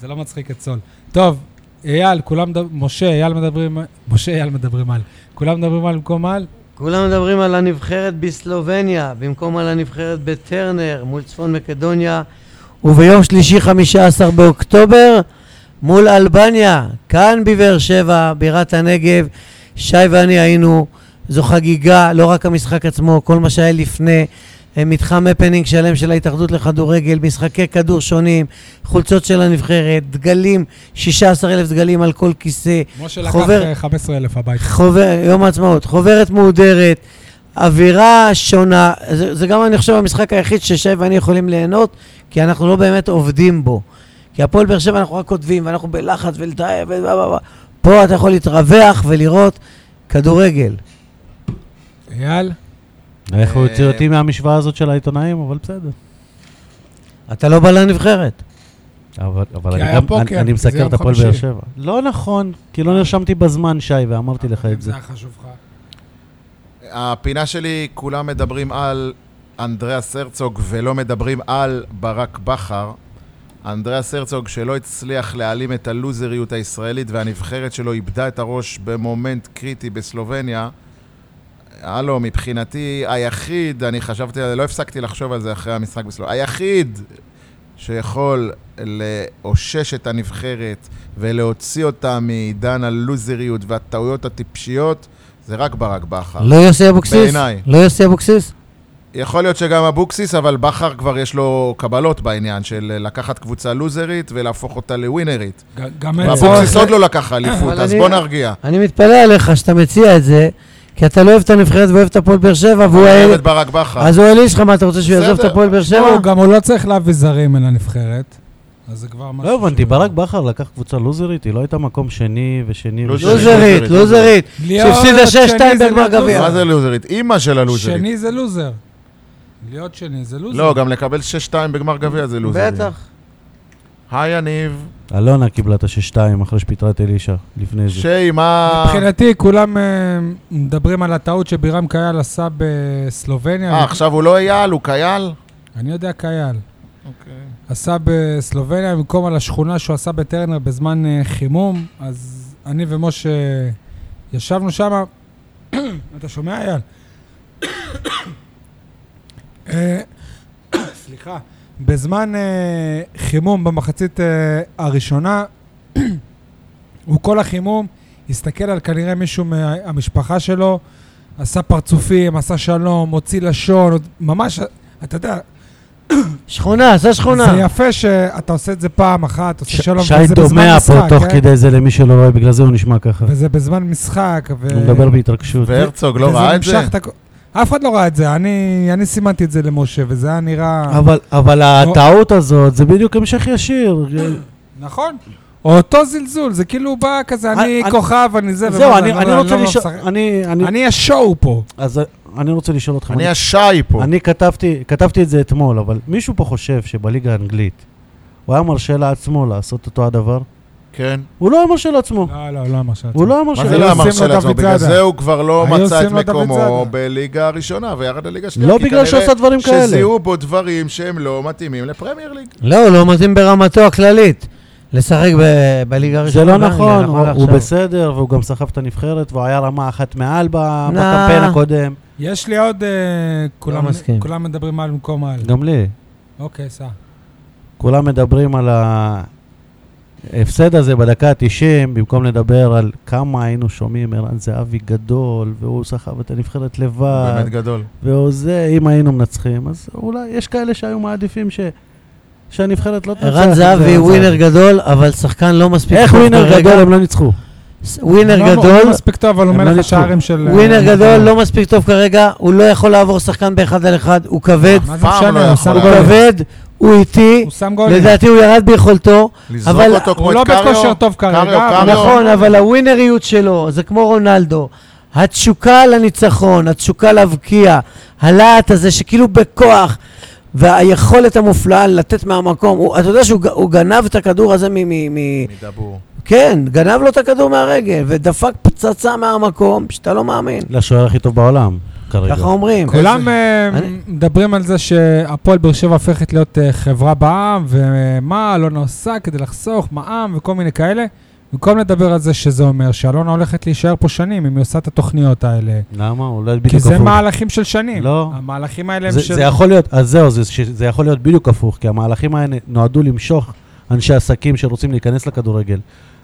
זה לא מצחיק את סול. טוב, אייל, כולם מדברים, משה, אייל מדברים, משה, אייל מדברים על. כולם מדברים על במקום על?
כולם מדברים על הנבחרת בסלובניה, במקום על הנבחרת בטרנר, מול צפון מקדוניה, וביום שלישי, 15 באוקטובר, מול אלבניה, כאן בבאר שבע, בירת הנגב. שי ואני היינו, זו חגיגה, לא רק המשחק עצמו, כל מה שהיה לפני. אה, מתחם הפנינג שלם של ההתאחדות לכדורגל, משחקי כדור שונים, חולצות של הנבחרת, דגלים, 16,000 דגלים על כל כיסא,
משה לקח
חובר.
אה, 15,000 הביתה.
חובר, יום העצמאות, חוברת מהודרת, אווירה שונה, זה, זה גם אני חושב המשחק היחיד ששי ואני יכולים ליהנות, כי אנחנו לא באמת עובדים בו. כי הפועל באר שבע אנחנו רק כותבים, ואנחנו בלחץ ולתאר ו... פה אתה יכול להתרווח ולראות כדורגל.
אייל?
אה,
איך הוא הוציא אותי מהמשוואה הזאת של העיתונאים, אבל בסדר.
אתה לא בא לנבחרת.
אבל, אבל
כי
אני
היה
גם,
פוקר,
אני, אני
זה
מסקר
יום
את הפועל
חמישי.
באר שבע. לא נכון, כי לא נרשמתי בזמן, שי, ואמרתי לך את זה.
היה חשוב לך.
הפינה שלי, כולם מדברים על אנדריאס הרצוג ולא מדברים על ברק בכר. אנדריאס הרצוג שלא הצליח להעלים את הלוזריות הישראלית והנבחרת שלו איבדה את הראש במומנט קריטי בסלובניה. הלו, מבחינתי היחיד, אני חשבתי, לא הפסקתי לחשוב על זה אחרי המשחק בסלובניה, היחיד שיכול לאושש את הנבחרת ולהוציא אותה מעידן הלוזריות והטעויות הטיפשיות זה רק ברק בכר.
לא יוסי אבוקסיס?
בעיניי.
לא יוסי אבוקסיס?
יכול להיות שגם אבוקסיס, אבל בכר כבר יש לו קבלות בעניין של לקחת קבוצה לוזרית ולהפוך אותה לווינרית.
גם אין
ואבוקסיס
צורך.
עוד לא לקח אליפות,
אבל
אז
אני-
בוא נרגיע.
אני מתפלא עליך שאתה מציע את זה, כי אתה לא אוהב את הנבחרת ואוהב את הפועל באר שבע, והוא
אני אוהב
האל...
את ברק בכר.
אז הוא העליל שלך, מה אתה רוצה שהוא יעזוב את
בסדר.
הפועל באר שבע?
לא, גם הוא לא צריך להביא זרים אל הנבחרת, אז זה כבר משהו...
לא הבנתי,
שהוא-
ברק בכר לקח קבוצה לוזרית, היא לא הייתה מקום שני ושני
לא
לוזרית.
ושני.
לוזרית, לוזרית.
להיות
שהפסידה
שני
6-2
זה
בגמר
להיות
גביע.
לוזר.
מה זה לא לוזרית? אימא של הלוזרית.
שני זה לוזר. להיות שני זה לוזר.
לא, גם לקבל 6-2 בגמר גביע זה לוזרית.
בטח.
היי, יניב.
אלונה קיבלה את השש-שתיים אחרי שפיטרה את אלישע לפני זה.
שי, מה...
מבחינתי, כולם אה, מדברים על הטעות שבירם קייל עשה בסלובניה.
אה, עכשיו הוא לא אייל, הוא קייל?
אני יודע קייל. עשה בסלובניה במקום על השכונה שהוא עשה בטרנר בזמן אה, חימום, אז אני ומשה ישבנו שם. אתה שומע, אייל? אה, סליחה. בזמן אה, חימום במחצית אה, הראשונה, הוא כל החימום הסתכל על כנראה מישהו מהמשפחה שלו, עשה פרצופים, עשה שלום, הוציא לשון, עוד- ממש, אתה יודע,
שכונה, עשה שכונה.
זה יפה שאתה עושה את זה פעם אחת, עושה
ש-
שלום,
שי
וזה בזמן
דומע
משחק,
פה תוך
כן?
כדי זה למי שלא רואה, בגלל זה הוא נשמע ככה.
וזה בזמן משחק, ו...
הוא מדבר בהתרגשות.
והרצוג לא
וזה
ראה את זה?
נמשך הכ- אף אחד לא ראה את זה, אני, אני סימנתי את זה למשה, וזה היה נראה...
אבל, אבל הטעות הזאת זה בדיוק המשך ישיר.
נכון. או אותו זלזול, זה כאילו הוא בא כזה, אני
אני-
כוכב, אני זה,
זהו,
ומה
אני
זה,
אני
לא-
רוצה
לא
לשאול...
משחק.
אני- אני-
אני השואו פה.
אז אני רוצה לשאול אותך.
אני השי פה.
אני כתבתי, כתבתי את זה אתמול, אבל מישהו פה חושב שבליגה האנגלית הוא היה מרשה לעצמו לעשות אותו הדבר?
כן.
הוא לא היה מרשה לעצמו.
לא, לא, לא משהו.
הוא לא היה מרשה
מה זה
היו
לא
עושים
אמר
לו
של עצמו?
דוד
בגלל
זאדה.
זה הוא כבר לא
היו
מצא את
עושים לו דוד
מקומו
זאדה.
בליגה הראשונה וירד לליגה השנייה.
לא
כי
בגלל שהוא
כנראה
עשה דברים כאלה.
שזיהו בו דברים שהם לא מתאימים לפרמייר ליג.
לא, הוא לא מתאים ברמתו הכללית. לשחק ב- בליגה
זה
הראשונה.
לא
באנגליה,
נכון, הוא- הוא
לעכשיו.
בסדר, והוא גם סחב את הנבחרת, והוא היה רמה אחת מעל ב-
נא.
בקמפיין הקודם.
יש לי עוד... אה, כולם-
מסכים.
כולם מדברים על במקום על.
גם לי.
אוקיי, סע.
כולם מדברים על ההפסד הזה בדקה ה-90, במקום לדבר על כמה היינו שומעים ערן זהבי גדול, והוא סחב את הנבחרת
הוא
לבד,
באמת גדול.
והוא זה, אם היינו מנצחים, אז אולי יש כאלה שהיו מעדיפים ש... שהנבחרת לא תנצח.
ערן
את
זאבי
ערן
ווינר
זאבי.
גדול, אבל שחקן לא מספיק
איך
טוב
ווינר
כרגע.
גדול הם לא ניצחו?
ס- ווינר
הוא לא- הוא
גדול,
לא מספיק טוב, אבל הוא
הם לא
מלך
ניצחו.
השערים של... אה,
ווינר גדול
אה,
לא מספיק טוב כרגע, הוא לא יכול לעבור שחקן באחד על אחד, הוא כבד,
מה זה
פעם לא
משנה, הוא
יכול
שם
הוא
אה,
היה.
גולים.
כבד, הוא איטי,
הוא שם גולים.
לדעתי הוא ירד ביכולתו,
לזרוק
אבל
אותו כמו
הוא
את
לא
קריו.
בכושר טוב כרגע,
קריו,
אבל
קריו.
נכון, אבל הווינריות שלו, זה כמו רונלדו. התשוקה לניצחון, התשוקה להבקיע, הלהט הזה שכאילו בכוח והיכולת המופלאה לתת מהמקום, הוא, אתה יודע שהוא ג- הוא גנב את הכדור הזה מ... מ, מ
מדבור.
כן, גנב לו את הכדור מהרגל, ודפק פצצה מהמקום, שאתה לא מאמין.
לשוער הכי טוב בעולם, כרגע.
ככה אומרים.
כולם אה,
אני-
מדברים על זה שהפועל באר שבע הופכת להיות אה, חברה בעם, ומה אלונה עושה כדי לחסוך מע"מ וכל מיני כאלה. במקום לדבר על זה שזה אומר שאלונה הולכת להישאר פה שנים אם היא עושה את התוכניות האלה.
למה? לא אולי בדיוק
כי
הפוך.
זה מהלכים של שנים.
כן, לא.
המהלכים האלה הם
זה,
של...
זה יכול להיות, אז זהו, זה, ש- זה יכול להיות בדיוק הפוך, כי המהלכים האלה נועדו למשוך אנשי עסקים שרוצים להיכנס לכדורגל.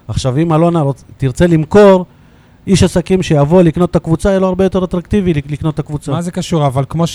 עכשיו, אם אלונה רוצ, תרצה למכור, איש עסקים שיבוא לקנות את הקבוצה, יהיה לו הרבה יותר אטרקטיבי לק- לקנות את הקבוצה.
מה זה קשור? אבל כמו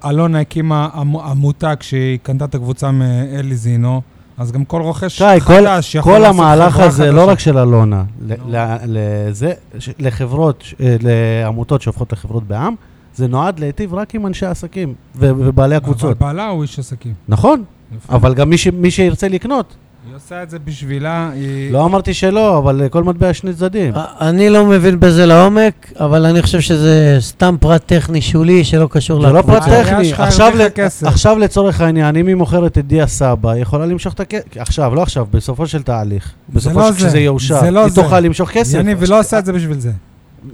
שאלונה הקימה עמ- עמותה כשהיא קנתה את הקבוצה מאלי זינו, אז גם כל רוכש
שי, כל,
חדש יכול
כל
לעשות
המהלך
חברה
הזה, לא
חדשה.
רק של אלונה, ל- ל- לזה, ש- לחברות, ש- אה, לעמותות שהופכות לחברות בע"מ, זה נועד להיטיב רק עם אנשי עסקים ו- ובעלי
אבל
הקבוצות.
בעלה הוא איש עסקים.
נכון,
יפה.
אבל גם מי ש- מי שירצה לקנות.
היא עושה את זה בשבילה, היא...
לא אמרתי שלא, אבל אה, כל מטבע שני צדדים.
אני לא מבין בזה לעומק, אבל אני חושב שזה סתם פרט טכני שולי שלא קשור
זה לא פרט
הקבוצה.
טכני.
שלך
עכשיו
הרוויחה
ל-
כסף.
עכשיו לצורך העניין, אם היא מוכרת את דיה סבא, היא יכולה למשוך את הכסף. עכשיו, לא עכשיו, בסופו של תהליך.
לא
בסופו של
זה.
כשזה יאושר.
זה לא
היא
זה.
תוכל למשוך כסף.
יניב, היא לא עושה את זה בשביל זה.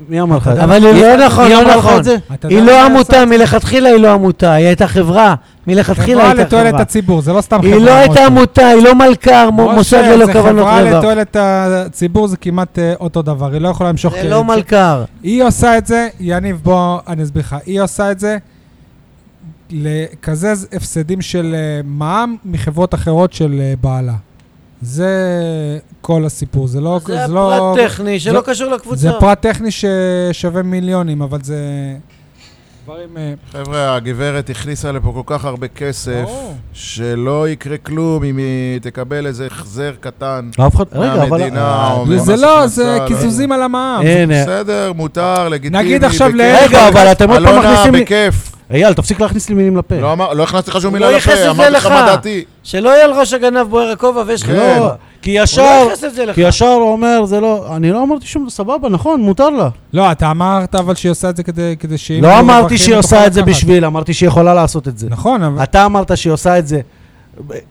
מי אמר לך את זה?
אבל היא לא נכון,
מי
לא
אמר לך
נכון.
את זה?
אתה
היא
יודע מה
לא עמותה,
עושה?
מלכתחילה היא לא עמותה, היא הייתה חברה, מלכתחילה
חברה
הייתה
לתועלת
חברה.
הציבור, זה לא סתם חברה.
היא לא הייתה
משה.
עמותה, היא לא מלכ"ר, מו-
משה,
מוסד ללא כוונות
זה חברה
רווח.
לתועלת הציבור, זה כמעט אה, אותו דבר, היא לא יכולה למשוך...
זה
אה,
לא מלכ"ר.
היא עושה את זה, יניב, בוא, אני אסביר לך. היא עושה את זה לקזז הפסדים של אה, מע"מ מחברות אחרות של אה, בעלה. זה כל הסיפור, זה לא...
זה
לא-
פרט טכני שלא
זה-
קשור לקבוצה.
זה פרט טכני ששווה מיליונים, אבל זה... דברים... אה,
חבר'ה, הגברת הכניסה לפה כל כך הרבה כסף,
ברור.
שלא יקרה כלום אם היא תקבל איזה החזר קטן.
לא, אף אחד... רגע, אבל... אה,
מהמדינה או
זה
ממס
לא,
הכנסה,
זה
לא
קיזוזים על המע"מ.
הנה,
בסדר, מותר, לגיטימי.
נגיד עכשיו
בכיף.
לאלקין-
רגע, אבל אתם עוד פעם מכניסים לי- אה.
אלונה, בכיף.
אייל, תפסיק להכניס לי מילים לפה.
לא אמר- לא הכנסתי לך שום
הוא
מילה
לא
לפה,
ייחס את זה
אמרתי לך
לך.
מה דעתי.
שלא יהיה על ראש הגנב בוער הכובע ויש
כן.
חלק.
לא, כי
הוא לא
ישר...
ייחס את זה לך.
כי ישר הוא אומר, זה לא... אני לא אמרתי שום... סבבה, נכון, מותר לה.
לא, אתה אמרת אבל שהיא עושה את זה כדי כדי שאם...
לא
יהיו
אמרתי
רווחים,
שהיא
היא
עושה
תוכל
את זה
לקחת.
בשביל, אמרתי שהיא יכולה לעשות את זה.
נכון, אבל...
אתה אמרת שהיא עושה את זה,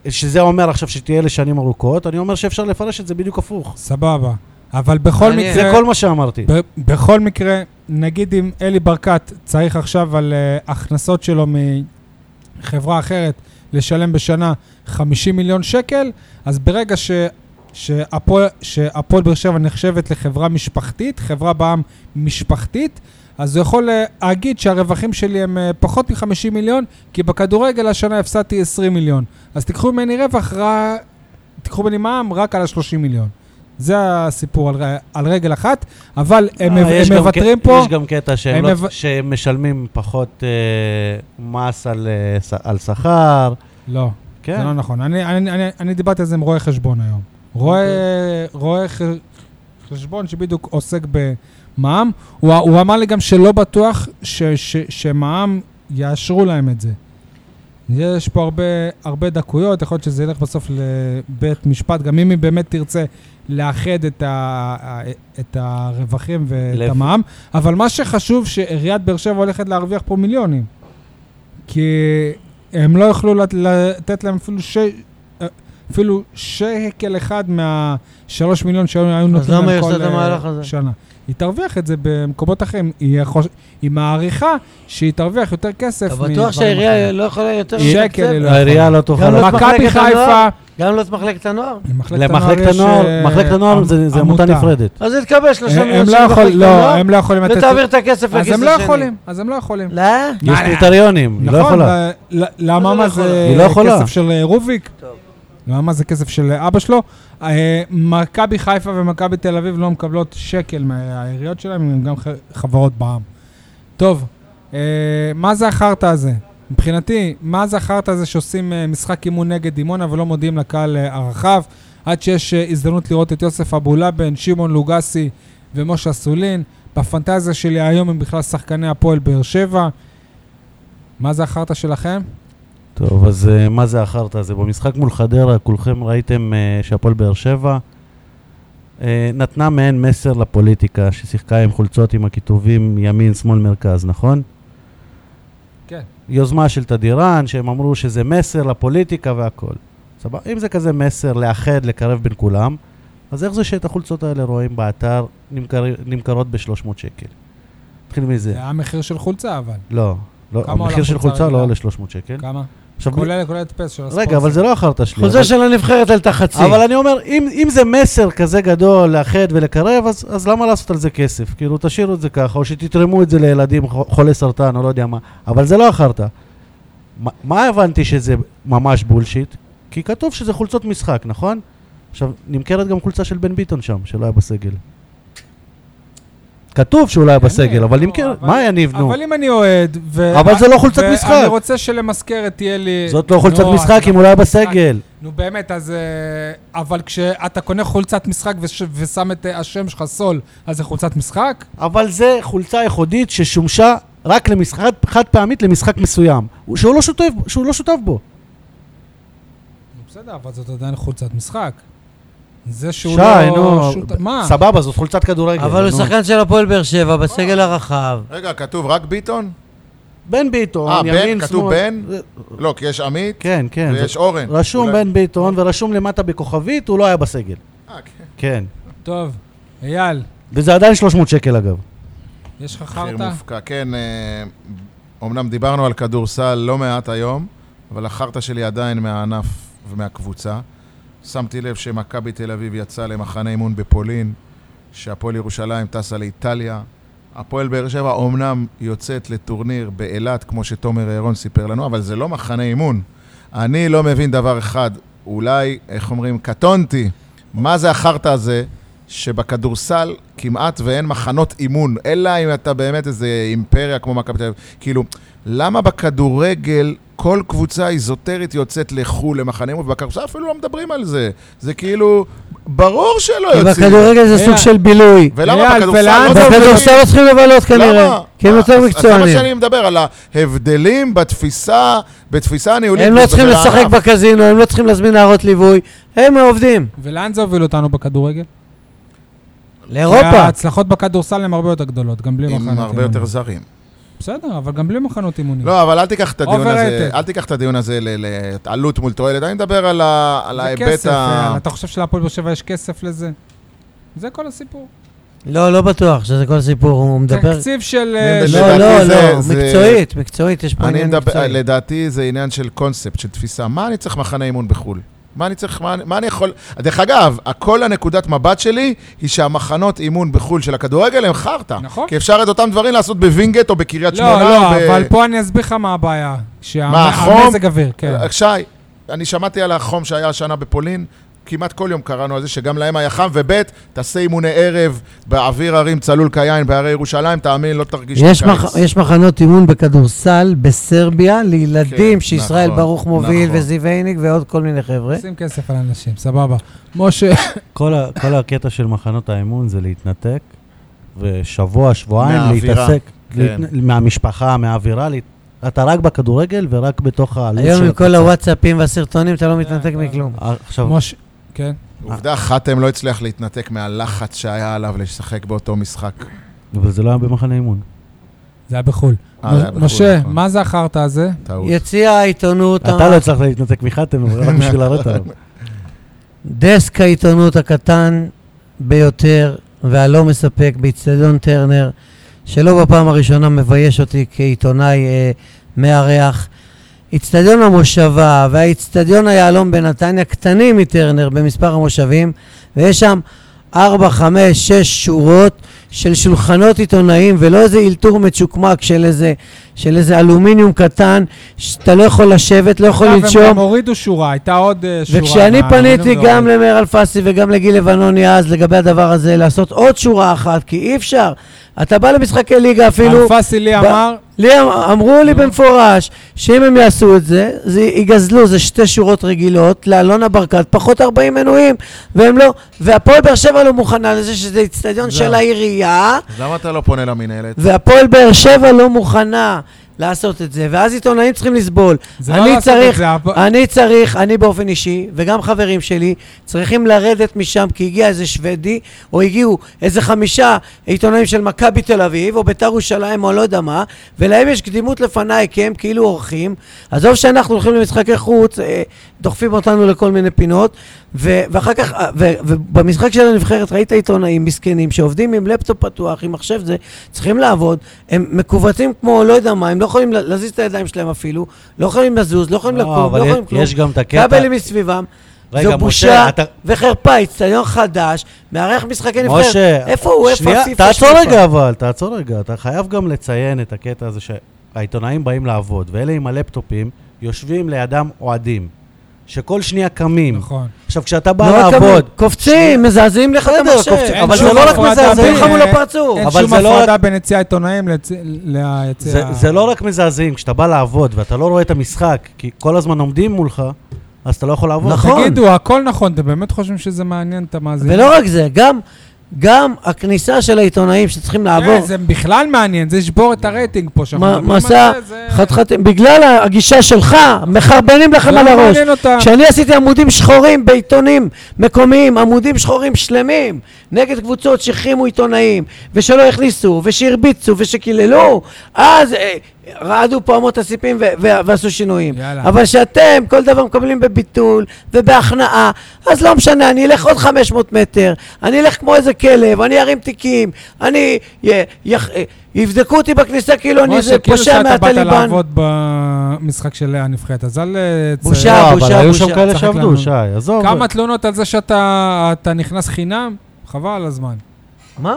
שזה אומר עכשיו שתהיה לשנים ארוכות, אני אומר שאפשר לפרש את זה בדיוק הפוך.
סבבה. אבל בכל
מעניין.
מקרה...
זה כל מה שאמרתי.
ב- בכל מקרה, נגיד אם אלי ברקת צריך עכשיו על uh, הכנסות שלו מחברה אחרת לשלם בשנה 50 מיליון שקל, אז ברגע ש... שהפועל שהפועל באר שבע נחשבת לחברה משפחתית, חברה בעם משפחתית, אז הוא יכול אה, להגיד שהרווחים שלי הם אה, פחות מ-50 מיליון, כי בכדורגל השנה הפסדתי 20 מיליון. אז תיקחו ממני רווח, ר... תיקחו ממני מע"מ רק על ה-30 מיליון. זה הסיפור על, ר- על רגל אחת, אבל הם,
אה,
מב-
יש
הם
גם
מוותרים
ק-
פה.
יש גם קטע שהם
הם
לא-
מב-
שהם משלמים פחות אה, מס על, אה, ש- על שכר.
לא, זה
כן.
לא נכון. אני, אני, אני, אני דיברתי על זה עם רואה חשבון היום. רואה,
אוקיי.
רואה ח... חשבון שבדיוק עוסק במע"מ, הוא, הוא אמר לי גם שלא בטוח ש, ש, שמע"מ יאשרו להם את זה. יש פה הרבה, הרבה דקויות, יכול להיות שזה ילך בסוף לבית משפט, גם אם היא באמת תרצה לאחד את, ה, את הרווחים ואת
לב.
המע"מ, אבל מה שחשוב שעיריית באר שבע הולכת להרוויח פה מיליונים. כי הם לא יוכלו לת- לתת להם אפילו, ש... אפילו שקל אחד מהשלוש מיליון שהיו נותנים
למה
להם
היא
כל
עושה את
אה,
המהלך הזה?
שנה. היא תרוויח את זה במקומות אחרים. היא, חוש... היא מעריכה שהיא תרוויח יותר כסף.
אתה
מדברים
בטוח שהעירייה
אחרים.
לא יכולה יותר...
שקל
לתקצב?
היא לא יכולה.
העירייה לא תוכל...
גם לא-
מכבי
מחלקת
חיפה,
הנוער? גם לא את מחלקת הנוער?
למחלקת
יש,
הנוער,
אה,
מחלקת הנוער זה זה עמותה נפרדת.
אז היא תקבל שלושה
הם
מיליון
לא
שקל
יכול-
מחלקת
לא,
הנוער,
הם לא יכולים לתת...
ותעביר את
אז
הכסף לכיס
הם לא
השני.
יכולים, אז הם לא יכולים.
לא?
יש קריטריונים, היא לא
נכון,
יכולה.
ל- ל- למה
לא
מה
יכולה?
זה
היא לא יכולה.
כסף של אה, רוביק? למה מה זה כסף של אה, אבא שלו? אה, מכבי חיפה ומכבי תל אביב לא מקבלות שקל מהעיריות שלהם, הן גם ח- חברות בעם. טוב, אה, מה זה החרטא הזה? מבחינתי, מה זה החרטא הזה שעושים אה, משחק אימון נגד דימונה ולא מודיעים לקהל אה, הרחב, עד שיש אה, הזדמנות לראות את יוסף אבולאבן, שמעון לוגסי ומשה אסולין. בפנטזיה שלי היום הם בכלל שחקני הפועל באר שבע. מה זה החרטא שלכם?
טוב, אז אה, מה זה החרטא הזה? במשחק מול חדרה, כולכם ראיתם אה, שהפועל באר שבע אה, נתנה מעין מסר לפוליטיקה, ששיחקה עם חולצות עם הכיתובים ימין, שמאל, מרכז, נכון?
כן.
יוזמה של תדירן, שהם אמרו שזה מסר לפוליטיקה והכול. סבבה? אם זה כזה מסר לאחד, לקרב בין כולם, אז איך זה שאת החולצות האלה רואים באתר נמכר, נמכרות ב-300 שקל? נתחיל מזה.
זה היה מחיר של חולצה, אבל.
לא, לא
כמה עולה
המחיר של
חולצה
חולצה לא
רגילה?
עולה 300 שקל.
כמה?
עכשיו,
כולל כולל הדפס של הספורט.
רגע, אבל זה לא החרטא שלי.
חולצה
אבל-
של הנבחרת עלתה חצי.
אבל אני אומר, אם, אם זה מסר כזה גדול לאחד ולקרב, אז, אז למה לעשות על זה כסף? כאילו, תשאירו את זה ככה, או שתתרמו את זה לילדים חו- חולי סרטן, או לא יודע מה. אבל זה לא החרטא. מה, מה הבנתי שזה ממש בולשיט? כי כתוב שזה חולצות משחק, נכון? עכשיו, נמכרת גם חולצה של בן ביטון שם, שלא היה בסגל. כתוב שהוא לא היה
אין,
בסגל, אבל
לא,
נמכרת...
אבל-
מה יניב, נו?
אבל אם אני אוהד, ו...
אבל זה לא חולצת
ואני
משחק.
רוצה שלמזכרת תהיה לי...
זאת לא חולצת
נו,
משחק
אז
אם הוא לא היה
משחק.
בסגל.
נו באמת, אז... אה, אבל כשאתה קונה חולצת משחק וש- ושם את אה, השם שלך סול, אז זה חולצת משחק?
אבל זה חולצה ייחודית ששומשה רק למשחק, חד פעמית למשחק מסוים, הוא- שהוא לא שותף, שהוא לא שותף בו.
נו, בסדר, אבל זאת עדיין חולצת משחק. זה שהוא
שי,
לא...
נו,
שותף- מה?
סבבה, זאת חולצת כדורגל.
אבל הוא
נו.
שחקן של הפועל באר שבע, בסגל הרחב.
רגע, כתוב רק ביטון?
בן ביטון,
אה,
ימין,
בן?
שמאל.
כתוב בן?
זה-
לא, כי יש עמית
כן, כן.
ויש
זה-
אורן.
רשום
אולי-
בן ביטון ורשום למטה בכוכבית, הוא לא היה בסגל.
אה, כן.
כן.
טוב, אייל,
וזה עדיין 300 שקל אגב.
יש לך
מחיר
חרטא?
מופקע. כן, אה, אומנם דיברנו על כדורסל לא מעט היום, אבל החרטא שלי עדיין מהענף ומהקבוצה. שמתי לב שמכבי תל אביב יצאה למחנה אימון בפולין, שהפועל ירושלים טסה לאיטליה. הפועל באר שבע אומנם יוצאת לטורניר באילת, כמו שתומר ירון סיפר לנו, אבל זה לא מחנה אימון. אני לא מבין דבר אחד, אולי, איך אומרים, קטונתי. מה זה החרטא הזה? שבכדורסל כמעט ואין מחנות אימון, אלא אם אתה באמת איזה אימפריה כמו מכבי תל אביב. כאילו, למה בכדורגל כל קבוצה איזוטרית יוצאת לחו"ל למחנה אימון, ובכדורסל אפילו לא מדברים על זה. זה כאילו, ברור שלא
כי
יוצאים.
בכדורגל זה סוג
אייל.
של בילוי.
ולמה
אייל,
בכדורסל
ולאן
לא
זה
מדברים?
בכדורסל לא צריכים לבלות כנראה,
למה?
כי הם
אז-
יותר
אז זה מה
מקצוענים.
שאני מדבר, על ההבדלים בתפיסה, בתפיסה הניהולית.
הם לא
וזה
צריכים
ברענף.
לשחק בקזינו, הם לא צריכים להזמין נערות ליווי, הם עובדים.
ולאן זה הוביל אותנו בכדורגל? כי
לאירופה.
ההצלחות בכדורסל הן הרבה יותר גדולות, גם בלי כן מחנות
עם
אימונים.
הרבה יותר זרים.
בסדר, אבל גם בלי מחנות אימונים.
לא, אבל אל תיקח את הדיון הזה,
Overrated.
אל תיקח את הדיון הזה ל- לעלות מול תועלת, אני מדבר על ה- על
זה
ההיבט
כסף,
ה...
יאללה, אתה חושב שלהפועל באר שבע יש כסף לזה? זה כל הסיפור.
לא, לא בטוח שזה כל הסיפור, הוא מדבר...
תקציב של...
אני
אה,
מדבר-
של-
לא,
לדעתי
לא,
זה-
לא,
זה-
מקצועית, מקצועית, יש פה
אני
עניין
מדבר,
מקצועי.
לדעתי זה עניין של קונספט, של תפיסה. מה אני צריך מחנה אימון בחו"ל? מה אני צריך, מה, אני- מה אני יכול... דרך אגב, כל הנקודת מבט שלי היא שהמחנות אימון בחו"ל של הכדורגל הם חרטא.
נכון.
כי אפשר את אותם דברים לעשות בווינגייט או בקריית
לא,
שמונה.
לא,
ב-
אבל פה אני אסביר לך מה הבעיה.
מה, החום? אה,
שהמזג אוויר, כן.
שי, אני שמעתי על החום שהיה השנה בפולין. כמעט כל יום קראנו על זה שגם להם היה חם, וב' תעשה אימוני ערב באוויר הרים צלול כיין בהרי ירושלים, תאמין, לא תרגיש
יש,
את הקיץ.
מח... יש מחנות אימון בכדורסל בסרביה לילדים
כן,
כן, שישראל
נכון,
נכון, ברוך מוביל
נכון.
נכון. וזיו עיניק ועוד כל מיני חבר'ה.
שים כסף על אנשים, סבבה. משה,
כל ה- כל הקטע של מחנות האימון זה להתנתק, ושבוע, שבועיים
מהאווירה,
להתעסק,
כן.
להת- מהמשפחה, מהאווירה. להת- אתה רק בכדורגל ורק בתוך העלות
היום עם כל
הקבוצה.
הוואטסאפים והסרטונים אתה לא מתנתק
כן.
מכלום.
אה, עכשיו,
משה, כן.
עובדה חתם לא הצליח להתנתק מהלחץ שהיה עליו לשחק באותו משחק.
אבל זה לא היה במחנה אימון.
זה היה בחו"ל.
אה, זה היה בחו"ל,
משה,
נכון.
מה זה החרטא הזה?
טעות.
יציע העיתונות, ה-
אתה לא הצלחת להתנתק מחתם, אבל רק בשביל להראות עליו.
לא דסק העיתונות הקטן ביותר והלא מספק באיצטדיון טרנר, שלא בפעם הראשונה מבייש אותי כעיתונאי אה, מארח. איצטדיון המושבה והאיצטדיון היהלום בנתניה קטנים מטרנר במספר המושבים, ויש שם ארבע, חמש, שש שורות של שולחנות עיתונאים, ולא איזה אלתור מצ'וקמק של איזה, של איזה אלומיניום קטן, שאתה לא יכול לשבת, לא יכול
עכשיו, הם
לנשום.
גם הורידו שורה, הייתה עוד אה, שורה.
וכשאני
מה-
פניתי
לא
גם
ראיתי.
למאיר אלפסי וגם לגיל לבנוני אז לגבי הדבר הזה, לעשות עוד שורה אחת, כי אי אפשר. אתה בא למשחקי ליגה אפילו,
אלפסי לי
ב-
אמר,
לי אמ- אמרו
אה.
לי במפורש שאם הם יעשו את זה, זה יגזלו, זה שתי שורות רגילות, לאלונה ברקת פחות 40 מנויים, והם לא, והפועל באר שבע לא מוכנה לזה שזה איצטדיון של העירייה,
אז למה אתה לא פונה למינהלת?
והפועל באר שבע לא מוכנה לעשות את זה, ואז עיתונאים צריכים לסבול.
זה
אני
לא לעשות
צריך-
את זה, הפ-
אני צריך, אני באופן אישי, וגם חברים שלי, צריכים לרדת משם, כי הגיע איזה שוודי, או הגיעו איזה חמישה עיתונאים של מכבי תל אביב, או ביתר ירושלים, או לא יודע מה, ולהם יש קדימות לפניי, כי הם כאילו אורחים. עזוב שאנחנו הולכים למשחקי חוץ, אה, דוחפים אותנו לכל מיני פינות, ו- ואחר כך, אה, ו- ובמשחק של הנבחרת ראית עיתונאים מסכנים שעובדים עם לפטופ פתוח, עם מחשב זה, צריכים לעבוד, הם מכווצים כמו לא יודע מה, הם לא יכולים לה- להזיז את הידיים שלהם אפילו, לא יכולים לזוז, לא יכולים
לא,
לקום,
אבל
לא
יש-
יכולים כלום.
יש גם את הקטע-
כבלים מסביבם.
רגע,
זו
משה,
בושה
אתה-
וחרפה, אצטדיון חדש, מארח משחקי נבחרת.
משה,
איפה הוא? איפה
שנייה,
הפיפ"א?
תעצור
שפיפ"א?
רגע אבל, תעצור רגע. אתה חייב גם לציין את הקטע הזה שהעיתונאים באים לעבוד, ואלה עם הלפטופים יושבים לידם אוהדים, שכל שנייה קמים.
נכון.
עכשיו, כשאתה
לא
בא
רק
לעבוד,
כמוהם, קופצים, מזעזעים לך את
בסדר,
המחשב.
קופצים,
אין
אבל
שום
זה לא רק
הפרדה
מזעזע,
בין-
מזעזעים לך מול
אה,
הפרצוף.
אין
אבל
שום
זה לא
הפרדה בין יציא העיתונאים ליציא- ליציע...
זה, זה לא רק מזעזעים, כשאתה בא לעבוד ואתה לא רואה את המשחק, כי כל הזמן עומדים מולך, אז אתה לא יכול לעבוד.
נכון.
תגידו, הכל נכון, אתם באמת חושבים שזה מעניין את המאזינים?
ולא רק זה, גם, גם הכניסה של העיתונאים שצריכים
כן,
לעבור
זה בכלל מעניין, זה ישבור את הרייטינג פה. שאנחנו
מ-
מדברים על
מסע
זה, זה-
חתחתים, בגלל הגישה שלך, מחרבנים לכם
זה
על
לא
הראש.
מעניין אותם.
כשאני עשיתי עמודים שחורים בעיתונים מקומיים, עמודים שחורים שלמים, נגד קבוצות שהחרימו עיתונאים, ושלא הכניסו, ושהרביצו, ושקיללו, אז אה, רעדו פה אמות הסיפים ו- ו- ועשו שינויים.
יאללה.
אבל שאתם כל דבר מקבלים בביטול ובהכנעה, אז לא משנה, אני אלך עוד 500 מטר, אני אלך כמו איזה כלב, אני ארים תיקים, אני... י- יח- אה, יבדקו אותי בכניסה כאילו אני
משה,
איזה
כאילו
פושע
שאתה באת
מהטליבן.
לעבוד במשחק של הנבחרת, אז אל... אה, צ-
בושה,
לא, אבל
בושה,
היו
בושה,
שם כאלה
צחק
שעבדו,
לנו.
שי, עזוב.
כמה תלונות על זה שאתה אתה נכנס חינם? חבל על הזמן.
מה?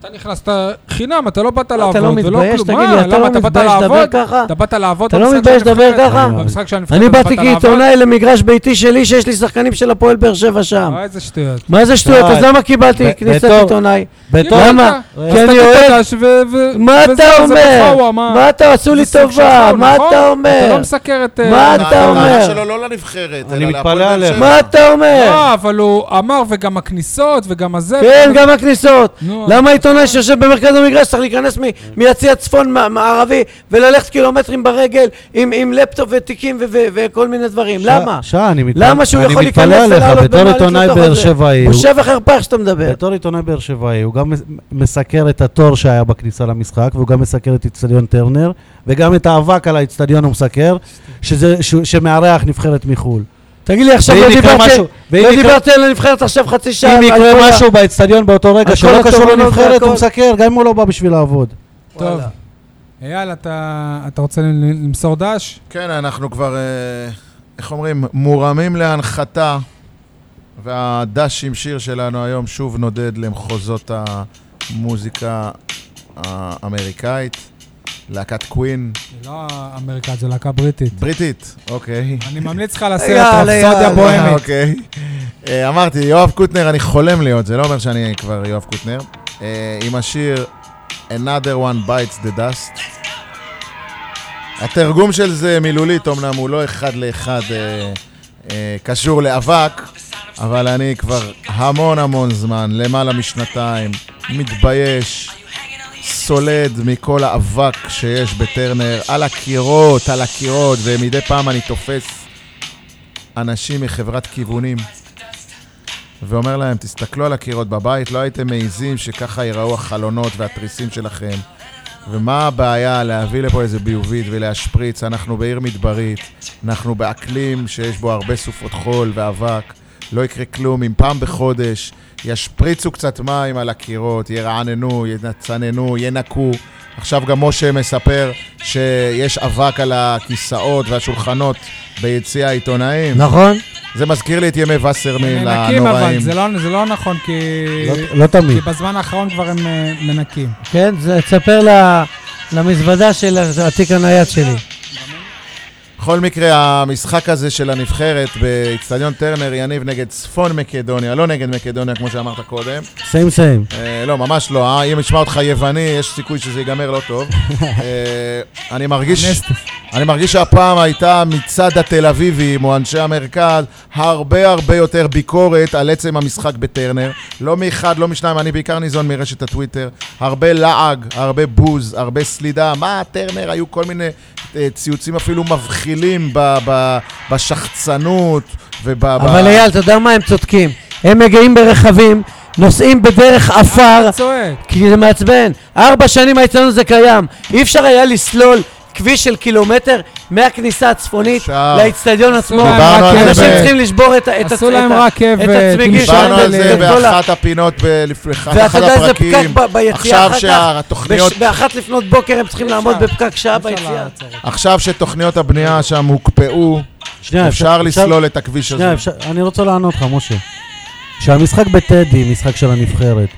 אתה נכנסת חינם, אתה לא באת לעבוד
אתה לא
ולא כלום.
מתבייש? תגיד
מה,
לי, אתה
למה?
לא
באת
מתבייש לדבר
לעבוד?
ככה?
אתה באת לעבוד
אתה לא
במשחק
מתבייש
של
לדבר
הנבחרת?
ככה?
במשחק של הנבחרת
אני
אתה
באתי
באת לעבוד?
כעיתונאי למגרש ביתי שלי שיש לי שחקנים של הפועל באר שבע שם.
אה, איזה שטויות.
מה זה שטויות?
שי,
אז למה קיבלתי
ב-
כניסת
בתור-
עיתונאי?
בתור...
הנה,
למה?
ראית?
כי
אז
אני
תגיד
אוהד.
חדש ו- ו-
מה
וזה,
אתה
זה
אומר?
בחאווה, מה?
מה אתה, עשו לי
זה סוג של
טובה,
חאווה,
מה
נכון?
אתה
אתה
אומר?
לא מסקר את... אה,
מה
הטענה-
אתה
הטענה
אומר?
שלו לא לנבחרת,
אני
אלא
מתפלא
להפועל באר
עליך.
שבע.
מה אתה אומר?
לא, אבל הוא אמר, וגם הכניסות, וגם הזה.
כן, גם הכניסות.
נו,
למה עיתונאי שיושב במרכז המגרש צריך להיכנס מ- מיציע צפון מע- מערבי וללכת קילומטרים ברגל עם עם לפטופ ותיקים ו- ו- וכל מיני דברים?
שי-
למה?
שי, אני מתפלא.
למה שהוא יכול להיכנס
אני מתפלא
ולעלות
עליך, בתור
במעלית
עיתונאי
לתוך
באר
הזה?
שבעי, הוא-
בושה וחרפה איך שאתה מדבר.
בתור עיתונאי באר שבעי, הוא גם מס- מסקר את התור שהיה בכניסה למשחק, והוא גם מסקר את איצטדיון טרנר, וגם את האבק על האיצטדיון הוא מסקר, שזה- ש- שמארח נבחרת מחו"ל.
תגיד לי עכשיו,
ואם
לא
יקרה
דיברתי-
משהו- ואם
לא
יקרה-
דיברתי על הנבחרת עכשיו חצי שעה.
אם
על כל
יקרה
ה-
משהו באיצטדיון באותו רגע
על
שלא
כל
קשור
התובנות
לנבחרת, הוא
והכל.
מסקר, גם אם הוא לא בא בשביל לעבוד.
טוב. אייל, אתה אתה רוצה למסור דש?
כן, אנחנו כבר, אה, איך אומרים, מורמים להנחתה, והדש עם שיר שלנו היום שוב נודד למחוזות המוזיקה האמריקאית, להקת קווין,
זה לא אמריקה, זה להקה בריטית.
בריטית, אוקיי.
אני ממליץ לך לסרט
יאללה,
רפסודיה
יאללה.
אה,
בוהמית.
אוקיי. אה, אמרתי, יואב קוטנר, אני חולם להיות, זה לא אומר שאני כבר יואב קוטנר. אה, עם השיר Another One Bites the Dust. התרגום של זה מילולית, אמנם הוא לא אחד לאחד אה, אה, קשור לאבק, אבל אני כבר המון המון זמן, למעלה משנתיים, מתבייש, סולד מכל האבק שיש בטרנר, על הקירות, על הקירות, ומדי פעם אני תופס אנשים מחברת כיוונים, ואומר להם, תסתכלו על הקירות בבית, לא הייתם מעיזים שככה ייראו החלונות והתריסים שלכם. ומה הבעיה להביא לפה איזה ביובית ולהשפריץ? אנחנו בעיר מדברית, אנחנו באקלים שיש בו הרבה סופות חול ואבק, לא יקרה כלום אם פעם בחודש ישפריצו קצת מים על הקירות, ירעננו, ינצננו, ינקו. עכשיו גם משה מספר שיש אבק על הכיסאות והשולחנות ביציע העיתונאים.
נכון.
זה מזכיר לי את ימי וסרמיל
מנקים
הנוראים.
אבל, זה לא- זה לא נכון, כי...
לא- לא תמיד.
כי בזמן האחרון כבר הם אה, מנקים.
כן, זה- תספר ל- למזוודה של התיק הנייד שלי.
בכל מקרה, המשחק הזה של הנבחרת באיצטדיון טרנר, יניב נגד צפון מקדוניה, לא נגד מקדוניה, כמו שאמרת קודם.
סיים סיים.
אה, לא, ממש לא, אה? אם ישמע אותך יווני, יש סיכוי שזה ייגמר לא טוב. אה, אני מרגיש... אני מרגיש שהפעם הייתה מצד התל אביבים או אנשי המרכז הרבה הרבה יותר ביקורת על עצם המשחק בטרנר. לא מאחד, לא משניים, אני בעיקר ניזון מרשת הטוויטר. הרבה לעג, הרבה בוז, הרבה סלידה. מה, טרנר, היו כל מיני אה, ציוצים אפילו מבחילים ב, ב, בשחצנות וב...
אבל
ב...
אייל, אתה יודע מה? הם צודקים. הם מגיעים ברכבים, נוסעים בדרך עפר,
צועק.
כי זה מעצבן. ארבע שנים אצלנו זה קיים. אי אפשר היה לסלול כביש של קילומטר מהכניסה הצפונית
אפשר.
לאיצטדיון עצמו.
להם
דיברנו על זה
אנשים
ב-
צריכים לשבור את ה... את
עשו
הצ-
להם
את ה-
רכבת,
את הצמיגים
דיברנו על זה
את כל ה-
באחת הפינות, באחד
ואתה
אחד
יודע איזה
הפרקים.
פקק ב- ביציאה
עכשיו
אחר כך?
שהתוכניות
בש- באחת לפנות בוקר הם צריכים לעמוד
אפשר.
בפקק שעה
אי אפשר
ביציאה.
לעצור.
עכשיו שתוכניות הבנייה שם הוקפאו,
שנייה,
אפשר לסלול את הכביש הזה.
שנייה, אפשר, אני רוצה לענות לך, משה. כשהמשחק בטדי, משחק של הנבחרת,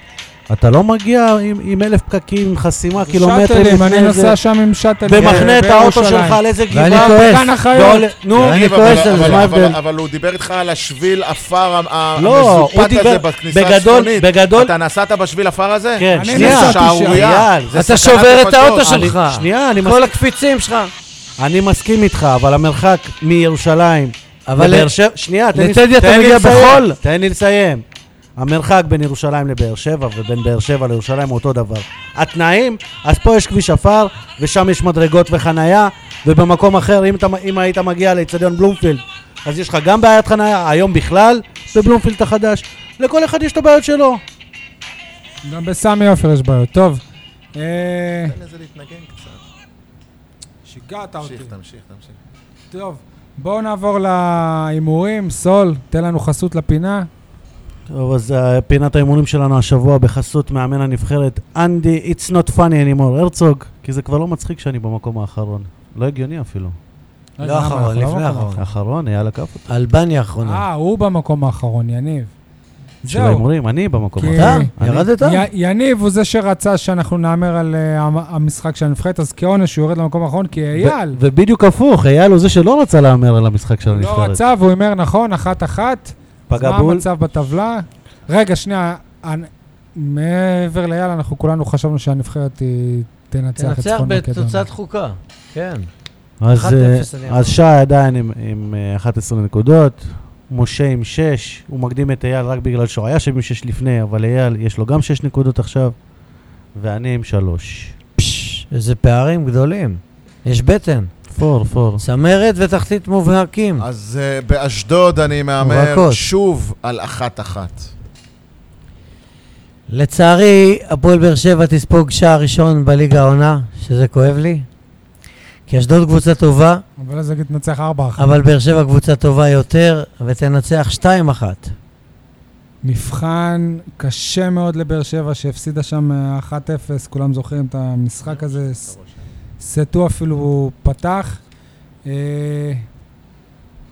אתה לא מגיע עם, עם אלף פקקים, עם חסימה, קילומטרים
שאטלים, אני
לפני זה,
נוסע שם עם שאטלים. אה,
ומחנה את האוטו
בירושלים.
שלך על איזה גבעה.
ואני כועס.
גן החיות.
ועולה- נו,
ואני
אני
תקשיב,
כועס
אבל-
על זה,
אבל-
מה
אבל-
ההבדל?
אבל הוא דיבר איתך על השביל עפר המ-
לא, הוא
המזופת הזה
דיבר,
בכניסה
בגדול,
הצפונית.
בגדול,
אתה נסעת בשביל עפר הזה?
כן,
אני
שנייה,
נסעתי
זה שערורייה.
אייל,
זה
אתה
סכנת
שובר את
נפשות.
האוטו
אני-
שלך.
שנייה, אני
כל
מסכים-
הקפיצים שלך.
אני מסכים איתך, אבל המרחק מירושלים
אבל
לבאר שבע, שנייה, תן לי-
לטדי אתה
תן לי
מגיע
לסיים,
בחול.
תן לי לסיים. המרחק בין ירושלים לבאר שבע ובין באר שבע לירושלים הוא אותו דבר. התנאים, אז פה יש כביש עפר, ושם יש מדרגות וחנייה, ובמקום אחר, אם, אתה, אם היית מגיע לאצטדיון בלומפילד, אז יש לך גם בעיית חנייה, היום בכלל, בבלומפילד החדש. לכל אחד יש את הבעיות שלו.
גם בסמי עופר יש בעיות. טוב. אה,
תן לזה להתנגן קצת.
שיגעת אותי.
תמשיך, תמשיך, תמשיך.
טוב, בואו נעבור להימורים. סול, תן לנו חסות לפינה.
טוב, אז אה, פינת האימונים שלנו השבוע בחסות מאמן הנבחרת אנדי, it's not funny anymore, הרצוג, כי זה כבר לא מצחיק שאני במקום האחרון. לא הגיוני אפילו.
לא
רגע, למה?
אחרון,
אנחנו לא
לפני
במקום
האחרון.
האחרון, אייל עקף אותי.
אלבניה האחרונה.
אה, הוא במקום האחרון, יניב.
של
זהו.
ההימורים, אני במקום
כי-
האחרון.
אתה?
אני-
אה, ירדת?
י- יניב הוא זה שרצה שאנחנו נאמר על אה, המ- המשחק של הנבחרת, אז כעונש הוא יורד למקום האחרון, כי אייל
ו- ובדיוק הפוך, אייל הוא זה שלא רצה להמר על המשחק של
לא
הנבחרת.
רצה, והוא הימר נכון, אחת-אחת.
פגע
מה
בול.
המצב בטבלה? רגע, שנייה. אני- מעבר לאייל, אנחנו כולנו חשבנו שהנבחרת היא תנצח את
תנצח
צפון מקדוניה.
בתוצאת חוקה. כן.
אז
1-0
אה,
אני
אז שי עדיין עם- עם אה, 11 נקודות, משה עם 6, הוא מקדים את אייל רק בגלל שהוא היה שם עם 6 לפני, אבל אייל יש לו גם 6 נקודות עכשיו, ואני עם 3.
פש, איזה פערים גדולים. יש בטן.
פור, פור.
צמרת ותחתית מובהקים.
אז אה, באשדוד אני מהמר
רכות.
שוב על אחת-אחת.
לצערי, הפועל באר שבע תספוג שער ראשון בליגה העונה, שזה כואב לי. כי אשדוד קבוצה טובה,
אבל אז נגיד תנצח ארבע אחת.
אבל באר שבע קבוצה טובה יותר, ותנצח 2-1.
מבחן קשה מאוד לבאר שבע, שהפסידה שם אה, 1-0, כולם זוכרים את המשחק הזה. ס- סטו אפילו פתח. אה,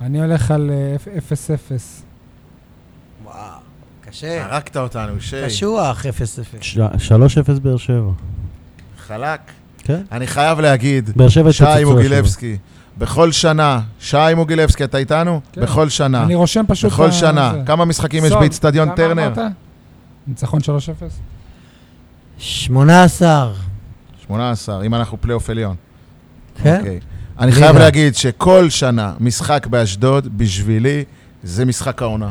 אני הולך על אה, אפ- 0-0.
וואו, קשה.
הרגת אותנו, שי.
קשוח, 0-0.
3-0 באר שבע.
חלק.
כן.
אני חייב להגיד,
באר שבע
שי
התפוצצו השבוע.
מוגילבסקי, בכל שנה, שי מוגילבסקי, אתה איתנו?
כן.
בכל שנה.
אני רושם פשוט...
בכל
ה-
שנה.
זה.
כמה משחקים יש
סול,
באיצטדיון
כמה
טרנר?
אמרת? ניצחון 3-0?
18,
18, אם אנחנו פלייאוף עליון.
כן?
אוקיי. אני
ליגה.
חייב להגיד שכל שנה משחק באשדוד, בשבילי, זה משחק העונה.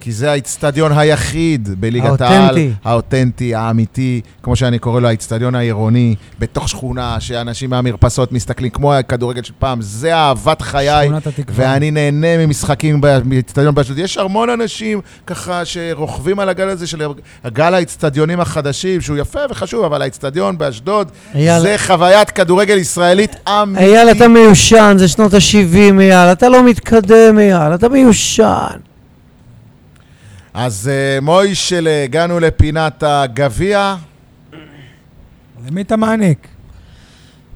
כי זה האיצטדיון היחיד בליגת העל.
האותנטי.
האותנטי, האמיתי, כמו שאני קורא לו, האיצטדיון העירוני, בתוך שכונה, שאנשים מהמרפסות מסתכלים, כמו הכדורגל של פעם, זה אהבת חיי.
שכונת התקווה.
ואני נהנה ממשחקים ב- באיצטדיון באשדוד. יש המון אנשים ככה שרוכבים על הגל הזה של הגל האיצטדיונים החדשים, שהוא יפה וחשוב, אבל האיצטדיון באשדוד
אייל-
זה חוויית כדורגל ישראלית אמיתית.
אייל, אתה מיושן, זה שנות ה-70, אייל. אתה לא מתקדם, אייל. אתה מיושן.
אז אה, מוישל, הגענו לפינת הגביע.
למי אתה מעניק?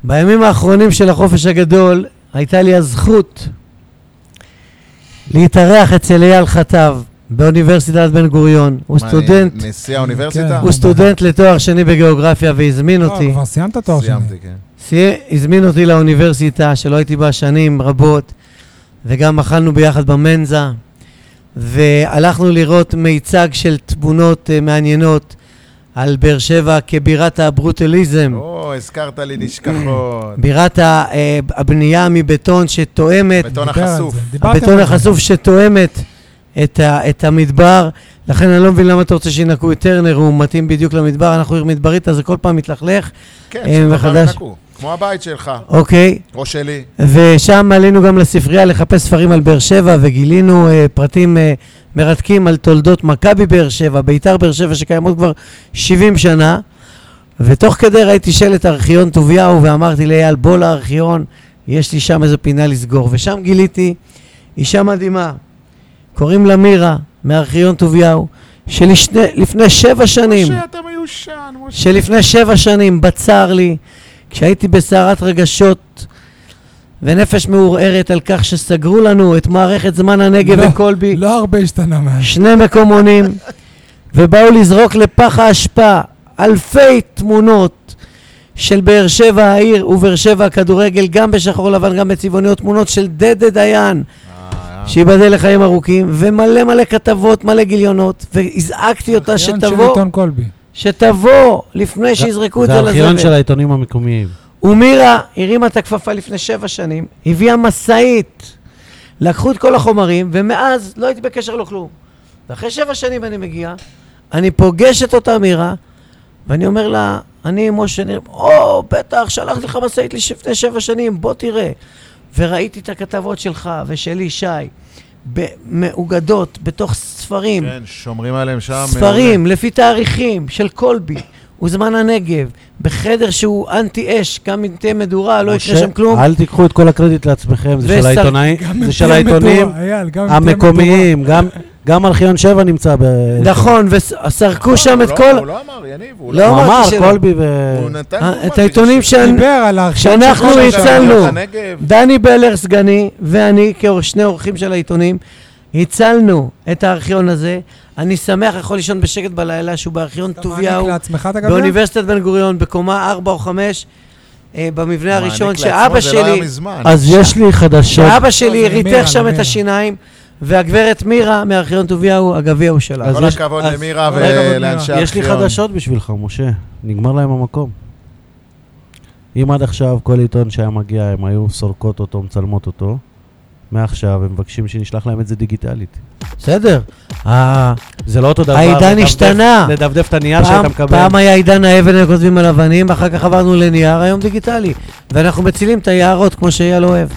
בימים האחרונים של החופש הגדול הייתה לי הזכות להתארח אצל אייל חטב באוניברסיטת בן גוריון. הוא
מה,
סטודנט,
נשיא האוניברסיטה?
כן.
הוא סטודנט לתואר שני בגיאוגרפיה והזמין
לא,
אותי.
כבר סיימת תואר שני.
סיימתי, כן.
סי- הזמין אותי לאוניברסיטה, שלא הייתי בה שנים רבות, וגם אכלנו ביחד במנזה, והלכנו לראות מיצג של תמונות אה, מעניינות על באר שבע כבירת הברוטליזם,
או, הזכרת לי נשכחות.
בירת ה- אה, הבנייה מבטון שתואמת,
בטון
דיבר על
החשוף.
זה. דיברתם
הבטון
על זה.
החשוף שתואמת את, ה, את המדבר, לכן אני לא מבין למה אתה רוצה שינקו את טרנר, הוא מתאים בדיוק למדבר, אנחנו עיר מדברית, אז זה כל פעם מתלכלך,
כן,
אה,
שכל
מחדש.
פעם נקעו. כמו הבית שלך,
אוקיי?
או שלי.
ושם עלינו גם לספרייה לחפש ספרים על באר שבע, וגילינו אה, פרטים אה, מרתקים על תולדות מכבי באר שבע, בית"ר באר שבע, שקיימות כבר 70 שנה. ותוך כדי ראיתי שלט ארכיון טוביהו, ואמרתי לאייל, בוא לארכיון, יש לי שם איזו פינה לסגור. ושם גיליתי אישה מדהימה, קוראים לה מירה, מארכיון טוביהו, שלפני שבע שנים...
משה, אתה מיושן, משה.
שלפני שבע שנים, בצר לי, כשהייתי בסערת רגשות ונפש מעורערת על כך שסגרו לנו את מערכת זמן הנגב
לא,
וקולבי,
לא הרבה השתנה מאז.
שני מקומונים, ובאו לזרוק לפח האשפה אלפי תמונות של באר שבע העיר ובאר שבע הכדורגל, גם בשחור לבן, גם בצבעוניות, תמונות של דדה דיין, שייבדל לחיים ארוכים, ומלא מלא כתבות, מלא גיליונות, והזעקתי אותה
ארכיון של
שתבוא.
עיתון קולבי.
שתבוא לפני שיזרקו את
זה
זה
הארכיון של
לזבל.
העיתונים המקומיים.
ומירה הרימה את הכפפה לפני שבע שנים, הביאה משאית, לקחו את כל החומרים, ומאז לא הייתי בקשר לא כלום. ואחרי שבע שנים אני מגיע, אני פוגש את אותה מירה, ואני אומר לה, אני משה ניר, או, בטח, שלחתי לך משאית לפני שבע שנים, בוא תראה. וראיתי את הכתבות שלך ושלי, שי, ב- מאוגדות בתוך ספרים.
כן, שומרים עליהם שם.
ספרים לפי תאריכים של קולבי וזמן הנגב, בחדר שהוא אנטי אש, גם אם תהיה מדורה, לא יקרה
משה,
שם כלום.
אל תיקחו את כל הקרדיט לעצמכם, זה של
ושר-
העיתונאים,
גם
זה
אם
של
תהיה
העיתונים
מדורה, אייל, גם אם תהיה
המקומיים, גם- גם ארכיון 7 נמצא ב...
נכון, וסרקו
לא,
שם
הוא
את
לא-
כל...
הוא לא אמר, יניב, הוא
לא
לא...
הוא
אמרתי
אמר,
שלא.
קולבי ו...
הוא נתן...
אה,
דוגמה
את העיתונים
בגלל
שאני-
דיבר על הארכיון של
שאנחנו
קולבי.
של-
הצלנו.
הנגב.
דני בלר סגני ואני, כשני אורחים של העיתונים, הצלנו את הארכיון הזה. אני שמח, יכול לישון בשקט בלילה, שהוא בארכיון
אתה מעניק
טוביהו,
לעצמך את הגביע?
באוניברסיטת בן גוריון, בקומה 4 או 5, במבנה
מעניק
הראשון,
לעצמו,
שאבא
זה לא היה
שלי...
מזמן.
אז יש לי חדשות.
שאבא
לא,
שלי
זה מירה,
ריתך
זה
שם את
מירה.
השיניים, והגברת מירה מארכיון טוביהו, הגביע הוא שלה.
אז
כל
יש-
הכבוד
אז-
למירה
כל הכבוד
ולאנשי הארכיון.
יש לי חדשות בשבילך, משה. נגמר להם המקום. אם עד עכשיו כל עיתון שהיה מגיע, הם היו סורקות אותו, מצלמות אותו, מעכשיו הם מבקשים שנשלח להם את זה דיגיטלית.
בסדר. ה-
זה לא אותו דבר.
העידן
לדפדף-
השתנה.
לדפדף את הנייר
פעם-
שאתה מקבל.
פעם היה עידן האבן, היו כותבים על אבנים, אחר כך עברנו לנייר, היום דיגיטלי. ואנחנו מצילים את היערות כמו שאייל אוהב.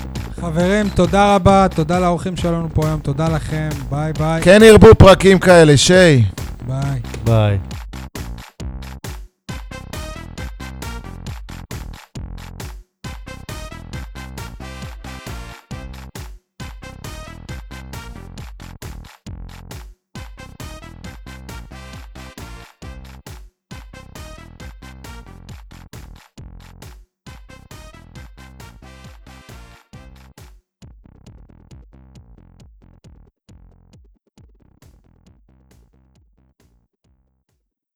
חברים, תודה רבה, תודה לאורחים שלנו פה היום, תודה לכם, ביי ביי.
כן ירבו פרקים כאלה, שי.
ביי.
ביי.